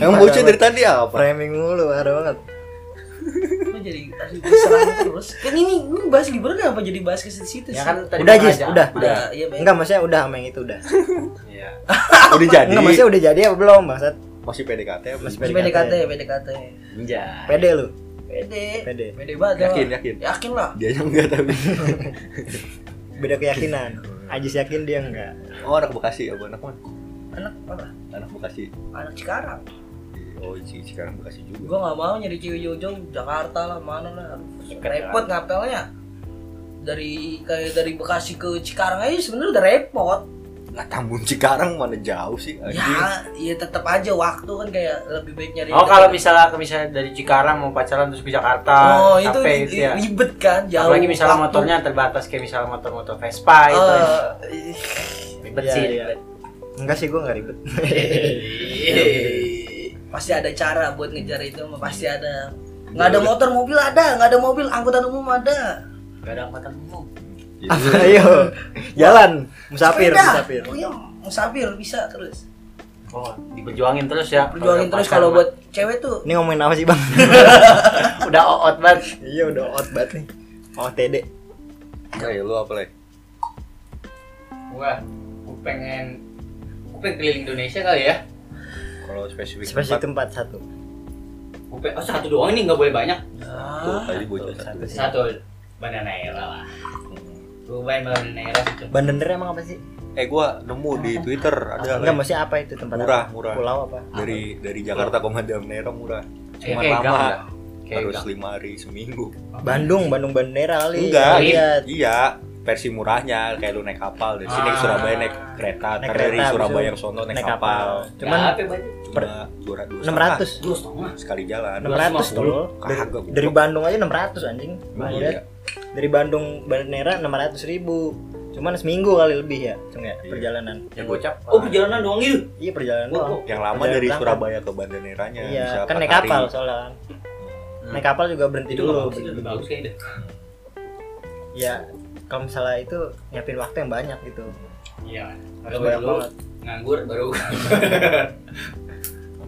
[SPEAKER 1] Emang bocah dari tadi apa?
[SPEAKER 2] Framing mulu parah banget.
[SPEAKER 4] Kok jadi harus diserang terus kan ini ini bahas liburan apa jadi bahas ke situ
[SPEAKER 5] Ya kan tadi
[SPEAKER 2] Udah
[SPEAKER 5] bilang
[SPEAKER 2] Jis,
[SPEAKER 5] aja.
[SPEAKER 2] udah, udah.
[SPEAKER 4] udah iya baik.
[SPEAKER 2] Enggak maksudnya udah sama yang itu udah.
[SPEAKER 5] Iya.
[SPEAKER 1] Udah jadi.
[SPEAKER 2] Enggak maksudnya udah jadi apa belum bangsat?
[SPEAKER 1] Masih PDKT. apa?
[SPEAKER 2] Masih
[SPEAKER 4] PDKT
[SPEAKER 2] PDKT.
[SPEAKER 4] PDKT Ah,
[SPEAKER 5] Anjay.
[SPEAKER 2] Pede
[SPEAKER 4] iya.
[SPEAKER 2] lu.
[SPEAKER 4] pede
[SPEAKER 2] Pede.
[SPEAKER 4] pede banget ya.
[SPEAKER 1] Yakin yakin.
[SPEAKER 4] yakin lah
[SPEAKER 1] Dia aja enggak tapi.
[SPEAKER 2] Beda keyakinan. Ajis yakin dia enggak.
[SPEAKER 1] Oh anak Bekasi apa anak mana?
[SPEAKER 4] anak apa
[SPEAKER 1] Anak Bekasi.
[SPEAKER 4] anak Cikarang
[SPEAKER 1] Oh sih sekarang Bekasi juga.
[SPEAKER 4] gua nggak mau nyari cewek jauh-jauh Jakarta lah mana lah
[SPEAKER 5] kan?
[SPEAKER 4] repot ngapelnya dari kayak dari Bekasi ke Cikarang aja sebenarnya udah repot
[SPEAKER 1] Lah Tambun Cikarang mana jauh sih anjing.
[SPEAKER 4] ya iya tetap aja waktu kan kayak lebih baik nyari
[SPEAKER 5] Oh kalau misalnya misalnya dari Cikarang mau pacaran terus ke Jakarta,
[SPEAKER 4] oh itu
[SPEAKER 5] capek
[SPEAKER 4] ri-
[SPEAKER 5] gitu ya.
[SPEAKER 4] ribet kan jauh
[SPEAKER 5] Apalagi misalnya
[SPEAKER 4] waktu.
[SPEAKER 5] motornya terbatas kayak misalnya motor-motor Vespa itu ya.
[SPEAKER 4] Eh,
[SPEAKER 5] ribet
[SPEAKER 4] Oh,
[SPEAKER 2] iya,
[SPEAKER 5] sih.
[SPEAKER 2] iya.
[SPEAKER 5] ribet.
[SPEAKER 2] Enggak sih gua enggak ribet.
[SPEAKER 1] Iya.
[SPEAKER 4] pasti ada cara buat ngejar itu mah, pasti ada nggak
[SPEAKER 2] Iya,
[SPEAKER 4] ada motor mobil ada nggak ada mobil angkutan umum ada
[SPEAKER 5] Gak ada angkutan umum.
[SPEAKER 1] Jadi,
[SPEAKER 2] Apa ayo? Jalan, musafir,
[SPEAKER 4] Sepeda.
[SPEAKER 2] musafir.
[SPEAKER 4] oh, iya musafir bisa terus
[SPEAKER 5] Oh, diperjuangin terus ya.
[SPEAKER 4] berjuangin
[SPEAKER 5] Kalau
[SPEAKER 4] terus
[SPEAKER 5] pacaran
[SPEAKER 4] kalau buat cewek tuh
[SPEAKER 2] Ini ngomongin apa sih, Bang?
[SPEAKER 5] mah. udah oot banget.
[SPEAKER 2] iya, udah out banget nih. OTD.
[SPEAKER 1] Kayak lu apa lagi?
[SPEAKER 3] Wah, gue pengen gue pengen keliling Indonesia kali ya.
[SPEAKER 1] Kalau spesifik
[SPEAKER 2] Spesifik
[SPEAKER 1] tempat,
[SPEAKER 2] tempat satu.
[SPEAKER 3] Gue pengen, oh satu doang ini nggak boleh banyak.
[SPEAKER 1] tuh,
[SPEAKER 4] Ah,
[SPEAKER 1] tadi bocah satu.
[SPEAKER 3] Satu Bananaera lah. Gue main Bananaera situ.
[SPEAKER 2] Bandender emang apa sih?
[SPEAKER 1] Eh gua nemu di Twitter ada
[SPEAKER 2] Enggak,
[SPEAKER 1] Le.
[SPEAKER 2] maksudnya apa itu tempat
[SPEAKER 1] Murah,
[SPEAKER 2] apa?
[SPEAKER 1] murah.
[SPEAKER 2] Pulau apa?
[SPEAKER 1] dari dari Jakarta ke Madeira murah. Cuma
[SPEAKER 3] kayak gang
[SPEAKER 1] lama.
[SPEAKER 3] dah. Kayak
[SPEAKER 1] harus
[SPEAKER 3] gang.
[SPEAKER 1] lima hari seminggu.
[SPEAKER 2] Bandung, Bandung Bandera kali.
[SPEAKER 1] Enggak, iya.
[SPEAKER 2] Lihat.
[SPEAKER 1] iya versi murahnya kayak lu naik kapal dari sini ke
[SPEAKER 3] Ah.
[SPEAKER 1] Surabaya naik kereta,
[SPEAKER 2] Naik
[SPEAKER 1] ntar dari
[SPEAKER 2] kereta,
[SPEAKER 1] Surabaya
[SPEAKER 2] abis
[SPEAKER 1] ke
[SPEAKER 2] itu
[SPEAKER 1] sono naik,
[SPEAKER 2] naik
[SPEAKER 1] kapal.
[SPEAKER 2] kapal. Cuman
[SPEAKER 3] Nah, apa ya, banyak?
[SPEAKER 2] per-
[SPEAKER 1] Cuma dua ratus
[SPEAKER 2] 600.
[SPEAKER 3] Dua setengah.
[SPEAKER 1] sekali jalan.
[SPEAKER 2] 600 tol. Dari,
[SPEAKER 1] Kagak, goblok.
[SPEAKER 2] dari Bandung aja 600 anjing.
[SPEAKER 1] Nah,
[SPEAKER 2] Lihat.
[SPEAKER 1] iya.
[SPEAKER 2] Dari Bandung Bandera 600 ribu. Cuman seminggu kali lebih ya, Cung ya,
[SPEAKER 1] Iya.
[SPEAKER 2] perjalanan.
[SPEAKER 5] Ya gocap.
[SPEAKER 3] Oh perjalanan doang itu.
[SPEAKER 2] Iya, perjalanan
[SPEAKER 3] Gua-
[SPEAKER 2] doang.
[SPEAKER 1] Yang lama
[SPEAKER 2] Perjalanan
[SPEAKER 1] dari
[SPEAKER 2] berangkat.
[SPEAKER 1] Surabaya ke Bandaneranya
[SPEAKER 2] Iya,
[SPEAKER 1] oh. bisa
[SPEAKER 2] kan
[SPEAKER 1] empat
[SPEAKER 2] naik
[SPEAKER 1] hari.
[SPEAKER 2] kapal soalnya kan. Naik kapal juga berhenti
[SPEAKER 3] Itu
[SPEAKER 2] dulu.
[SPEAKER 3] nggak apa-apa sih, lebih bagus kayaknya. deh.
[SPEAKER 2] Ya, kalau misalnya itu nyiapin waktu yang banyak gitu.
[SPEAKER 3] Iya.
[SPEAKER 2] Harus
[SPEAKER 3] Kalau baru
[SPEAKER 2] banyak
[SPEAKER 3] lu
[SPEAKER 2] banget.
[SPEAKER 3] nganggur baru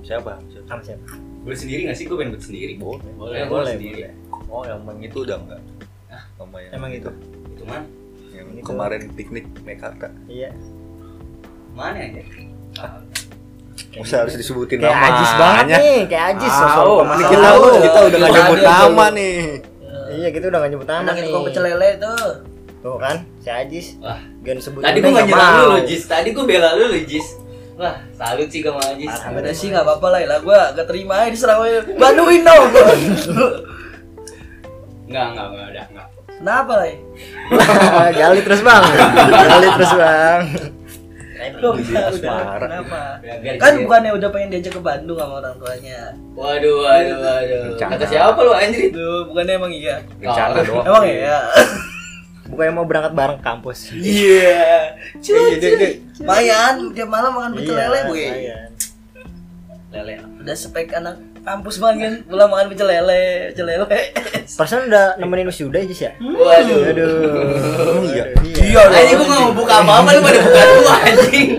[SPEAKER 1] Siapa? Siapa?
[SPEAKER 2] Sama siapa?
[SPEAKER 3] boleh sendiri nggak sih? Gue pengen buat sendiri.
[SPEAKER 1] Boleh.
[SPEAKER 3] Boleh,
[SPEAKER 2] Boleh,
[SPEAKER 3] boleh
[SPEAKER 2] boleh.
[SPEAKER 3] sendiri.
[SPEAKER 1] Oh, yang main itu udah enggak? Sama yang
[SPEAKER 2] Emang gitu? itu.
[SPEAKER 3] Cuman
[SPEAKER 1] yang
[SPEAKER 2] Itu.
[SPEAKER 1] kemarin piknik naik kakak.
[SPEAKER 2] Iya.
[SPEAKER 3] mana ya? Ah,
[SPEAKER 1] Masa harus disebutin
[SPEAKER 2] Kayak
[SPEAKER 1] namanya?
[SPEAKER 2] ajis banget nih, kayak ajis
[SPEAKER 5] Ah,
[SPEAKER 2] sosok
[SPEAKER 5] oh,
[SPEAKER 2] pemasaran.
[SPEAKER 1] Kita
[SPEAKER 4] Tahu.
[SPEAKER 1] kita udah nggak
[SPEAKER 4] Iya,
[SPEAKER 1] nyebut
[SPEAKER 4] iya,
[SPEAKER 1] nama nih.
[SPEAKER 2] Iya, kita udah gak nyebut nama
[SPEAKER 4] anak
[SPEAKER 2] nih.
[SPEAKER 4] itu kok pecel ya. lele tuh
[SPEAKER 2] Tuh kan, si Ajis.
[SPEAKER 3] Wah.
[SPEAKER 2] Gen sebut
[SPEAKER 3] Tadi gue
[SPEAKER 2] gua
[SPEAKER 3] nggak nyerang lu, Jis. Tadi gue bela lu, lu, Jis. Wah, salut sih kamu, Jis.
[SPEAKER 2] Iya,
[SPEAKER 4] Beda sih nggak apa-apa lah, lah gue gak terima aja diserang aja Banduin dong
[SPEAKER 3] Enggak, enggak, enggak ada, enggak.
[SPEAKER 4] Kenapa lah
[SPEAKER 2] Gali terus, Bang. Gali terus, Bang.
[SPEAKER 4] Lu udah, udah,
[SPEAKER 1] marah.
[SPEAKER 4] kenapa
[SPEAKER 3] Biar-
[SPEAKER 2] Iya.
[SPEAKER 3] biar
[SPEAKER 4] Kan
[SPEAKER 3] dia-
[SPEAKER 4] bukannya udah pengen diajak ke Bandung sama orang tuanya
[SPEAKER 3] Waduh, waduh, waduh.
[SPEAKER 1] Bercanda.
[SPEAKER 3] Kata siapa lu anjir?
[SPEAKER 4] Duh, bukannya emang iya
[SPEAKER 1] Rencana
[SPEAKER 2] Oh.
[SPEAKER 1] doang.
[SPEAKER 4] Emang iya
[SPEAKER 2] Bukannya mau berangcut bareng kampus.
[SPEAKER 4] Iya
[SPEAKER 1] Iya,
[SPEAKER 4] Cuy,
[SPEAKER 1] dia- dia-
[SPEAKER 4] cuy Mayan, dia malam makan pecel
[SPEAKER 2] Iya,
[SPEAKER 4] lele ya? gue
[SPEAKER 2] lumayan.
[SPEAKER 3] Lele.
[SPEAKER 4] Udah spek anak kampus banget kan Pulang makan pecel lele, pecel lele
[SPEAKER 2] Perasaan udah nemenin wisuda Ajis ya?
[SPEAKER 3] Hmm. Waduh.
[SPEAKER 2] Aduh.
[SPEAKER 1] iya.
[SPEAKER 2] Iya.
[SPEAKER 3] Anjing gue gak mau buka apa-apa lu pada buka gua anjing.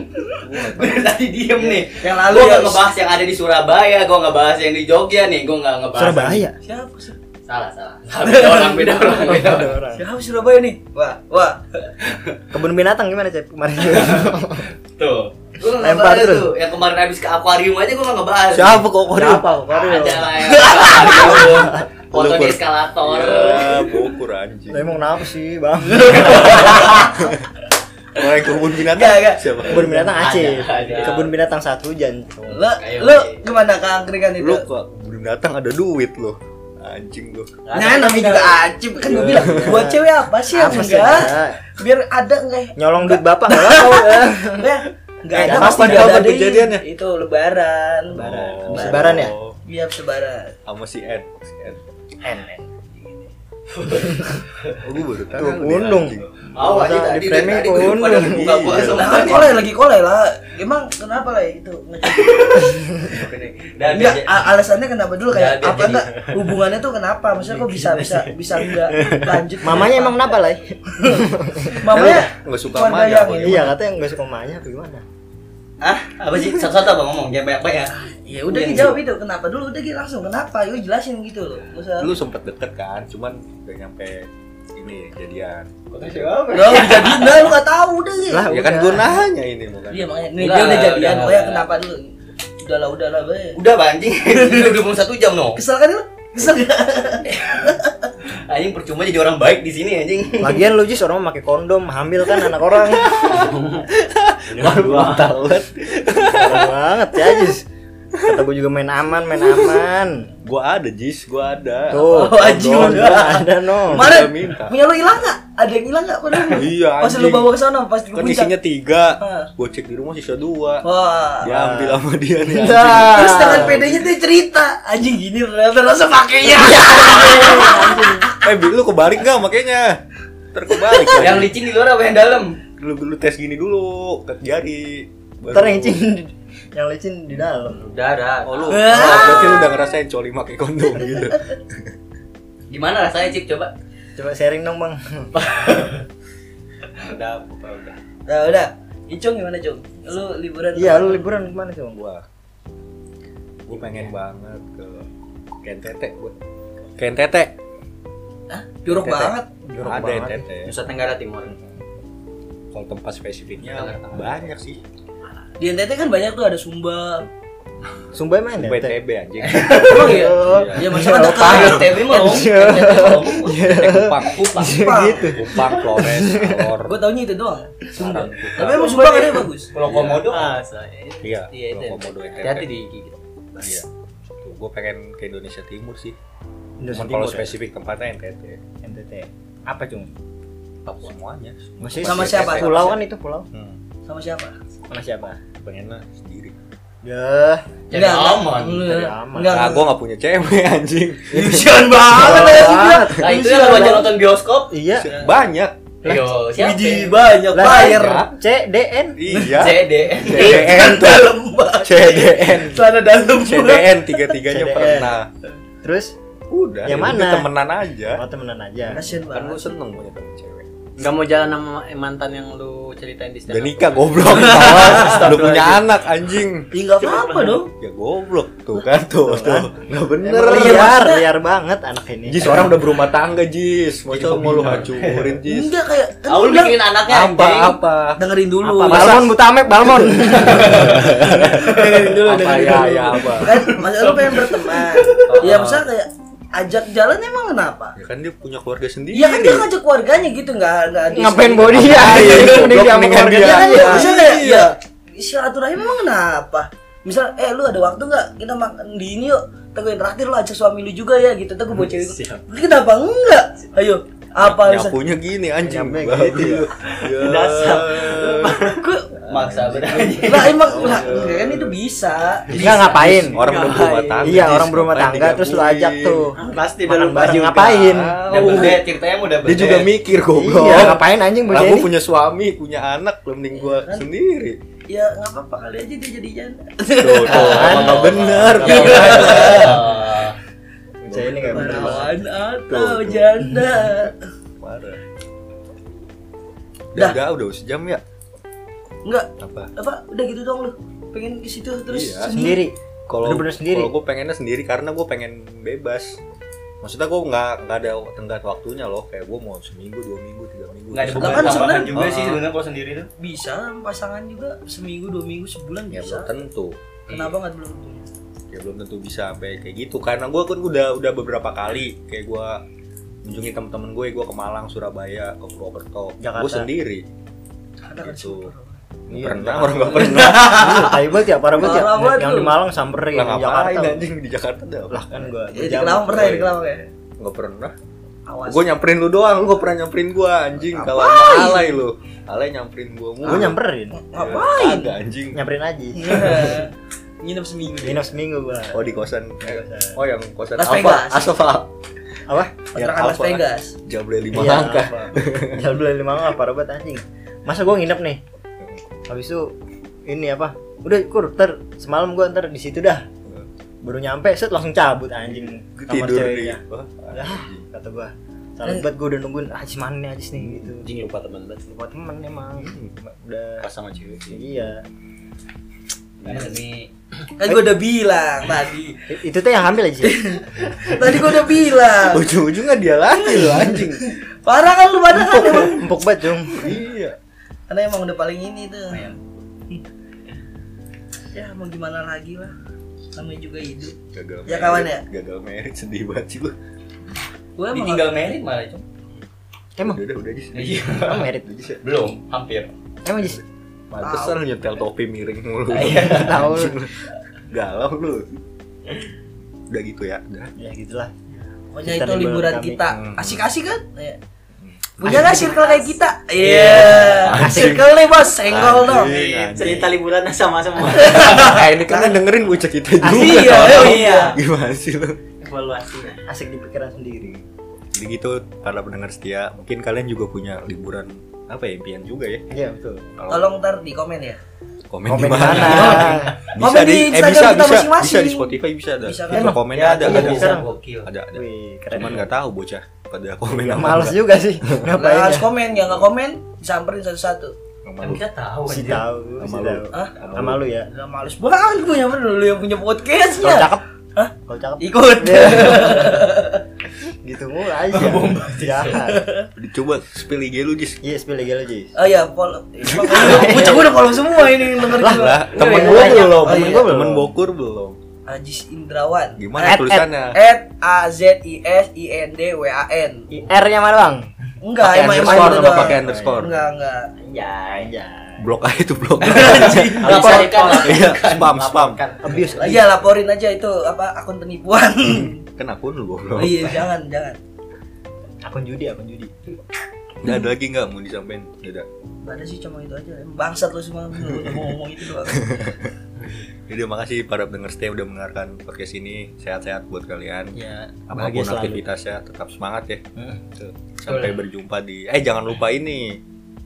[SPEAKER 3] Gue tadi diem nih.
[SPEAKER 4] Yang lalu
[SPEAKER 3] Gue
[SPEAKER 4] ya
[SPEAKER 3] gak ngebahas yang ada di Surabaya, gue gak bahas yang di Jogja nih, gue gak ngebahas.
[SPEAKER 2] Surabaya.
[SPEAKER 4] Siapa sih?
[SPEAKER 3] Salah, salah. Salah, Beda orang, beda orang, beda
[SPEAKER 2] Ada
[SPEAKER 3] orang.
[SPEAKER 2] orang.
[SPEAKER 4] Siapa Surabaya nih? Wah, wah
[SPEAKER 2] Kebun binatang gimana, Cep? Kemarin.
[SPEAKER 3] Tuh. Gue gak
[SPEAKER 2] Lempar
[SPEAKER 3] ngebahas
[SPEAKER 2] terus.
[SPEAKER 3] tuh. Yang kemarin habis ke akuarium aja gue gak ngebahas.
[SPEAKER 2] Siapa kok Koril?
[SPEAKER 4] Siapa kok Koril?
[SPEAKER 3] Ada lah ya. yang ke akuarium. Foto di
[SPEAKER 1] Lumpur.
[SPEAKER 3] eskalator.
[SPEAKER 1] Ya, Bogor anjing.
[SPEAKER 2] Lah emang kenapa sih, Bang?
[SPEAKER 1] Orang yang kebun binatang
[SPEAKER 4] Enggak, enggak.
[SPEAKER 1] siapa?
[SPEAKER 2] Kebun binatang Aceh.
[SPEAKER 3] Ada, ada.
[SPEAKER 2] Kebun binatang satu hujan.
[SPEAKER 4] Lo,
[SPEAKER 3] Ayo,
[SPEAKER 4] lo
[SPEAKER 3] Ki.
[SPEAKER 4] gimana keangkringan itu?
[SPEAKER 1] Lu kok kebun binatang ada duit lo. Anjing lu.
[SPEAKER 4] Nah, namanya juga acip kan gue bilang buat cewek apa sih yang
[SPEAKER 2] Apa sih?
[SPEAKER 4] enggak?
[SPEAKER 2] Ada?
[SPEAKER 4] Biar ada enggak?
[SPEAKER 2] Nyolong duit bapak nggak apa-apa. ya?
[SPEAKER 4] Enggak. Enggak
[SPEAKER 1] Eh,
[SPEAKER 4] ada
[SPEAKER 1] kapan-
[SPEAKER 4] pasti
[SPEAKER 1] kapan
[SPEAKER 4] enggak ada
[SPEAKER 1] kejadiannya?
[SPEAKER 4] Itu lebaran.
[SPEAKER 2] Lebaran.
[SPEAKER 1] Oh.
[SPEAKER 2] Habis lebaran ya?
[SPEAKER 4] Iya, lebaran.
[SPEAKER 1] Sama si Ed. Si Ed.
[SPEAKER 2] N.
[SPEAKER 1] Oh, gue baru tahu.
[SPEAKER 2] Tuh,
[SPEAKER 1] nih,
[SPEAKER 2] undung.
[SPEAKER 1] anjing.
[SPEAKER 3] Mau aja
[SPEAKER 2] Masa
[SPEAKER 3] tadi
[SPEAKER 2] di
[SPEAKER 3] dari
[SPEAKER 2] framing
[SPEAKER 3] tadi gue
[SPEAKER 2] keundung.
[SPEAKER 3] pada buka puasa
[SPEAKER 4] Nah, kan koleh lagi koleh lah. Emang kenapa lah itu?
[SPEAKER 3] Dan
[SPEAKER 4] enggak, a- alasannya kenapa dulu
[SPEAKER 3] Nggak,
[SPEAKER 4] kayak
[SPEAKER 3] dia
[SPEAKER 4] apa
[SPEAKER 3] jadi-
[SPEAKER 4] enggak hubungannya tuh kenapa? Maksudnya kok bisa bisa bisa enggak lanjut?
[SPEAKER 2] Mamanya emang kenapa lah?
[SPEAKER 4] Mamanya ya?
[SPEAKER 1] Nggak suka
[SPEAKER 4] keluarga
[SPEAKER 1] mamanya
[SPEAKER 4] yang
[SPEAKER 1] apa
[SPEAKER 4] ini.
[SPEAKER 2] Iya katanya nggak suka mamanya apa gimana?
[SPEAKER 3] ah apa sih satu-satu apa ngomong jangan banyak-banyak.
[SPEAKER 4] Ya udah
[SPEAKER 3] Iya,
[SPEAKER 4] Ki,
[SPEAKER 3] iya.
[SPEAKER 4] jawab itu kenapa dulu udah Ki, langsung kenapa? Lu jelasin gitu loh. Nggak usah-
[SPEAKER 1] Lu sempet deket kan, cuman gak nyampe ini jadian.
[SPEAKER 3] Kota siapa?
[SPEAKER 4] Udah udah jadi enggak lu enggak tahu udah. Ki.
[SPEAKER 2] Lah,
[SPEAKER 1] ya kan
[SPEAKER 2] udah.
[SPEAKER 1] gue nanya ini bukan.
[SPEAKER 4] Iya makanya nih
[SPEAKER 3] Udah,
[SPEAKER 4] dia udah
[SPEAKER 3] udah,
[SPEAKER 4] jadian,
[SPEAKER 3] udah.
[SPEAKER 4] pokoknya kenapa dulu? Udahlah udahlah be.
[SPEAKER 3] Udah banjing. Udah 21 jam no.
[SPEAKER 4] Kesel kan lu? Kesel
[SPEAKER 3] Anjing percuma jadi orang baik di sini anjing.
[SPEAKER 2] Lagian lu jis orang memakai kondom, hamil kan anak orang.
[SPEAKER 1] Baru tahu kan.
[SPEAKER 2] Parah banget ya jis. Kata gue juga main aman, main aman.
[SPEAKER 1] Gue ada Jis, gue ada.
[SPEAKER 2] Tuh,
[SPEAKER 4] Oh, anjing,
[SPEAKER 2] kondom
[SPEAKER 4] udah.
[SPEAKER 2] gua ada no.
[SPEAKER 4] Kemarin
[SPEAKER 1] udah minta.
[SPEAKER 4] punya lu hilang nggak? Ada yang hilang nggak pada lu?
[SPEAKER 1] Iya,
[SPEAKER 4] Pas lu
[SPEAKER 1] anjing.
[SPEAKER 4] bawa ke sana pas di
[SPEAKER 1] Kan
[SPEAKER 4] puncak.
[SPEAKER 1] isinya tiga,
[SPEAKER 4] Ah. Oh.
[SPEAKER 1] gue cek di rumah sisa dua.
[SPEAKER 4] Wah.
[SPEAKER 1] Diambil sama dia nih. anjing.
[SPEAKER 2] Dah.
[SPEAKER 4] Terus dengan pedenya dia cerita anjing gini ternyata langsung pakainya.
[SPEAKER 1] Eh, Bi, lu kebalik gak makanya? Ntar kebalik.
[SPEAKER 3] Yang licin di luar apa yang dalam?
[SPEAKER 1] lu, lu tes gini dulu, ke jari. Baru-
[SPEAKER 2] Ntar yang licin, yang licin di dalam.
[SPEAKER 3] Udah, udah.
[SPEAKER 1] Oh, lu.
[SPEAKER 4] Nah,
[SPEAKER 1] oh, berarti lu udah ngerasain coli pakai kondom gitu.
[SPEAKER 3] Gimana rasanya, Cip? Coba.
[SPEAKER 2] Coba sharing dong bang.
[SPEAKER 3] Udah, udah.
[SPEAKER 4] Nah udah. Icung gimana Cung? Lu liburan?
[SPEAKER 2] Iya, lu liburan kemana sih bang?
[SPEAKER 1] gua gua pengen banget ke ke NTT gua ke NTT
[SPEAKER 4] Hah? Jorok
[SPEAKER 1] Teteh.
[SPEAKER 4] banget.
[SPEAKER 2] Jorok
[SPEAKER 1] ada
[SPEAKER 2] banget.
[SPEAKER 1] NTT
[SPEAKER 3] Nusa Tenggara Timur.
[SPEAKER 1] kalau tempat spesifiknya
[SPEAKER 3] Tangerang.
[SPEAKER 1] banyak sih
[SPEAKER 4] Di NTT kan banyak tuh ada Sumba.
[SPEAKER 2] Sumba emang ada. NTT?
[SPEAKER 1] BTB anjing
[SPEAKER 4] Emang ya?
[SPEAKER 1] Iya.
[SPEAKER 4] Iya, maksudnya ada
[SPEAKER 3] Ayo,
[SPEAKER 4] kan.
[SPEAKER 3] TV mau.
[SPEAKER 2] Iya.
[SPEAKER 1] Eh, Kupang Kupang
[SPEAKER 4] Kupang.
[SPEAKER 1] gitu Kupang Flores Alor
[SPEAKER 4] Gue taunya itu doang.
[SPEAKER 1] Sumba
[SPEAKER 4] Tapi emang Sumba kan bagus.
[SPEAKER 3] Pulau Komodo. Nah,
[SPEAKER 5] Ah, saya.
[SPEAKER 1] iya
[SPEAKER 5] Iya, itu.
[SPEAKER 1] Pulau Komodo NTT
[SPEAKER 5] Hati-hati digigit.
[SPEAKER 1] iya tuh gua pengen ke Indonesia Timur sih
[SPEAKER 2] Indonesia
[SPEAKER 1] Cuman kalau
[SPEAKER 2] Timur ya?
[SPEAKER 1] spesifik tempatnya NTT
[SPEAKER 2] NTT. Apa cung?
[SPEAKER 1] Papua semuanya
[SPEAKER 2] Masih
[SPEAKER 4] Sama
[SPEAKER 1] Masih
[SPEAKER 4] siapa?
[SPEAKER 1] NTT.
[SPEAKER 2] Pulau kan itu pulau.
[SPEAKER 1] hmm.
[SPEAKER 4] Sama siapa?
[SPEAKER 2] Sama siapa?
[SPEAKER 1] pengennya sendiri
[SPEAKER 2] Ya.
[SPEAKER 3] Jadi aman.
[SPEAKER 4] Enggak.
[SPEAKER 2] Jadi aman.
[SPEAKER 4] Enggak.
[SPEAKER 1] nah gua nggak punya cewek anjing
[SPEAKER 4] Illusion banget ya sih dia.
[SPEAKER 3] Nah, itu yang lu aja nonton bioskop.
[SPEAKER 2] Iya.
[SPEAKER 1] banyak
[SPEAKER 3] Yo, siapa? ya?
[SPEAKER 4] Widi banyak
[SPEAKER 2] Lahir
[SPEAKER 4] player.
[SPEAKER 2] C D N.
[SPEAKER 1] iya
[SPEAKER 3] CDN. Kan
[SPEAKER 1] CDN
[SPEAKER 4] Dalam banget.
[SPEAKER 1] CDN
[SPEAKER 4] Celana dalam.
[SPEAKER 1] CDN tiga-tiganya
[SPEAKER 2] CDN.
[SPEAKER 1] pernah
[SPEAKER 2] Terus?
[SPEAKER 1] udah
[SPEAKER 2] Yang
[SPEAKER 1] ya
[SPEAKER 2] mana?
[SPEAKER 1] udah temenan aja
[SPEAKER 2] Oh temenan aja.
[SPEAKER 4] Kasian
[SPEAKER 1] kan gue
[SPEAKER 4] banget.
[SPEAKER 1] seneng punya temen cewek
[SPEAKER 5] Gak mau jalan sama mantan yang lu ceritain di stand
[SPEAKER 1] udah
[SPEAKER 5] up.
[SPEAKER 1] nikah goblok kawan udah punya anak anjing
[SPEAKER 4] Ih, nggak apa-apa dong.
[SPEAKER 1] ya goblok tuh Iya. kan tuh tuh nggak bener ya.
[SPEAKER 2] Emang
[SPEAKER 4] Iya,
[SPEAKER 2] liar,
[SPEAKER 4] maksudnya-
[SPEAKER 2] liar banget anak ini.
[SPEAKER 1] Jis orang udah berumah tangga Jis mau
[SPEAKER 2] Itu
[SPEAKER 1] coba mau lu
[SPEAKER 2] bener.
[SPEAKER 1] hancurin Jis
[SPEAKER 4] Enggak kayak kan
[SPEAKER 3] Aku
[SPEAKER 4] gua
[SPEAKER 3] lu
[SPEAKER 4] bilang,
[SPEAKER 3] bikinin anaknya
[SPEAKER 1] apa
[SPEAKER 3] anjing.
[SPEAKER 1] apa
[SPEAKER 4] dengerin dulu.
[SPEAKER 2] Balmon Butamek, Balmon.
[SPEAKER 4] dengerin dulu,
[SPEAKER 1] apa
[SPEAKER 4] dengerin
[SPEAKER 1] ya
[SPEAKER 4] dulu.
[SPEAKER 1] ya apa
[SPEAKER 4] Kan maksudnya lu pengen berteman. Iya, maksudnya kayak ajak jalan emang kenapa?
[SPEAKER 1] ya kan dia punya keluarga sendiri
[SPEAKER 4] Iya kan dia ngajak keluarganya gitu enggak enggak ada-
[SPEAKER 2] Ngapain bawa dia?
[SPEAKER 1] Iya,
[SPEAKER 2] Mending
[SPEAKER 1] goblok,
[SPEAKER 2] dia sama
[SPEAKER 1] mendingan
[SPEAKER 2] keluarga
[SPEAKER 1] dia.
[SPEAKER 4] Iya kan
[SPEAKER 2] dia.
[SPEAKER 4] ya, maksudnya kayak ya silaturahim emang kenapa? Misal eh lu ada waktu nggak kita makan di ini yuk. Teguh terakhir lu ajak suami lu juga ya gitu. Teguh bawa cewek. gua.
[SPEAKER 5] Siap.
[SPEAKER 4] Kenapa enggak? Ayo, apa bisa?
[SPEAKER 1] nyapunya gini anjing
[SPEAKER 2] Nyapunya
[SPEAKER 1] Babi
[SPEAKER 2] gitu.
[SPEAKER 1] lu. Ya.
[SPEAKER 5] Dinasam.
[SPEAKER 4] Gua
[SPEAKER 3] Maksa berarti.
[SPEAKER 4] lah emang lah, kan itu bisa.
[SPEAKER 2] Enggak ngapain.
[SPEAKER 1] orang udah berumah tangga
[SPEAKER 2] Iya,
[SPEAKER 1] Jis.
[SPEAKER 2] orang berumah
[SPEAKER 1] Ngapain
[SPEAKER 2] tangga terus lu
[SPEAKER 1] digangguin?
[SPEAKER 2] ajak tuh.
[SPEAKER 5] Pasti
[SPEAKER 2] Makan
[SPEAKER 5] dalam
[SPEAKER 2] baju
[SPEAKER 1] gitu.
[SPEAKER 5] bareng.
[SPEAKER 2] ngapain?
[SPEAKER 3] Udah berdet, ceritanya mau udah
[SPEAKER 1] dia
[SPEAKER 3] berdet.
[SPEAKER 1] juga mikir goblok
[SPEAKER 2] Iya, ngapain anjing
[SPEAKER 1] Lah
[SPEAKER 2] bawa
[SPEAKER 1] gua
[SPEAKER 2] ini?
[SPEAKER 1] punya suami, punya anak, lu mending gua sendiri.
[SPEAKER 4] Ya nggak apa-apa kali aja dia jadian.
[SPEAKER 1] Tuh, tuh, nggak bener.
[SPEAKER 3] Nggak bener. Ah.
[SPEAKER 2] Bocah ini enggak bener.
[SPEAKER 4] Menawan atau
[SPEAKER 1] Tuh, tuh.
[SPEAKER 4] janda.
[SPEAKER 1] Parah.
[SPEAKER 4] Dah.
[SPEAKER 1] Udah, udah, udah sejam ya?
[SPEAKER 4] Enggak
[SPEAKER 1] Apa?
[SPEAKER 4] apa udah gitu dong lu. Pengen ke situ terus
[SPEAKER 1] Iya,
[SPEAKER 4] sendiri.
[SPEAKER 2] Sendiri.
[SPEAKER 1] Kalau
[SPEAKER 2] Bener-bener sendiri.
[SPEAKER 1] Kalau gua pengennya sendiri karena gua pengen bebas. Maksudnya gua nggak nggak ada tenggat waktunya loh. Kayak gua mau seminggu, dua minggu, tiga minggu.
[SPEAKER 3] Nggak ada
[SPEAKER 1] Terserah.
[SPEAKER 3] beban
[SPEAKER 4] Kan
[SPEAKER 3] tambahan
[SPEAKER 4] sebenarnya-
[SPEAKER 3] juga sih
[SPEAKER 1] Ah.
[SPEAKER 3] sebenarnya kalau sendiri tuh.
[SPEAKER 4] Bisa sama pasangan juga seminggu, dua minggu, sebulan
[SPEAKER 1] Ya
[SPEAKER 4] bisa.
[SPEAKER 1] belum tentu.
[SPEAKER 4] Kenapa nggak belum?
[SPEAKER 1] Ya belum tentu bisa sampai kayak gitu. Karena gua kan udah udah beberapa kali kayak gua kunjungi temen-temen gue, gua ke Malang, Surabaya, ke Purwokerto.
[SPEAKER 2] Jakarta. Iya,
[SPEAKER 1] Gua sendiri.
[SPEAKER 4] Karena kan
[SPEAKER 1] Gitu.
[SPEAKER 4] super.
[SPEAKER 1] Nggak pernah orang nggak pernah.
[SPEAKER 2] Tai banget ya, parah banget ya.
[SPEAKER 4] Parah banget
[SPEAKER 2] Yang
[SPEAKER 4] lu.
[SPEAKER 2] di Malang samperin
[SPEAKER 1] Lah
[SPEAKER 2] yang Iya, di
[SPEAKER 1] ngapain
[SPEAKER 2] Jakarta.
[SPEAKER 1] anjing di Jakarta dah.
[SPEAKER 2] Lah kan gua
[SPEAKER 4] Ya, di
[SPEAKER 2] berjam.
[SPEAKER 4] Kelawang pernah ya di Kelawang ya.
[SPEAKER 1] Nggak pernah.
[SPEAKER 4] Awas.
[SPEAKER 1] Gue nyamperin lu doang, lu gak pernah nyamperin gue anjing Kalau sama alay lu Alay nyamperin gue mulu
[SPEAKER 2] Gua nyamperin.
[SPEAKER 4] Ngapain? Iya.
[SPEAKER 1] Kagak anjing
[SPEAKER 2] Nyamperin aja.
[SPEAKER 4] Nginep seminggu.
[SPEAKER 2] Nginep ya, seminggu gua.
[SPEAKER 1] Oh di kosan eh, Oh yang kosan
[SPEAKER 4] Las
[SPEAKER 1] apa?
[SPEAKER 4] Vegas.
[SPEAKER 1] Asova
[SPEAKER 2] apa
[SPEAKER 4] kontrakan Las Vegas
[SPEAKER 1] Jable lima
[SPEAKER 2] Iya,
[SPEAKER 1] langkah.
[SPEAKER 2] apa? Iya, Jam dua lima langkah parah banget anjing masa gua nginep nih habis itu ini apa udah kur ter semalam gua ntar di situ dah baru nyampe set langsung cabut anjing
[SPEAKER 1] Gua
[SPEAKER 2] kamar
[SPEAKER 1] tidur di.
[SPEAKER 2] ceweknya
[SPEAKER 1] Wah,
[SPEAKER 2] Alah, kata gua salah banget gua udah nungguin ajis mana nih ajis nih gitu
[SPEAKER 5] Anjing lupa teman banget.
[SPEAKER 2] buat temen emang udah
[SPEAKER 5] Pas sama cewek.
[SPEAKER 2] iya
[SPEAKER 3] Karena demi
[SPEAKER 4] kan gua udah bilang tadi
[SPEAKER 2] I- itu tuh yang hamil aja
[SPEAKER 4] tadi gua udah bilang
[SPEAKER 1] Ujung-ujungnya dia lagi loh anjing.
[SPEAKER 4] parah kan lu pada kan emang
[SPEAKER 2] empuk banget dong
[SPEAKER 1] Iya.
[SPEAKER 4] karena emang udah paling ini tuh
[SPEAKER 3] Lumayan.
[SPEAKER 4] ya mau gimana lagi lah namanya juga hidup
[SPEAKER 1] Gagal.
[SPEAKER 4] Ya, kawan
[SPEAKER 1] merit.
[SPEAKER 4] ya?
[SPEAKER 1] Gagal merit sedih banget sih gua.
[SPEAKER 4] gua emang
[SPEAKER 3] ditinggal merit malah Cuk.
[SPEAKER 2] emang
[SPEAKER 1] Udah udah udah Jis.
[SPEAKER 3] Iya.
[SPEAKER 2] emang merit
[SPEAKER 1] Udah, Jis ya.
[SPEAKER 3] Belum, hampir.
[SPEAKER 2] emang ajis
[SPEAKER 1] Pantesan lu nyetel topi miring mulu.
[SPEAKER 4] Ah, iya.
[SPEAKER 2] tahu
[SPEAKER 1] Anjing lu. Galau lu. Udah gitu ya. Udah.
[SPEAKER 2] ya gitulah
[SPEAKER 4] pokoknya
[SPEAKER 2] Kita
[SPEAKER 4] itu
[SPEAKER 2] liburan
[SPEAKER 4] liburan
[SPEAKER 2] kami.
[SPEAKER 4] kita
[SPEAKER 1] Hmm.
[SPEAKER 4] asik-asik kan Iya. punya nggak circle kayak kita iya
[SPEAKER 1] Asik.
[SPEAKER 4] circle nih bos senggol dong
[SPEAKER 1] Anjing, anjing.
[SPEAKER 5] Cerita liburan sama semua.
[SPEAKER 1] Eh, ini kan yang dengerin ucap kita juga.
[SPEAKER 4] iya,
[SPEAKER 1] tolong.
[SPEAKER 4] iya.
[SPEAKER 1] Gimana sih lu?
[SPEAKER 5] Evaluasinya.
[SPEAKER 2] asik di pikiran sendiri
[SPEAKER 1] Jadi gitu para pendengar setia, mungkin kalian juga punya liburan apa ya impian juga ya.
[SPEAKER 2] iya betul
[SPEAKER 1] Kalau
[SPEAKER 4] tolong ntar di komen ya
[SPEAKER 1] komen, di
[SPEAKER 2] komen di
[SPEAKER 1] mana?
[SPEAKER 2] mana
[SPEAKER 1] Bisa
[SPEAKER 4] Komen
[SPEAKER 1] di,
[SPEAKER 4] di
[SPEAKER 1] eh,
[SPEAKER 4] Instagram
[SPEAKER 1] bisa,
[SPEAKER 4] kita
[SPEAKER 1] bisa,
[SPEAKER 4] masing-masing.
[SPEAKER 1] bisa di Spotify bisa ada.
[SPEAKER 4] Bisa kan?
[SPEAKER 1] Fitur komennya ada,
[SPEAKER 2] iya,
[SPEAKER 1] ada,
[SPEAKER 2] bisa.
[SPEAKER 1] ada,
[SPEAKER 3] Sekarang gokil.
[SPEAKER 1] ada, ada.
[SPEAKER 2] Wih, keren
[SPEAKER 1] Cuman nggak tahu bocah pada komen
[SPEAKER 2] Gak
[SPEAKER 1] apa
[SPEAKER 2] males
[SPEAKER 1] enggak.
[SPEAKER 2] juga sih
[SPEAKER 4] Nggak
[SPEAKER 2] Ngapain
[SPEAKER 4] harus
[SPEAKER 2] ya
[SPEAKER 4] komen ya nggak komen disamperin satu-satu
[SPEAKER 1] Sama
[SPEAKER 3] Kan
[SPEAKER 1] lu.
[SPEAKER 3] kita tahu
[SPEAKER 2] Si
[SPEAKER 3] anjir.
[SPEAKER 2] tahu si
[SPEAKER 1] Sama lu.
[SPEAKER 2] tahu
[SPEAKER 4] Hah? Iya.
[SPEAKER 2] Sama lu ya
[SPEAKER 4] udah males banget gue yang bener lu yang punya
[SPEAKER 2] Kalau
[SPEAKER 4] podcastnya
[SPEAKER 2] cakep
[SPEAKER 4] Hah? Iya.
[SPEAKER 2] Kalau cakep
[SPEAKER 4] ikut
[SPEAKER 1] Iya.
[SPEAKER 2] Gitu mulu aja Jahat
[SPEAKER 1] Dicoba spill IG lu Jis.
[SPEAKER 2] Iya spill lagi aja
[SPEAKER 4] oh ya follow bocah gue udah follow semua ini yang denger gua.
[SPEAKER 1] Lah,
[SPEAKER 2] Iya,
[SPEAKER 1] temen
[SPEAKER 2] iya,
[SPEAKER 1] gua
[SPEAKER 2] iya.
[SPEAKER 1] belum,
[SPEAKER 2] Oh,
[SPEAKER 1] temen
[SPEAKER 2] iya.
[SPEAKER 1] gua belum, temen bokur belum.
[SPEAKER 4] Ajis Indrawan
[SPEAKER 1] Gimana
[SPEAKER 2] At- at-
[SPEAKER 1] tulisannya?
[SPEAKER 4] at a z i s i n d w a n
[SPEAKER 2] R nya mana bang?
[SPEAKER 4] enggak
[SPEAKER 1] Pakai
[SPEAKER 4] emang emang
[SPEAKER 1] underscore
[SPEAKER 4] itu
[SPEAKER 1] sama
[SPEAKER 4] doang.
[SPEAKER 1] pakai underscore.
[SPEAKER 4] enggak enggak
[SPEAKER 5] Anjay.
[SPEAKER 2] Anjay
[SPEAKER 1] Blok aja itu blok.
[SPEAKER 5] Laporkan.
[SPEAKER 1] Iya, spam, spam.
[SPEAKER 5] Laporkan.
[SPEAKER 2] Abuse lagi
[SPEAKER 4] iya laporin aja itu apa akun penipuan
[SPEAKER 1] Kan akun lu
[SPEAKER 4] oh,
[SPEAKER 1] goblok.
[SPEAKER 4] iya jangan jangan
[SPEAKER 2] Akun judi akun judi
[SPEAKER 1] Nggak ada lagi nggak mau disampaikan? Nggak ada.
[SPEAKER 4] Gak ada sih cuma itu aja Emang bangsat lu semua lu mau ngomong itu doang
[SPEAKER 1] Jadi terima kasih para pendengar setia udah mendengarkan podcast ini. Sehat-sehat buat kalian.
[SPEAKER 2] Ya
[SPEAKER 1] Apapun
[SPEAKER 2] bahagia selalu.
[SPEAKER 1] aktivitasnya tetap semangat ya.
[SPEAKER 2] Hmm.
[SPEAKER 1] Tuh. Sampai berjumpa di Eh jangan lupa ini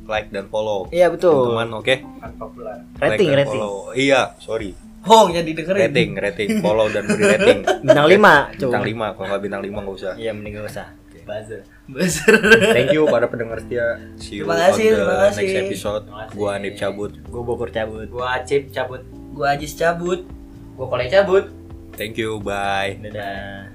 [SPEAKER 1] like dan follow.
[SPEAKER 2] Iya betul
[SPEAKER 1] Teman, oke?
[SPEAKER 2] Rating
[SPEAKER 1] Like dan
[SPEAKER 2] rating
[SPEAKER 1] follow. Iya, sorry.
[SPEAKER 4] Hong ya didengerin
[SPEAKER 1] Rating, rating, follow dan beri rating.
[SPEAKER 2] Bintang lima, coba.
[SPEAKER 1] Bintang 5, kalau nggak bintang 5 nggak usah.
[SPEAKER 2] Iya mending gak usah
[SPEAKER 5] Buzzer.
[SPEAKER 4] Buzzer
[SPEAKER 1] Thank you para pendengar setia. See you
[SPEAKER 4] Terima kasih,
[SPEAKER 1] on
[SPEAKER 4] terima
[SPEAKER 1] the
[SPEAKER 4] kasih.
[SPEAKER 1] next episode.
[SPEAKER 5] Terima kasih.
[SPEAKER 1] Gua Anip cabut.
[SPEAKER 2] Gue bokur cabut
[SPEAKER 5] Gua Acip cabut.
[SPEAKER 4] Gua Ajis cabut
[SPEAKER 3] Gua kolej cabut.
[SPEAKER 1] Thank you, bye.
[SPEAKER 2] Dadah